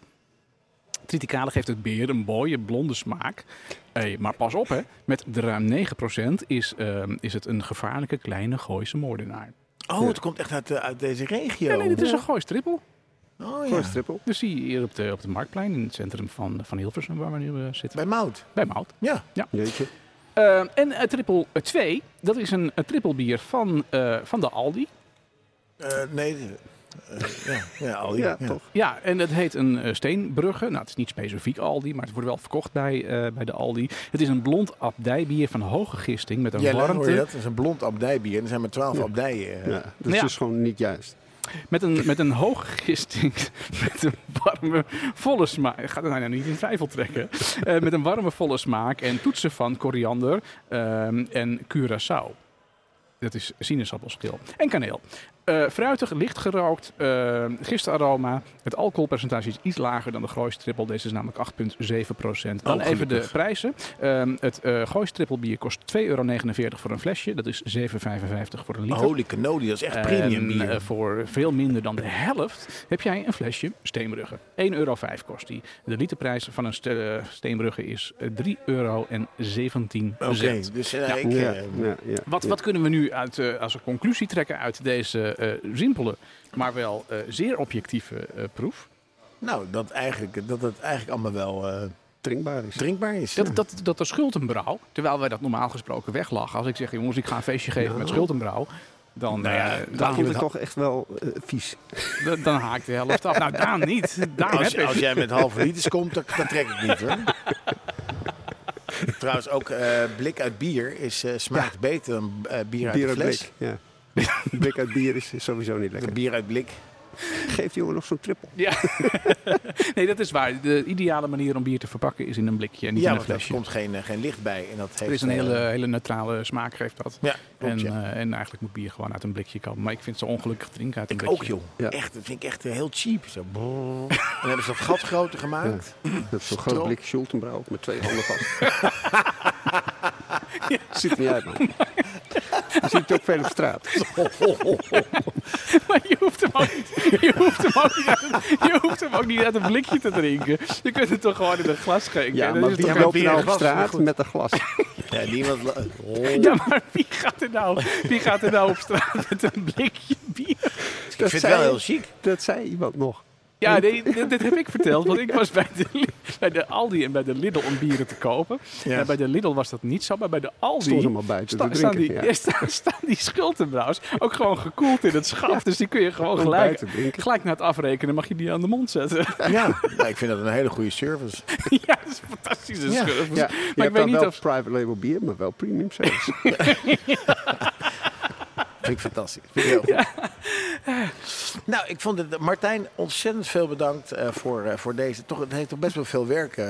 [SPEAKER 2] Triticale geeft het beer een mooie blonde smaak. Hey, maar pas op, hè. met de ruim 9% is, ehm, is het een gevaarlijke kleine Gooise moordenaar.
[SPEAKER 3] Oh, het komt echt uit, eh, uit deze regio.
[SPEAKER 2] Ja, nee, dit is een Goois trippel.
[SPEAKER 3] Oh
[SPEAKER 4] Voor
[SPEAKER 3] ja.
[SPEAKER 4] een triple.
[SPEAKER 2] Dus zie je hier op de, op de Marktplein in het centrum van, van Hilversum, waar we nu eh, zitten.
[SPEAKER 3] Bij Mout.
[SPEAKER 2] Bij Mout.
[SPEAKER 3] Ja.
[SPEAKER 4] Jeetje.
[SPEAKER 2] Eh, en eh, triple 2, dat is een, een triple bier van, eh, van de Aldi.
[SPEAKER 3] Eh, nee. eh, ja. Ja, al die-
[SPEAKER 4] Ja,
[SPEAKER 3] ja.
[SPEAKER 4] toch.
[SPEAKER 2] Ja, en dat heet een eh, steenbrugge. Nou, het is niet specifiek Aldi, maar het wordt wel verkocht bij, eh, bij de Aldi. Het is een blond abdijbier van hoge gisting met een
[SPEAKER 3] Jelle, hoor je
[SPEAKER 2] warmte.
[SPEAKER 3] dat? Dat is een blond abdijbier. Er zijn maar twaalf abdijen. eh.
[SPEAKER 4] Ja, dat is
[SPEAKER 2] Ja.
[SPEAKER 4] dus gewoon niet juist.
[SPEAKER 2] Met een, met een hoge gisting, met een warme, volle smaak. Ik ga er nou niet in twijfel trekken. Eh, met een warme, volle smaak en toetsen van koriander ehm, en curaçao. Dat is sinaasappelschil en kaneel. Eh, fruitig, licht gerookt, eh gisteraroma. Het alcoholpercentage is iets lager dan de gooistrippel. Deze is namelijk 8,7 procent. Dan
[SPEAKER 3] Oh,
[SPEAKER 2] even de
[SPEAKER 3] gelukkig.
[SPEAKER 2] prijzen. Ehm, het eh gooistrippel bier kost 2,49 euro voor een flesje. Dat is 7,55 voor een liter.
[SPEAKER 3] Holy cannoli, dat is echt
[SPEAKER 2] En,
[SPEAKER 3] premium bier.
[SPEAKER 2] eh, voor veel minder dan de helft heb jij een flesje Steenbrugge. 1,05 euro kost die. De literprijs van een ste- eh, Steenbrugge is eh, 3,17 euro.
[SPEAKER 3] Oké, dus eh,
[SPEAKER 2] Ja.
[SPEAKER 3] ik,
[SPEAKER 4] ja,
[SPEAKER 3] eh,
[SPEAKER 4] ja, ja,
[SPEAKER 2] Wat,
[SPEAKER 4] ja.
[SPEAKER 2] wat kunnen we nu uit, eh, als een conclusie trekken uit deze eh, simpele, maar wel eh, zeer objectieve eh, proef?
[SPEAKER 3] nou, dat, eigenlijk, dat het eigenlijk allemaal wel eh,
[SPEAKER 4] drinkbaar is.
[SPEAKER 3] drinkbaar is.
[SPEAKER 2] Dat, dat, dat er schuldenbrouw, terwijl wij dat normaal gesproken weglachen. Als ik zeg, jongens, ik ga een feestje geven
[SPEAKER 4] Nou.
[SPEAKER 2] met schuldenbrouw. Dan,
[SPEAKER 3] Nou ja,
[SPEAKER 2] eh,
[SPEAKER 4] Daar
[SPEAKER 2] dan,
[SPEAKER 4] vond ik
[SPEAKER 3] het
[SPEAKER 4] toch echt wel eh, vies.
[SPEAKER 2] dan, dan haakt de helft af. Nou, Daan niet. Daan
[SPEAKER 3] als,
[SPEAKER 2] heb ik.
[SPEAKER 3] als jij met halve liters komt, dan, dan trek ik niet hoor. Trouwens, ook eh, blik uit bier is, eh, smaakt beter dan eh, bier uit de
[SPEAKER 4] Bier uit
[SPEAKER 3] fles.
[SPEAKER 4] blik. Ja. blik uit bier is sowieso niet lekker.
[SPEAKER 3] Bier uit blik.
[SPEAKER 4] Geef die jongen nog zo'n trippel.
[SPEAKER 2] Ja, nee, dat is waar. De ideale manier om bier te verpakken is in een blikje en niet
[SPEAKER 3] Ja,
[SPEAKER 2] in een
[SPEAKER 3] want daar
[SPEAKER 2] flesje.
[SPEAKER 3] komt geen, eh, geen licht bij. En dat heeft,
[SPEAKER 2] er is een
[SPEAKER 3] eh,
[SPEAKER 2] hele, hele neutrale smaak, geeft dat.
[SPEAKER 3] Ja, klopt,
[SPEAKER 2] en,
[SPEAKER 3] ja.
[SPEAKER 2] eh, en eigenlijk moet bier gewoon uit een blikje komen. Maar ik vind het zo ongelukkig drinken uit een
[SPEAKER 3] Ik
[SPEAKER 2] blikje.
[SPEAKER 3] ook, joh.
[SPEAKER 4] Ja.
[SPEAKER 3] Echt, dat vind ik echt eh, heel cheap. Zo. brrr. En dan hebben ze dat gat groter gemaakt.
[SPEAKER 4] Dat is zo'n groot
[SPEAKER 3] Strop.
[SPEAKER 4] blik Schultenbrouw met twee handen vast. Ziet niet uit, man. Dat zie ik ook verder op straat.
[SPEAKER 2] Maar je hoeft hem ook niet, je hoeft hem ook niet, uit, je hoeft hem ook niet uit een blikje te drinken. Je kunt het toch gewoon in een glas schenken.
[SPEAKER 4] Ja,
[SPEAKER 2] Dat
[SPEAKER 4] maar
[SPEAKER 2] is
[SPEAKER 4] wie
[SPEAKER 2] toch-
[SPEAKER 3] geen
[SPEAKER 4] loopt
[SPEAKER 3] bier
[SPEAKER 4] nou op
[SPEAKER 3] glas, maar
[SPEAKER 4] straat
[SPEAKER 3] goed.
[SPEAKER 4] met een glas?
[SPEAKER 3] Ja, niemand... la-
[SPEAKER 2] ja, maar wie gaat, er nou, wie gaat er nou op straat met een blikje bier?
[SPEAKER 3] Ik vind het wel heel chic.
[SPEAKER 4] Dat zei iemand nog.
[SPEAKER 2] Ja, nee, dit, dit heb ik verteld. Want ik was bij de, Li- bij de Aldi en bij de Lidl om bieren te kopen.
[SPEAKER 3] Ja.
[SPEAKER 2] En bij de Lidl was dat niet zo, maar bij de Aldi...
[SPEAKER 4] Stond allemaal buiten te
[SPEAKER 2] staan, die,
[SPEAKER 4] drinken, ja.
[SPEAKER 2] ja, staan, staan die schulden trouwens ook gewoon gekoeld in het schap. Dus die kun je gewoon
[SPEAKER 4] Gewoon
[SPEAKER 2] gelijk,
[SPEAKER 4] buiten drinken.
[SPEAKER 2] gelijk na het afrekenen mag je die aan de mond zetten.
[SPEAKER 3] Ja, maar ik vind dat een hele goede service.
[SPEAKER 2] ja, dat is een fantastische
[SPEAKER 3] Ja.
[SPEAKER 2] schurf.
[SPEAKER 4] Ja, je
[SPEAKER 2] maar ik
[SPEAKER 4] hebt
[SPEAKER 2] weet
[SPEAKER 4] dan
[SPEAKER 2] niet
[SPEAKER 4] wel
[SPEAKER 2] of...
[SPEAKER 4] private label bier, maar wel premium service.
[SPEAKER 3] Vind ik fantastisch. Vind ik heel goed. Nou, ik vond het, Martijn, ontzettend veel bedankt eh, voor, eh, voor deze. Toch, het heeft toch best wel veel werk eh,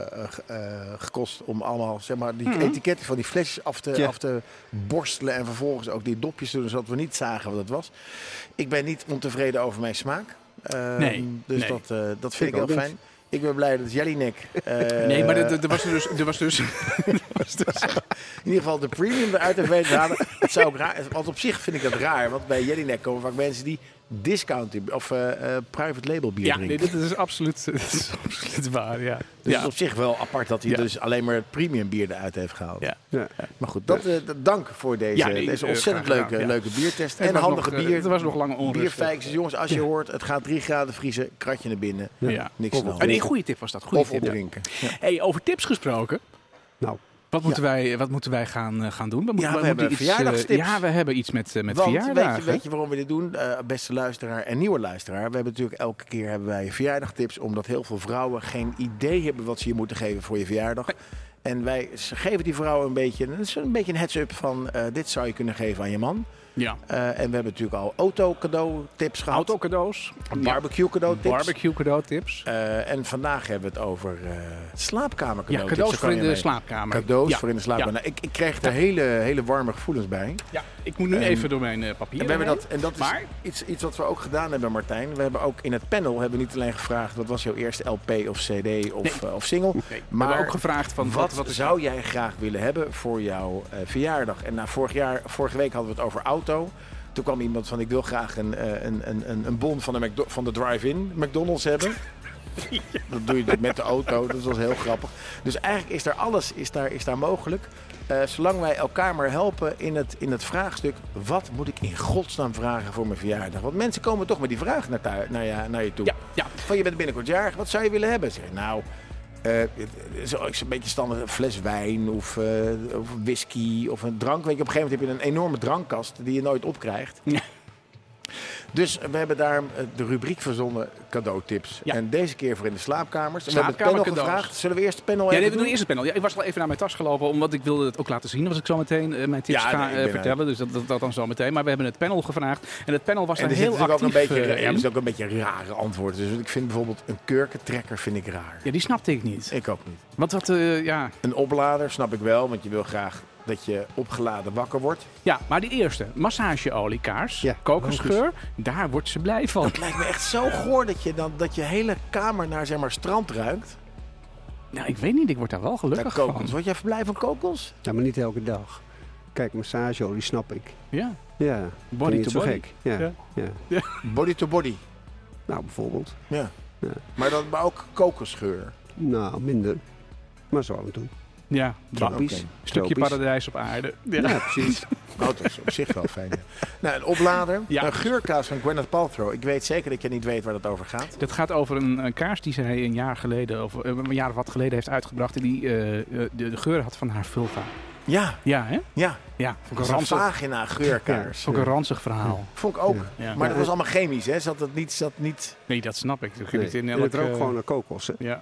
[SPEAKER 3] eh, ge- eh, gekost om allemaal zeg maar, die etiketten van die flesjes af te,
[SPEAKER 4] Ja.
[SPEAKER 3] af te borstelen. En vervolgens ook die dopjes te doen, zodat we niet zagen wat het was. Ik ben niet ontevreden over mijn smaak. Ehm,
[SPEAKER 2] Nee,
[SPEAKER 3] Dus
[SPEAKER 2] nee.
[SPEAKER 3] dat, eh, dat vind
[SPEAKER 4] Ik
[SPEAKER 3] ik
[SPEAKER 4] ook
[SPEAKER 3] heel
[SPEAKER 4] niet.
[SPEAKER 3] fijn. Ik ben blij dat Jellinek... eh,
[SPEAKER 2] Nee, maar er- er er was dus... Er was dus, er was dus
[SPEAKER 3] in ieder geval de premium eruit heeft weten te halen. Dat zou ook raar Want op zich vind ik dat raar. Want bij Jellinek komen vaak mensen die discount of eh, eh, private label bier
[SPEAKER 2] ja,
[SPEAKER 3] drinken.
[SPEAKER 2] nee, dit is dus absoluut, dit is absoluut waar, ja. ja.
[SPEAKER 3] Dus het is op zich wel apart dat hij
[SPEAKER 2] Ja.
[SPEAKER 3] dus alleen maar het premium bier eruit heeft gehaald.
[SPEAKER 2] Ja.
[SPEAKER 4] Ja.
[SPEAKER 3] Maar goed, dat, eh, dat- dank voor deze,
[SPEAKER 2] Ja, nee,
[SPEAKER 3] deze
[SPEAKER 2] eh,
[SPEAKER 3] ontzettend
[SPEAKER 2] graag
[SPEAKER 3] leuke,
[SPEAKER 2] gedaan, ja.
[SPEAKER 3] leuke biertest.
[SPEAKER 2] Het
[SPEAKER 3] En
[SPEAKER 2] was
[SPEAKER 3] handige
[SPEAKER 2] nog, eh,
[SPEAKER 3] bier.
[SPEAKER 2] het was nog lange onrust.
[SPEAKER 3] Bierfijkjes, jongens, als je hoort, het gaat 3 graden vriezen, kratje naar binnen.
[SPEAKER 2] Ja.
[SPEAKER 3] Niks aan de
[SPEAKER 2] Oh,
[SPEAKER 3] hand.
[SPEAKER 2] nee, goede tip was dat. Goede
[SPEAKER 3] Of
[SPEAKER 2] tip.
[SPEAKER 3] opdrinken. Ja.
[SPEAKER 2] Hey, over tips gesproken.
[SPEAKER 4] Nou,
[SPEAKER 2] Wat moeten, wij, wat moeten wij gaan, eh, gaan doen? We, moeten-
[SPEAKER 3] Ja, we
[SPEAKER 2] moeten
[SPEAKER 3] hebben
[SPEAKER 2] iets, eh,
[SPEAKER 3] verjaardagstips.
[SPEAKER 2] ja, we hebben iets met, eh, met
[SPEAKER 3] Want
[SPEAKER 2] verjaardagen.
[SPEAKER 3] Weet je, weet je waarom we dit doen, eh, beste luisteraar en nieuwe luisteraar? We hebben natuurlijk elke keer hebben wij verjaardagtips, omdat heel veel vrouwen geen idee hebben wat ze je moeten geven voor je verjaardag. En wij s- geven die vrouwen een beetje, dat is een beetje een heads-up van eh, dit zou je kunnen geven aan je man.
[SPEAKER 2] Ja.
[SPEAKER 3] Eh, en we hebben natuurlijk al auto-cadeau-tips gehad,
[SPEAKER 2] Autocadeaus.
[SPEAKER 3] barbecue-cadeau-tips.
[SPEAKER 2] Barbecue cadeautips.
[SPEAKER 3] Eh, en vandaag hebben we het over eh
[SPEAKER 2] Ja,
[SPEAKER 3] slaapkamer-cadeautips.
[SPEAKER 2] cadeaus
[SPEAKER 3] Daar
[SPEAKER 2] voor in
[SPEAKER 3] kan je
[SPEAKER 2] de
[SPEAKER 3] mee.
[SPEAKER 2] slaapkamer.
[SPEAKER 3] Cadeaus
[SPEAKER 2] Ja,
[SPEAKER 3] voor in de slaapkamer.
[SPEAKER 2] Ja.
[SPEAKER 3] Nou, ik, ik kreeg er hele, hele warme gevoelens bij.
[SPEAKER 2] Ja, ik moet nu even door mijn eh, papier.
[SPEAKER 3] En, we hebben
[SPEAKER 2] heen.
[SPEAKER 3] dat, en dat is
[SPEAKER 2] Maar-
[SPEAKER 3] iets, iets wat we ook gedaan hebben, Martijn. We hebben ook in het panel hebben we niet alleen gevraagd... wat was jouw eerste LP of CD of, eh, of single?
[SPEAKER 2] Nee, we
[SPEAKER 3] maar
[SPEAKER 2] hebben ook gevraagd van
[SPEAKER 3] wat,
[SPEAKER 2] wat, wat is
[SPEAKER 3] zou jij graag willen hebben voor jouw eh, verjaardag? En na vorig jaar, vorige week hadden we het over auto. Toen kwam iemand van, ik wil graag een, eh, een, een, een, een bon van de, McDo- van de drive-in McDonald's hebben. Dat doe je dus met de auto, dat was heel grappig. Dus eigenlijk is daar alles is daar, is daar mogelijk. Eh, zolang wij elkaar maar helpen in het, in het vraagstuk... wat moet ik in godsnaam vragen voor mijn verjaardag? Want mensen komen toch met die vraag naar, thui- naar, je, naar je toe.
[SPEAKER 2] Ja, ja.
[SPEAKER 3] Van, je bent binnenkort jarig, wat zou je willen hebben? Zeg, ik, nou, eh, het- het is ook een beetje standaard een fles wijn of, eh, of whisky of een drank. Weet je, op een gegeven moment heb je een enorme drankkast die je nooit opkrijgt.
[SPEAKER 2] Ja.
[SPEAKER 3] Dus we hebben daar eh, de rubriek verzonnen cadeautips.
[SPEAKER 2] Ja.
[SPEAKER 3] En deze keer voor in de slaapkamers. En we hebben
[SPEAKER 2] Slaapkamer
[SPEAKER 3] het panel
[SPEAKER 2] cadeaus.
[SPEAKER 3] gevraagd. Zullen we eerst het panel
[SPEAKER 2] Ja,
[SPEAKER 3] even
[SPEAKER 2] nee, we doen eerst het panel. Ja, ik was al even naar mijn tas gelopen, omdat ik wilde het ook laten zien. Als ik zo meteen eh, mijn tips
[SPEAKER 3] Ja, nee,
[SPEAKER 2] ga
[SPEAKER 3] ik
[SPEAKER 2] eh,
[SPEAKER 3] ben uit.
[SPEAKER 2] vertellen. Dus dat, dat, dat dan zo meteen. Maar we hebben het panel gevraagd. En het panel was
[SPEAKER 3] En
[SPEAKER 2] daar
[SPEAKER 3] er zit
[SPEAKER 2] heel
[SPEAKER 3] natuurlijk ook
[SPEAKER 2] actief
[SPEAKER 3] een beetje,
[SPEAKER 2] eh,
[SPEAKER 3] ja, er
[SPEAKER 2] in.
[SPEAKER 3] zitten ook een beetje rare antwoorden. Dus ik vind bijvoorbeeld een kurkentrekker vind ik raar.
[SPEAKER 2] Ja, die snapte ik niet.
[SPEAKER 3] Ik ook niet.
[SPEAKER 2] Want dat, eh, ja,
[SPEAKER 3] Een oplader snap ik wel, want je wil graag dat je opgeladen wakker wordt.
[SPEAKER 2] Ja, maar die eerste, massageoliekaars,
[SPEAKER 4] Ja,
[SPEAKER 2] kokosgeur, daar wordt ze blij van.
[SPEAKER 3] Het lijkt me echt zo goor dat je, dan, dat je hele kamer naar zeg maar, strand ruikt.
[SPEAKER 2] Nou, ik weet niet, ik word daar wel
[SPEAKER 3] Naar
[SPEAKER 2] gelukkig van.
[SPEAKER 3] kokos. Word jij blij van kokos?
[SPEAKER 4] Ja, nou, maar niet elke dag. Kijk, massageolie snap ik.
[SPEAKER 2] Ja,
[SPEAKER 4] Ja, ik ben
[SPEAKER 2] body
[SPEAKER 4] niet
[SPEAKER 2] to
[SPEAKER 4] zo
[SPEAKER 2] body.
[SPEAKER 4] gek. Ja,
[SPEAKER 2] Ja.
[SPEAKER 4] ja.
[SPEAKER 3] Body to body.
[SPEAKER 4] Nou, bijvoorbeeld.
[SPEAKER 3] Ja.
[SPEAKER 4] Ja.
[SPEAKER 3] Maar, dat, maar ook kokosgeur.
[SPEAKER 4] Nou, minder. Maar zo aan toe.
[SPEAKER 2] Ja, een
[SPEAKER 4] Tropisch.
[SPEAKER 2] stukje
[SPEAKER 4] Tropisch.
[SPEAKER 2] paradijs op aarde. Ja.
[SPEAKER 4] Ja, precies.
[SPEAKER 3] Oh, dat is op zich wel fijn. ja. Nou, een oplader.
[SPEAKER 2] Ja.
[SPEAKER 3] Een geurkaas van Gwyneth Paltrow. Ik weet zeker dat je niet weet waar dat over gaat.
[SPEAKER 2] Dat gaat over een, een kaars die zij een jaar geleden, of eh, een jaar of wat geleden heeft uitgebracht. En die eh, eh, de, de geur had van haar vulva.
[SPEAKER 3] Ja,
[SPEAKER 2] Ja, hè?
[SPEAKER 3] ja.
[SPEAKER 2] Ja, vond ik een
[SPEAKER 3] Een
[SPEAKER 2] ranzig,
[SPEAKER 3] vagina geurkaars.
[SPEAKER 2] vond ik een ranzig verhaal.
[SPEAKER 3] Vond ik ook.
[SPEAKER 4] Ja.
[SPEAKER 2] Ja.
[SPEAKER 3] Maar dat was allemaal chemisch, hè? Zat dat niet... Zat niet...
[SPEAKER 2] Nee, dat snap ik. Dat kun je
[SPEAKER 4] Nee.
[SPEAKER 2] niet in
[SPEAKER 4] En het
[SPEAKER 2] elk,
[SPEAKER 4] rookt
[SPEAKER 2] eh,
[SPEAKER 4] gewoon naar kokos, hè?
[SPEAKER 2] Ja.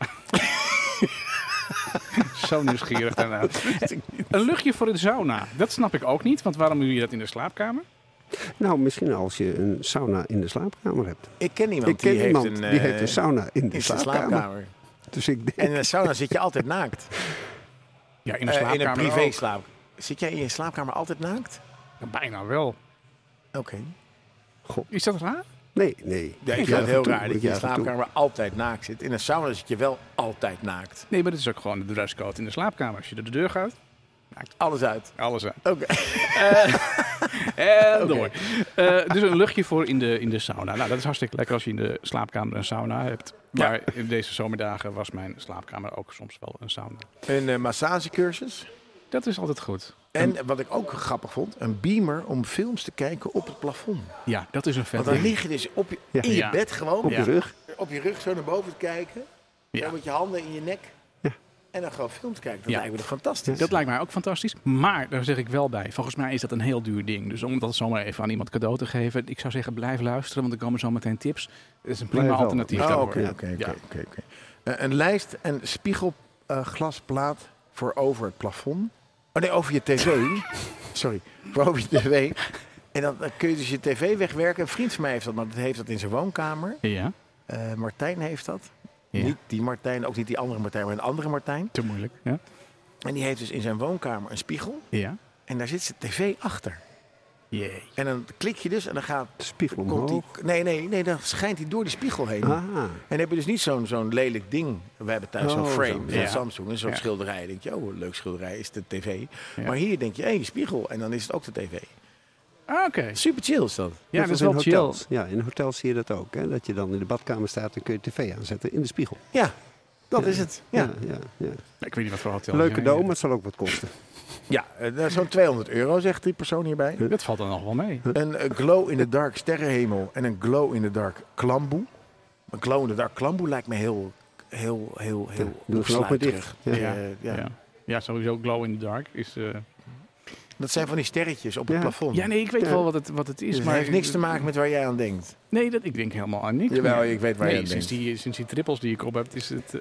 [SPEAKER 2] Zo nieuwsgierig daarna. Een luchtje voor de sauna. Dat snap ik ook niet, want waarom doe je dat in de slaapkamer?
[SPEAKER 4] Nou, misschien als je een sauna in de slaapkamer hebt.
[SPEAKER 3] Ik ken iemand
[SPEAKER 4] ik ken
[SPEAKER 3] die
[SPEAKER 4] iemand
[SPEAKER 3] heeft een...
[SPEAKER 4] die
[SPEAKER 3] eh,
[SPEAKER 4] heeft een sauna in de
[SPEAKER 3] in zijn
[SPEAKER 4] slaapkamer.
[SPEAKER 3] slaapkamer.
[SPEAKER 4] Dus ik denk,
[SPEAKER 3] En in een sauna zit je altijd naakt.
[SPEAKER 2] Ja, in de
[SPEAKER 3] Eh, in een
[SPEAKER 2] slaapkamer
[SPEAKER 3] privé
[SPEAKER 2] ook.
[SPEAKER 3] slaap. Zit jij in je slaapkamer altijd naakt?
[SPEAKER 2] Ja, Bijna wel.
[SPEAKER 3] Oké.
[SPEAKER 2] Is dat raar?
[SPEAKER 4] nee, nee.
[SPEAKER 3] Ja, ik
[SPEAKER 4] juich
[SPEAKER 3] vind het heel
[SPEAKER 4] toe,
[SPEAKER 3] raar dat je in
[SPEAKER 4] juich
[SPEAKER 3] de
[SPEAKER 4] toe.
[SPEAKER 3] slaapkamer altijd naakt zit. In een sauna zit je wel altijd naakt.
[SPEAKER 2] Nee, maar dat is ook gewoon de dresscode in de slaapkamer. Als je door de deur gaat,
[SPEAKER 3] Alles uit.
[SPEAKER 2] alles aan.
[SPEAKER 3] Oké.
[SPEAKER 2] En door. Eh, dus een luchtje voor in de, in de sauna. Nou, dat is hartstikke lekker als je in de slaapkamer een sauna hebt.
[SPEAKER 3] Ja.
[SPEAKER 2] Maar in deze zomerdagen was mijn slaapkamer ook soms wel een sauna.
[SPEAKER 3] Een eh, massagecursus.
[SPEAKER 2] Dat is altijd goed.
[SPEAKER 3] En wat ik ook grappig vond, een beamer om films te kijken op het plafond.
[SPEAKER 2] Ja, dat is een vet
[SPEAKER 3] Want dan
[SPEAKER 2] ding.
[SPEAKER 3] lig je dus op je, in je
[SPEAKER 2] Ja.
[SPEAKER 3] bed gewoon,
[SPEAKER 4] Op
[SPEAKER 2] Ja.
[SPEAKER 4] je rug.
[SPEAKER 3] op je rug zo naar boven te kijken.
[SPEAKER 2] Ja.
[SPEAKER 3] Zo met je handen in je nek. En dan gewoon films kijken. Dat
[SPEAKER 2] Ja.
[SPEAKER 3] lijkt me toch fantastisch.
[SPEAKER 2] Dat lijkt mij ook fantastisch. Maar daar zeg ik wel bij. Volgens mij is dat een heel duur ding. Dus om dat zomaar even aan iemand cadeau te geven. Ik zou zeggen, blijf luisteren, want er komen zo meteen tips. Dat is een prima
[SPEAKER 4] Blijf wel.
[SPEAKER 2] alternatief.
[SPEAKER 3] Oh,
[SPEAKER 2] daarvoor.
[SPEAKER 3] oké, oké,
[SPEAKER 2] Ja.
[SPEAKER 3] oké, oké, oké. Eh, Een lijst en spiegelglasplaat voor over het plafond. Oh nee, over je tv. Sorry, voor over je tv. En dan eh, kun je dus je tv wegwerken. Een vriend van mij heeft dat, maar dat heeft dat in zijn woonkamer.
[SPEAKER 2] Ja,
[SPEAKER 3] Eh, Martijn heeft dat.
[SPEAKER 2] Ja.
[SPEAKER 3] Niet die Martijn, ook niet die andere Martijn, maar een andere Martijn.
[SPEAKER 2] te moeilijk. Ja.
[SPEAKER 3] En die heeft dus in zijn woonkamer een spiegel.
[SPEAKER 2] ja.
[SPEAKER 3] En daar zit zijn tv achter.
[SPEAKER 2] Jee.
[SPEAKER 3] En dan klik je dus en dan gaat...
[SPEAKER 4] De spiegel
[SPEAKER 3] Komt die,
[SPEAKER 4] omhoog.
[SPEAKER 3] nee, nee, nee, dan schijnt hij door die spiegel heen.
[SPEAKER 4] Ah,
[SPEAKER 3] En heb je dus niet zo'n zo'n lelijk ding. We hebben thuis zo'n
[SPEAKER 4] Oh,
[SPEAKER 3] frame
[SPEAKER 4] zo.
[SPEAKER 3] van
[SPEAKER 2] Ja.
[SPEAKER 3] Samsung. en Zo'n
[SPEAKER 2] Ja.
[SPEAKER 3] schilderij. Dan denk je, oh, leuk schilderij is de tv.
[SPEAKER 2] Ja.
[SPEAKER 3] Maar hier denk je, hé, die spiegel. En dan is het ook de tv.
[SPEAKER 2] Ah, Oké.
[SPEAKER 3] Super chill is dat.
[SPEAKER 2] Ja,
[SPEAKER 4] net
[SPEAKER 2] dat is
[SPEAKER 4] als
[SPEAKER 2] wel
[SPEAKER 4] in
[SPEAKER 2] chill.
[SPEAKER 4] hotels. Ja, in hotels zie je dat ook. Hè? Dat je dan in de badkamer staat en kun je tv aanzetten in de spiegel.
[SPEAKER 3] Ja, dat is het. Ja, ja.
[SPEAKER 4] ja, ja.
[SPEAKER 2] Ik weet niet wat voor hotel.
[SPEAKER 4] Leuk cadeau, maar
[SPEAKER 2] maar...
[SPEAKER 4] het zal ook wat kosten.
[SPEAKER 3] eh, dat is zo'n 200 euro, zegt die persoon hierbij.
[SPEAKER 2] Dat valt dan nog wel mee.
[SPEAKER 3] Een eh, glow-in-the-dark sterrenhemel en een glow-in-the-dark klamboe. Een glow-in-the-dark klamboe lijkt me heel, heel, heel, heel
[SPEAKER 4] doe het gewoon ook maar
[SPEAKER 3] opsluiterig.
[SPEAKER 4] dicht.
[SPEAKER 3] Ja.
[SPEAKER 2] Ja.
[SPEAKER 3] Eh, ja.
[SPEAKER 2] Ja. ja. sowieso glow in the dark is... eh,
[SPEAKER 3] Dat zijn van die sterretjes op het
[SPEAKER 4] Ja.
[SPEAKER 3] plafond.
[SPEAKER 2] Ja, nee, ik weet
[SPEAKER 4] Ja.
[SPEAKER 2] wel wat het, wat het is.
[SPEAKER 3] Dus het
[SPEAKER 2] maar
[SPEAKER 3] heeft niks te maken met waar jij aan denkt.
[SPEAKER 2] Nee, dat, ik denk helemaal aan niks.
[SPEAKER 3] Jawel,
[SPEAKER 2] meer.
[SPEAKER 3] ik weet waar
[SPEAKER 2] nee,
[SPEAKER 3] je aan
[SPEAKER 2] sinds
[SPEAKER 3] denkt. Oh,
[SPEAKER 2] die, sinds die trippels die ik op heb, is het... eh,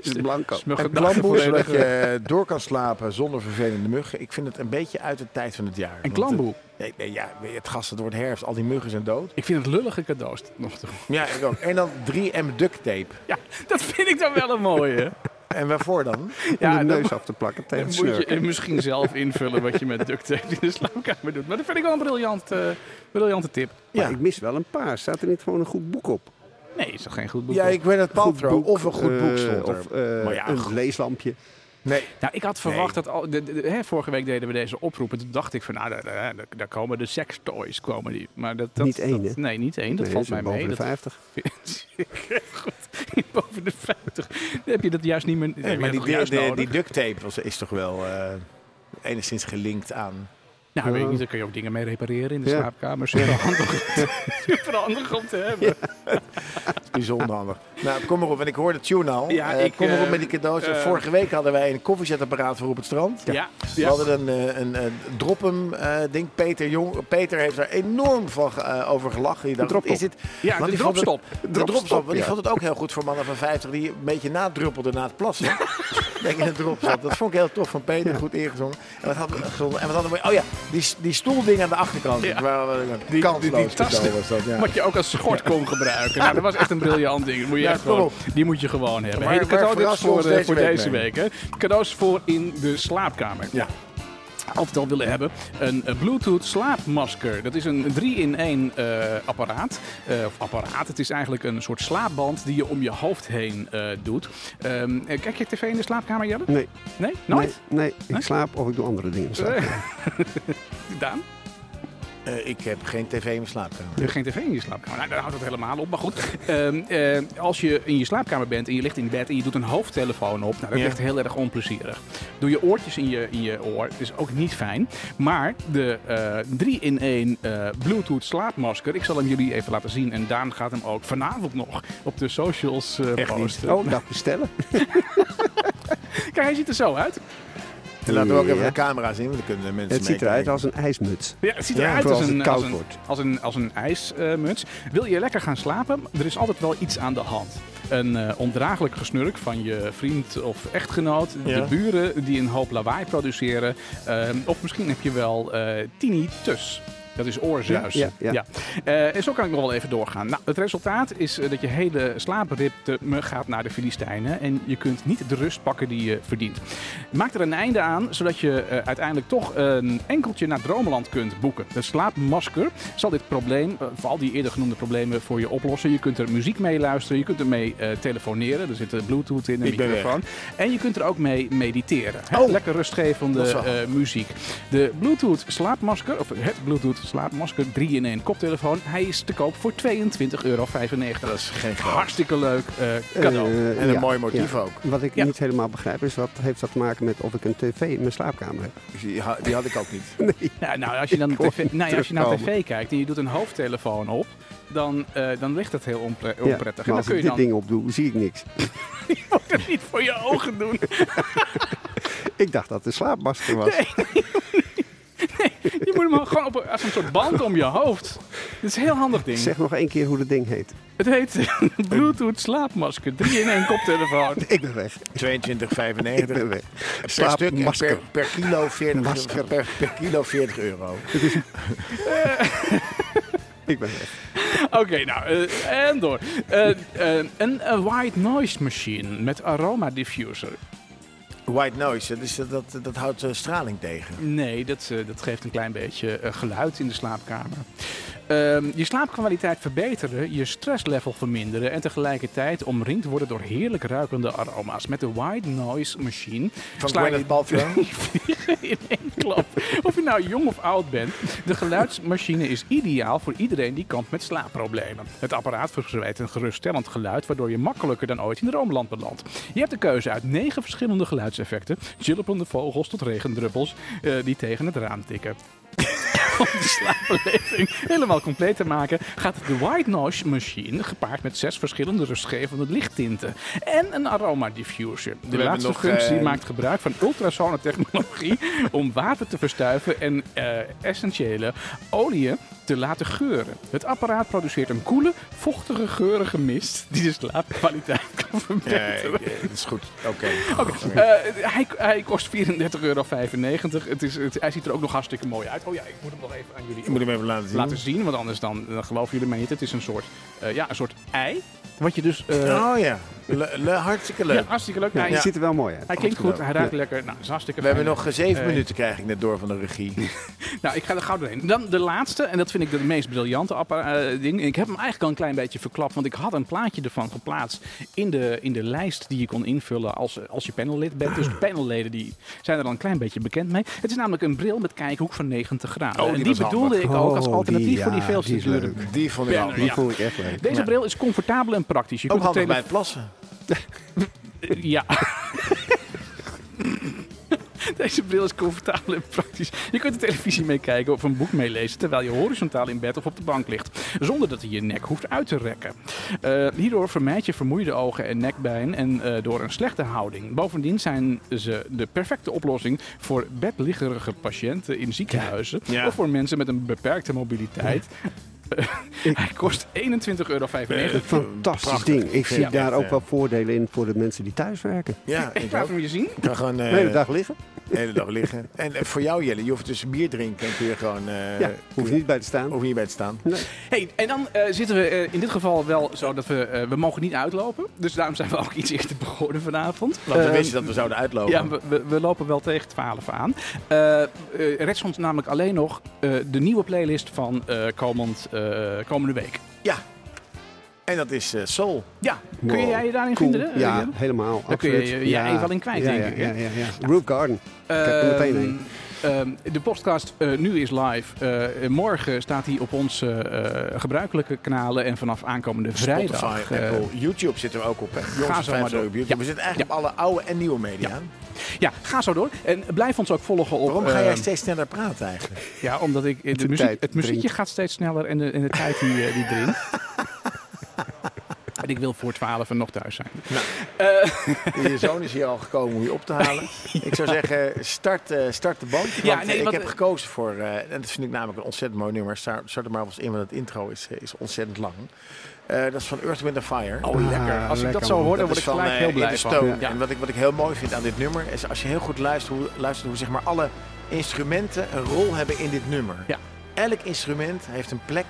[SPEAKER 4] Is het blanco?
[SPEAKER 2] is mijn
[SPEAKER 3] Een
[SPEAKER 2] gedachte
[SPEAKER 3] klamboe, zodat
[SPEAKER 2] volledig,
[SPEAKER 3] je
[SPEAKER 2] eh,
[SPEAKER 3] eh, door kan slapen zonder vervelende muggen. Ik vind het een beetje uit de tijd van het jaar.
[SPEAKER 2] Een
[SPEAKER 3] Want,
[SPEAKER 2] klamboe.
[SPEAKER 3] eh, nee, nee, Ja, het gas, het wordt herfst. Al die muggen zijn dood.
[SPEAKER 2] Ik vind het lullige cadeaus nog toe.
[SPEAKER 3] Ja, ik ook. En dan 3M duct tape.
[SPEAKER 2] Ja, dat vind ik dan wel een mooie.
[SPEAKER 3] En waarvoor dan?
[SPEAKER 4] Ja,
[SPEAKER 2] Ja,
[SPEAKER 4] de
[SPEAKER 2] dan
[SPEAKER 4] neus af te plakken tegen het
[SPEAKER 2] moet je
[SPEAKER 4] snurken.
[SPEAKER 2] eh, misschien zelf invullen wat je met duct tape in de slaapkamer doet. Maar dat vind ik wel een briljant, eh, briljante tip.
[SPEAKER 4] Maar
[SPEAKER 3] Ja.
[SPEAKER 4] ik mis wel een paar. Staat er niet gewoon een goed boek op?
[SPEAKER 2] Nee, is toch geen goed boek?
[SPEAKER 3] Ja, ik weet het
[SPEAKER 4] Goed
[SPEAKER 3] Paltrow.
[SPEAKER 4] boek,
[SPEAKER 3] Of een goed boek
[SPEAKER 4] eh,
[SPEAKER 3] stond er.
[SPEAKER 4] Of eh,
[SPEAKER 3] Maar ja, goed.
[SPEAKER 4] een leeslampje.
[SPEAKER 3] Nee,
[SPEAKER 2] Nou, ik had verwacht dat al. De, de- de- hè, vorige week deden we deze oproep. En toen dacht ik van, nou, daar, daar, daar komen de sextoys. Komen die. Maar dat, dat,
[SPEAKER 4] Niet één,
[SPEAKER 2] dat-
[SPEAKER 4] hè?
[SPEAKER 2] Nee, niet één. Dat
[SPEAKER 4] Nee,
[SPEAKER 2] valt
[SPEAKER 4] ze zijn
[SPEAKER 2] mij mee.
[SPEAKER 4] boven de
[SPEAKER 2] Dat
[SPEAKER 4] 50.
[SPEAKER 2] vind ik goed. Boven de 50. Dan heb je dat juist niet meer. dan
[SPEAKER 3] nee,
[SPEAKER 2] heb je
[SPEAKER 3] maar die,
[SPEAKER 2] dat juist
[SPEAKER 3] die- die
[SPEAKER 2] nodig.
[SPEAKER 3] duct tape was, is toch wel eh, enigszins gelinkt aan...
[SPEAKER 2] Nou, weet ik niet, daar kun je ook dingen mee repareren in de
[SPEAKER 4] Ja.
[SPEAKER 2] slaapkamer. Super handig, super handig om te hebben.
[SPEAKER 3] Bijzonder handig. Nou, kom erop. En ik hoor de tune al.
[SPEAKER 2] Ja,
[SPEAKER 3] Eh,
[SPEAKER 2] ik,
[SPEAKER 3] kom erop
[SPEAKER 2] eh,
[SPEAKER 3] met die cadeaus.
[SPEAKER 2] eh,
[SPEAKER 3] Vorige week hadden wij een koffiezetapparaat voor op het strand.
[SPEAKER 2] ja.
[SPEAKER 3] We hadden een, eh, een, eh, droppen eh, ding. Peter, Jong, Peter heeft daar enorm van ge- eh, over gelachen. Die dacht, wat
[SPEAKER 4] Droppel.
[SPEAKER 3] is dit?
[SPEAKER 2] Ja,
[SPEAKER 3] Want
[SPEAKER 2] de
[SPEAKER 3] die vond het-
[SPEAKER 2] dropstop.
[SPEAKER 3] De dropstop.
[SPEAKER 4] Dropstop,
[SPEAKER 3] want die
[SPEAKER 4] ja.
[SPEAKER 3] vond het ook heel goed voor mannen van 50 die een beetje nadruppelden na het plassen. Denk in een dropstop. Dat vond ik heel tof van Peter.
[SPEAKER 4] Ja.
[SPEAKER 3] Goed ingezongen. En wat hadden we gezongen? En wat hadden we? Oh ja, die, s- die stoelding aan de achterkant.
[SPEAKER 2] Ja.
[SPEAKER 3] Waar we
[SPEAKER 2] die
[SPEAKER 3] eh, kansloos
[SPEAKER 2] tasten.
[SPEAKER 3] cadeau was dat, ja.
[SPEAKER 2] Wat je ook als schort kon gebruiken. Nou, dat was echt een briljant ding. Dat Moet je
[SPEAKER 3] Ja,
[SPEAKER 2] echt
[SPEAKER 3] kom
[SPEAKER 2] gewoon-
[SPEAKER 3] op.
[SPEAKER 2] die moet je gewoon hebben.
[SPEAKER 3] Maar-
[SPEAKER 2] Hey, de
[SPEAKER 3] maar
[SPEAKER 2] cadeautips
[SPEAKER 3] verras ons
[SPEAKER 2] voor, eh,
[SPEAKER 3] deze
[SPEAKER 2] voor
[SPEAKER 3] week
[SPEAKER 2] deze
[SPEAKER 3] mee.
[SPEAKER 2] week. Hè. Cadeaus voor in de slaapkamer.
[SPEAKER 3] Ja.
[SPEAKER 2] altijd al willen hebben. Een eh, Bluetooth slaapmasker. Dat is een 3-in-1 apparaat. Eh, of apparaat. Het is eigenlijk een soort slaapband die je om je hoofd heen eh, doet. Ehm, eh, kijk je tv in de slaapkamer, Jelle?
[SPEAKER 4] Nee,
[SPEAKER 2] Nee? Nooit?
[SPEAKER 4] nee, nee, ik
[SPEAKER 2] Nee?
[SPEAKER 4] slaap of ik doe andere dingen. in de slaap.
[SPEAKER 2] Daan?
[SPEAKER 6] Eh, ik heb geen tv in mijn slaapkamer.
[SPEAKER 2] Je hebt geen tv in je slaapkamer. Nou, daar houdt het helemaal op. Maar goed, ehm, eh, als je in je slaapkamer bent en je ligt in bed en je doet een hoofdtelefoon op, nou, dat
[SPEAKER 6] Ja.
[SPEAKER 2] ligt heel erg onplezierig. Doe je oortjes in je, in je oor, is ook niet fijn. Maar de 3-in-1 Bluetooth slaapmasker, ik zal hem jullie even laten zien. En Daan gaat hem ook vanavond nog op de socials eh,
[SPEAKER 6] Echt niet.
[SPEAKER 2] posten.
[SPEAKER 4] Oh, dat bestellen.
[SPEAKER 2] Kijk, hij ziet er zo uit.
[SPEAKER 6] En laten we ook even
[SPEAKER 4] Ja.
[SPEAKER 6] de camera zien, want dan kunnen de mensen
[SPEAKER 4] Het ziet eruit
[SPEAKER 6] meekijken.
[SPEAKER 4] als een ijsmuts.
[SPEAKER 2] Ja, het ziet eruit
[SPEAKER 4] vooral
[SPEAKER 2] als,
[SPEAKER 4] als
[SPEAKER 2] een,
[SPEAKER 4] het koud
[SPEAKER 2] als, een,
[SPEAKER 4] wordt.
[SPEAKER 2] als, een, als een ijsmuts. Wil je lekker gaan slapen? Er is altijd wel iets aan de hand. Een eh, ondraaglijk gesnurk van je vriend of echtgenoot.
[SPEAKER 6] Ja.
[SPEAKER 2] De buren die een hoop lawaai produceren. ehm, of misschien heb je wel eh tinnitus. Dat is oorzuis.
[SPEAKER 4] Ja, ja, ja.
[SPEAKER 2] Eh, en zo kan ik nog wel even doorgaan. Nou, het resultaat is eh, dat je hele slaapritme gaat naar de Filistijnen. En je kunt niet de rust pakken die je verdient. Maak er een einde aan, zodat je eh, uiteindelijk toch een enkeltje naar Dromeland kunt boeken. De slaapmasker zal dit probleem, eh, vooral die eerder genoemde problemen, voor je oplossen. Je kunt er muziek mee luisteren, je kunt er mee eh, telefoneren. Er zit eh, bluetooth in, een
[SPEAKER 6] Ik ben weg.
[SPEAKER 2] microfoon. En je kunt er ook mee mediteren. Hè?
[SPEAKER 6] Oh.
[SPEAKER 2] Lekker rustgevende
[SPEAKER 6] Dat is wel
[SPEAKER 2] eh, muziek. De Bluetooth slaapmasker, of het Bluetooth slaapmasker 3-in-1 koptelefoon, hij is te koop voor 22,95 euro.
[SPEAKER 6] Dat is geen gras.
[SPEAKER 2] Hartstikke leuk eh, cadeau.
[SPEAKER 4] Eh,
[SPEAKER 6] En een
[SPEAKER 4] ja,
[SPEAKER 6] mooi motief
[SPEAKER 4] ja.
[SPEAKER 6] ook.
[SPEAKER 4] Wat ik
[SPEAKER 2] Ja.
[SPEAKER 4] niet helemaal begrijp is, wat heeft dat te maken met of ik een tv in mijn slaapkamer heb?
[SPEAKER 6] Die ha- die had ik ook niet.
[SPEAKER 2] Ja, nou, als je dan
[SPEAKER 4] hoor
[SPEAKER 2] tv, nou, ja, als je naar
[SPEAKER 4] terugkomen.
[SPEAKER 2] tv kijkt en je doet een hoofdtelefoon op, dan, eh, dan ligt het heel onpre-
[SPEAKER 4] Ja,
[SPEAKER 2] onprettig.
[SPEAKER 4] maar
[SPEAKER 2] en dan
[SPEAKER 4] als
[SPEAKER 2] kun
[SPEAKER 4] ik
[SPEAKER 2] je
[SPEAKER 4] dit
[SPEAKER 2] dan
[SPEAKER 4] ding opdoe, zie ik niks.
[SPEAKER 2] ook het niet voor je ogen doen.
[SPEAKER 4] Ik dacht dat het een slaapmasker was.
[SPEAKER 2] Je moet hem gewoon op, een- als een soort band om je hoofd. Dat is een heel handig ding.
[SPEAKER 4] Zeg nog één keer hoe dat ding heet.
[SPEAKER 2] Het heet Bluetooth slaapmasker 3-in-1 koptelefoon.
[SPEAKER 4] Ik ben weg.
[SPEAKER 6] 22,95
[SPEAKER 4] Ik ben weg.
[SPEAKER 6] per stuk en per,
[SPEAKER 4] Slaapmasker.
[SPEAKER 6] per kilo 40
[SPEAKER 4] Masker.
[SPEAKER 6] euro. Per, per kilo 40 euro.
[SPEAKER 4] Ik ben weg.
[SPEAKER 2] Oké, nou, eh, en door. Eh, eh, een eh, white noise machine met aroma diffuser.
[SPEAKER 6] White noise, dus dat, dat, dat houdt eh, straling tegen.
[SPEAKER 2] Nee, dat, eh, dat geeft een klein beetje eh, geluid in de slaapkamer. Ehm, je slaapkwaliteit verbeteren, je stresslevel verminderen en tegelijkertijd omringd worden door heerlijk ruikende aroma's. Met de white noise machine
[SPEAKER 6] Van
[SPEAKER 2] sla je
[SPEAKER 6] Gwyneth Paltrow.
[SPEAKER 2] in één klap. Of je nou jong of oud bent, de geluidsmachine is ideaal voor iedereen die kampt met slaapproblemen. Het apparaat verspreid een geruststellend geluid, waardoor je makkelijker dan ooit in droomland belandt. Je hebt de keuze uit negen verschillende geluidseffecten, chillerende vogels tot regendruppels eh, die tegen het raam tikken. Om de slaapbeleving helemaal compleet te maken, gaat de White Noise Machine gepaard met zes verschillende rustgevende lichttinten en een aroma diffuser. De
[SPEAKER 6] hebben
[SPEAKER 2] laatste
[SPEAKER 6] nog,
[SPEAKER 2] functie
[SPEAKER 6] eh,
[SPEAKER 2] maakt maakt gebruik van ultrasonentechnologie om water te verstuiven en eh, essentiële oliën te laten geuren. Het apparaat produceert een koele, vochtige, geurige mist die de slaapkwaliteit kan
[SPEAKER 6] Ja,
[SPEAKER 2] verbeteren.
[SPEAKER 6] ik- eh, dat is goed. Oké.
[SPEAKER 2] Eh, hij, hij kost 34,95 euro. Het is, het, hij ziet er ook nog hartstikke mooi uit. Oh ja, ik moet hem nog even aan jullie
[SPEAKER 6] Ik moet hem even laten zien.
[SPEAKER 2] laten zien, want anders dan, dan geloven jullie mij niet. Het is een soort, eh, ja, een soort ei. Wat je dus... eh,
[SPEAKER 6] Oh ja, le, le- hartstikke leuk.
[SPEAKER 2] ja, hartstikke leuk.
[SPEAKER 4] Ja,
[SPEAKER 2] Nou,
[SPEAKER 4] je ziet er wel mooi uit.
[SPEAKER 2] Hij klinkt goed, hij ruikt lekker. Nou, is hartstikke
[SPEAKER 6] We hebben
[SPEAKER 2] fijn.
[SPEAKER 6] nog eh, zeven
[SPEAKER 2] Eh,
[SPEAKER 6] minuten, krijg ik net door van de regie.
[SPEAKER 2] Nou, ik ga er gauw doorheen. Dan de laatste, en dat vind ik de meest briljante appa- eh, ding. Ik heb hem eigenlijk al een klein beetje verklapt, want ik had een plaatje ervan geplaatst in de, in de lijst die je kon invullen als, als je panellid bent. Dus de panelleden die zijn er al een klein beetje bekend mee. Het is namelijk een bril met kijkhoek van 90 graden.
[SPEAKER 6] Oh, die
[SPEAKER 2] en die
[SPEAKER 6] was
[SPEAKER 2] bedoelde ik
[SPEAKER 6] handig.
[SPEAKER 2] ook als
[SPEAKER 4] Oh,
[SPEAKER 2] alternatief
[SPEAKER 4] die,
[SPEAKER 2] voor die
[SPEAKER 4] ja,
[SPEAKER 2] veel
[SPEAKER 4] die
[SPEAKER 2] te
[SPEAKER 4] is
[SPEAKER 2] dure
[SPEAKER 4] leuk.
[SPEAKER 6] Die vond ik
[SPEAKER 2] Ja,
[SPEAKER 6] al.
[SPEAKER 2] nou,
[SPEAKER 4] Die vond ik echt leuk.
[SPEAKER 2] Deze
[SPEAKER 6] Ja.
[SPEAKER 2] bril is comfortabel en praktisch. Je
[SPEAKER 6] Ook
[SPEAKER 2] kunt de
[SPEAKER 6] handig bij
[SPEAKER 2] tele-
[SPEAKER 6] het plassen.
[SPEAKER 2] Ja. Deze bril is comfortabel en praktisch. Je kunt de televisie meekijken of een boek meelezen terwijl je horizontaal in bed of op de bank ligt. Zonder dat je je nek hoeft uit te rekken. Eh, hierdoor vermijd je vermoeide ogen en nekpijn en eh, door een slechte houding. Bovendien zijn ze de perfecte oplossing voor bedliggerige patiënten in ziekenhuizen.
[SPEAKER 6] Ja.
[SPEAKER 2] Of voor mensen met een beperkte mobiliteit. Eh, hij kost 21,95 euro.
[SPEAKER 4] Fantastisch
[SPEAKER 6] Prachtig.
[SPEAKER 4] ding. Ik zie
[SPEAKER 6] Ja,
[SPEAKER 4] daar
[SPEAKER 6] echt,
[SPEAKER 4] ook
[SPEAKER 6] eh.
[SPEAKER 3] Eh,
[SPEAKER 4] wel voordelen in voor de mensen die thuis werken.
[SPEAKER 6] Ja,
[SPEAKER 2] Ik
[SPEAKER 6] ik
[SPEAKER 2] laat
[SPEAKER 6] ook.
[SPEAKER 2] hem je zien.
[SPEAKER 6] Ik kan gewoon... eh,
[SPEAKER 4] De hele dag liggen.
[SPEAKER 3] De hele dag liggen. En eh, voor jou, Jelle, je hoeft dus bier drinken en kun je gewoon... eh,
[SPEAKER 4] ja, hoef je niet bij te staan.
[SPEAKER 2] Oh.
[SPEAKER 3] hoef je niet bij te staan.
[SPEAKER 2] Hey, en dan eh, zitten we eh, in dit geval wel zo dat we... eh, we mogen niet uitlopen. Dus daarom zijn we ook iets eerder begonnen vanavond.
[SPEAKER 3] Want we
[SPEAKER 2] Ehm,
[SPEAKER 3] wisten dat we zouden uitlopen.
[SPEAKER 2] Ja, we, we, we lopen wel tegen 12 aan. Eh eh, rest ons namelijk alleen nog eh, de nieuwe playlist van eh, komend, eh, komende week.
[SPEAKER 3] Ja. En dat is eh Soul.
[SPEAKER 2] Ja, kun
[SPEAKER 4] Wow,
[SPEAKER 2] jij je daarin
[SPEAKER 4] cool.
[SPEAKER 2] vinden? eh,
[SPEAKER 4] Ja,
[SPEAKER 2] Jan?
[SPEAKER 4] helemaal.
[SPEAKER 2] Daar kun je
[SPEAKER 4] absoluut.
[SPEAKER 2] je- je ei wel in kwijt,
[SPEAKER 4] ja,
[SPEAKER 2] denk
[SPEAKER 4] ja,
[SPEAKER 2] ik, hè?
[SPEAKER 4] Ja, ja, ja. Roof Garden. Kijk er meteen heen.
[SPEAKER 2] Ehm, ehm, de podcast eh, nu is live. Eh, morgen staat hij op onze eh, gebruikelijke kanalen. En vanaf aankomende vrijdag.
[SPEAKER 3] Spotify,
[SPEAKER 2] eh,
[SPEAKER 3] Apple, YouTube zitten we ook op. hè. Jongens,
[SPEAKER 2] zo
[SPEAKER 3] van Vijf
[SPEAKER 2] maar door.
[SPEAKER 3] Sterren op YouTube.
[SPEAKER 2] Ja.
[SPEAKER 3] We zitten eigenlijk op alle oude en nieuwe media.
[SPEAKER 2] ja, ga zo door. En blijf ons ook volgen op.
[SPEAKER 3] Waarom ga jij
[SPEAKER 2] ehm,
[SPEAKER 3] steeds sneller praten eigenlijk?
[SPEAKER 2] Ja, omdat ik, eh, de
[SPEAKER 4] de
[SPEAKER 2] muziek-
[SPEAKER 4] tijd
[SPEAKER 2] het muziekje
[SPEAKER 4] dringt.
[SPEAKER 2] gaat steeds sneller en de, en de tijd die, eh, die drinkt. En ik wil voor twaalf en nog thuis zijn.
[SPEAKER 3] Je zoon is hier al gekomen om je op te halen. Ik zou zeggen, start, eh, start de band.
[SPEAKER 2] Ja,
[SPEAKER 3] want
[SPEAKER 2] nee,
[SPEAKER 3] eh, ik
[SPEAKER 2] want-
[SPEAKER 3] heb gekozen voor, eh, en dat vind ik namelijk een ontzettend mooi nummer. Start, start er maar eens in, want het intro is, eh, is ontzettend lang. Eh, dat is van Earth, Wind and Fire.
[SPEAKER 2] Oh,
[SPEAKER 4] Ah,
[SPEAKER 2] lekker. Als ik dat
[SPEAKER 4] lekker,
[SPEAKER 2] zo
[SPEAKER 4] man.
[SPEAKER 2] hoor, dan
[SPEAKER 3] Dat
[SPEAKER 2] word
[SPEAKER 3] is
[SPEAKER 2] ik
[SPEAKER 3] van
[SPEAKER 2] gelijk
[SPEAKER 3] eh,
[SPEAKER 2] heel
[SPEAKER 3] In
[SPEAKER 2] blij
[SPEAKER 3] the
[SPEAKER 2] van.
[SPEAKER 3] Stone.
[SPEAKER 2] Ja.
[SPEAKER 3] En wat ik, wat ik heel mooi vind aan dit nummer is als je heel goed luistert hoe, luistert hoe zeg maar alle instrumenten een rol hebben in dit nummer.
[SPEAKER 2] Ja.
[SPEAKER 3] Elk instrument heeft een plek.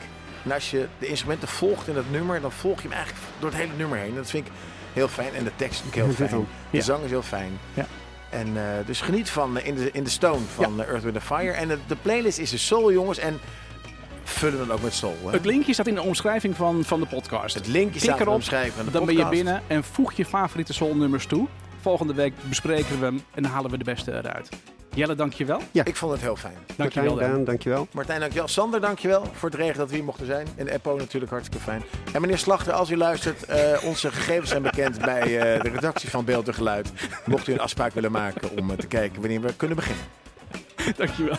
[SPEAKER 3] En als je de instrumenten volgt in dat nummer, dan volg je hem eigenlijk door het hele nummer heen. Dat vind ik heel fijn. En de tekst is natuurlijk heel
[SPEAKER 4] Dit
[SPEAKER 3] fijn.
[SPEAKER 4] ook.
[SPEAKER 3] De
[SPEAKER 2] Ja.
[SPEAKER 3] zang is heel fijn.
[SPEAKER 2] Ja.
[SPEAKER 3] En eh, dus geniet van eh, in, de, in de Stone van eh, Earth, Wind and Fire. En de, de playlist is de soul, jongens. En vullen dan ook met soul. Hè?
[SPEAKER 2] Het linkje staat in de omschrijving van, van de podcast.
[SPEAKER 3] Het linkje staat in de
[SPEAKER 2] erop,
[SPEAKER 3] omschrijving van de
[SPEAKER 2] Dan ben je
[SPEAKER 3] podcast.
[SPEAKER 2] binnen en voeg je favoriete soulnummers toe. Volgende week bespreken we hem en dan halen we de beste eruit. Jelle, dankjewel.
[SPEAKER 3] Ik vond het heel fijn.
[SPEAKER 2] Dankjewel,
[SPEAKER 4] Martijn,
[SPEAKER 2] Dan.
[SPEAKER 4] Daan, dankjewel.
[SPEAKER 3] Martijn, dankjewel. Sander, dankjewel voor het regen dat we hier mochten zijn. En Eppo natuurlijk hartstikke fijn. En meneer Slachter, als u luistert, eh, onze gegevens zijn bekend bij eh, de redactie van Beeld en Geluid. Mocht u een afspraak willen maken om eh, te kijken wanneer we kunnen beginnen.
[SPEAKER 2] Dankjewel.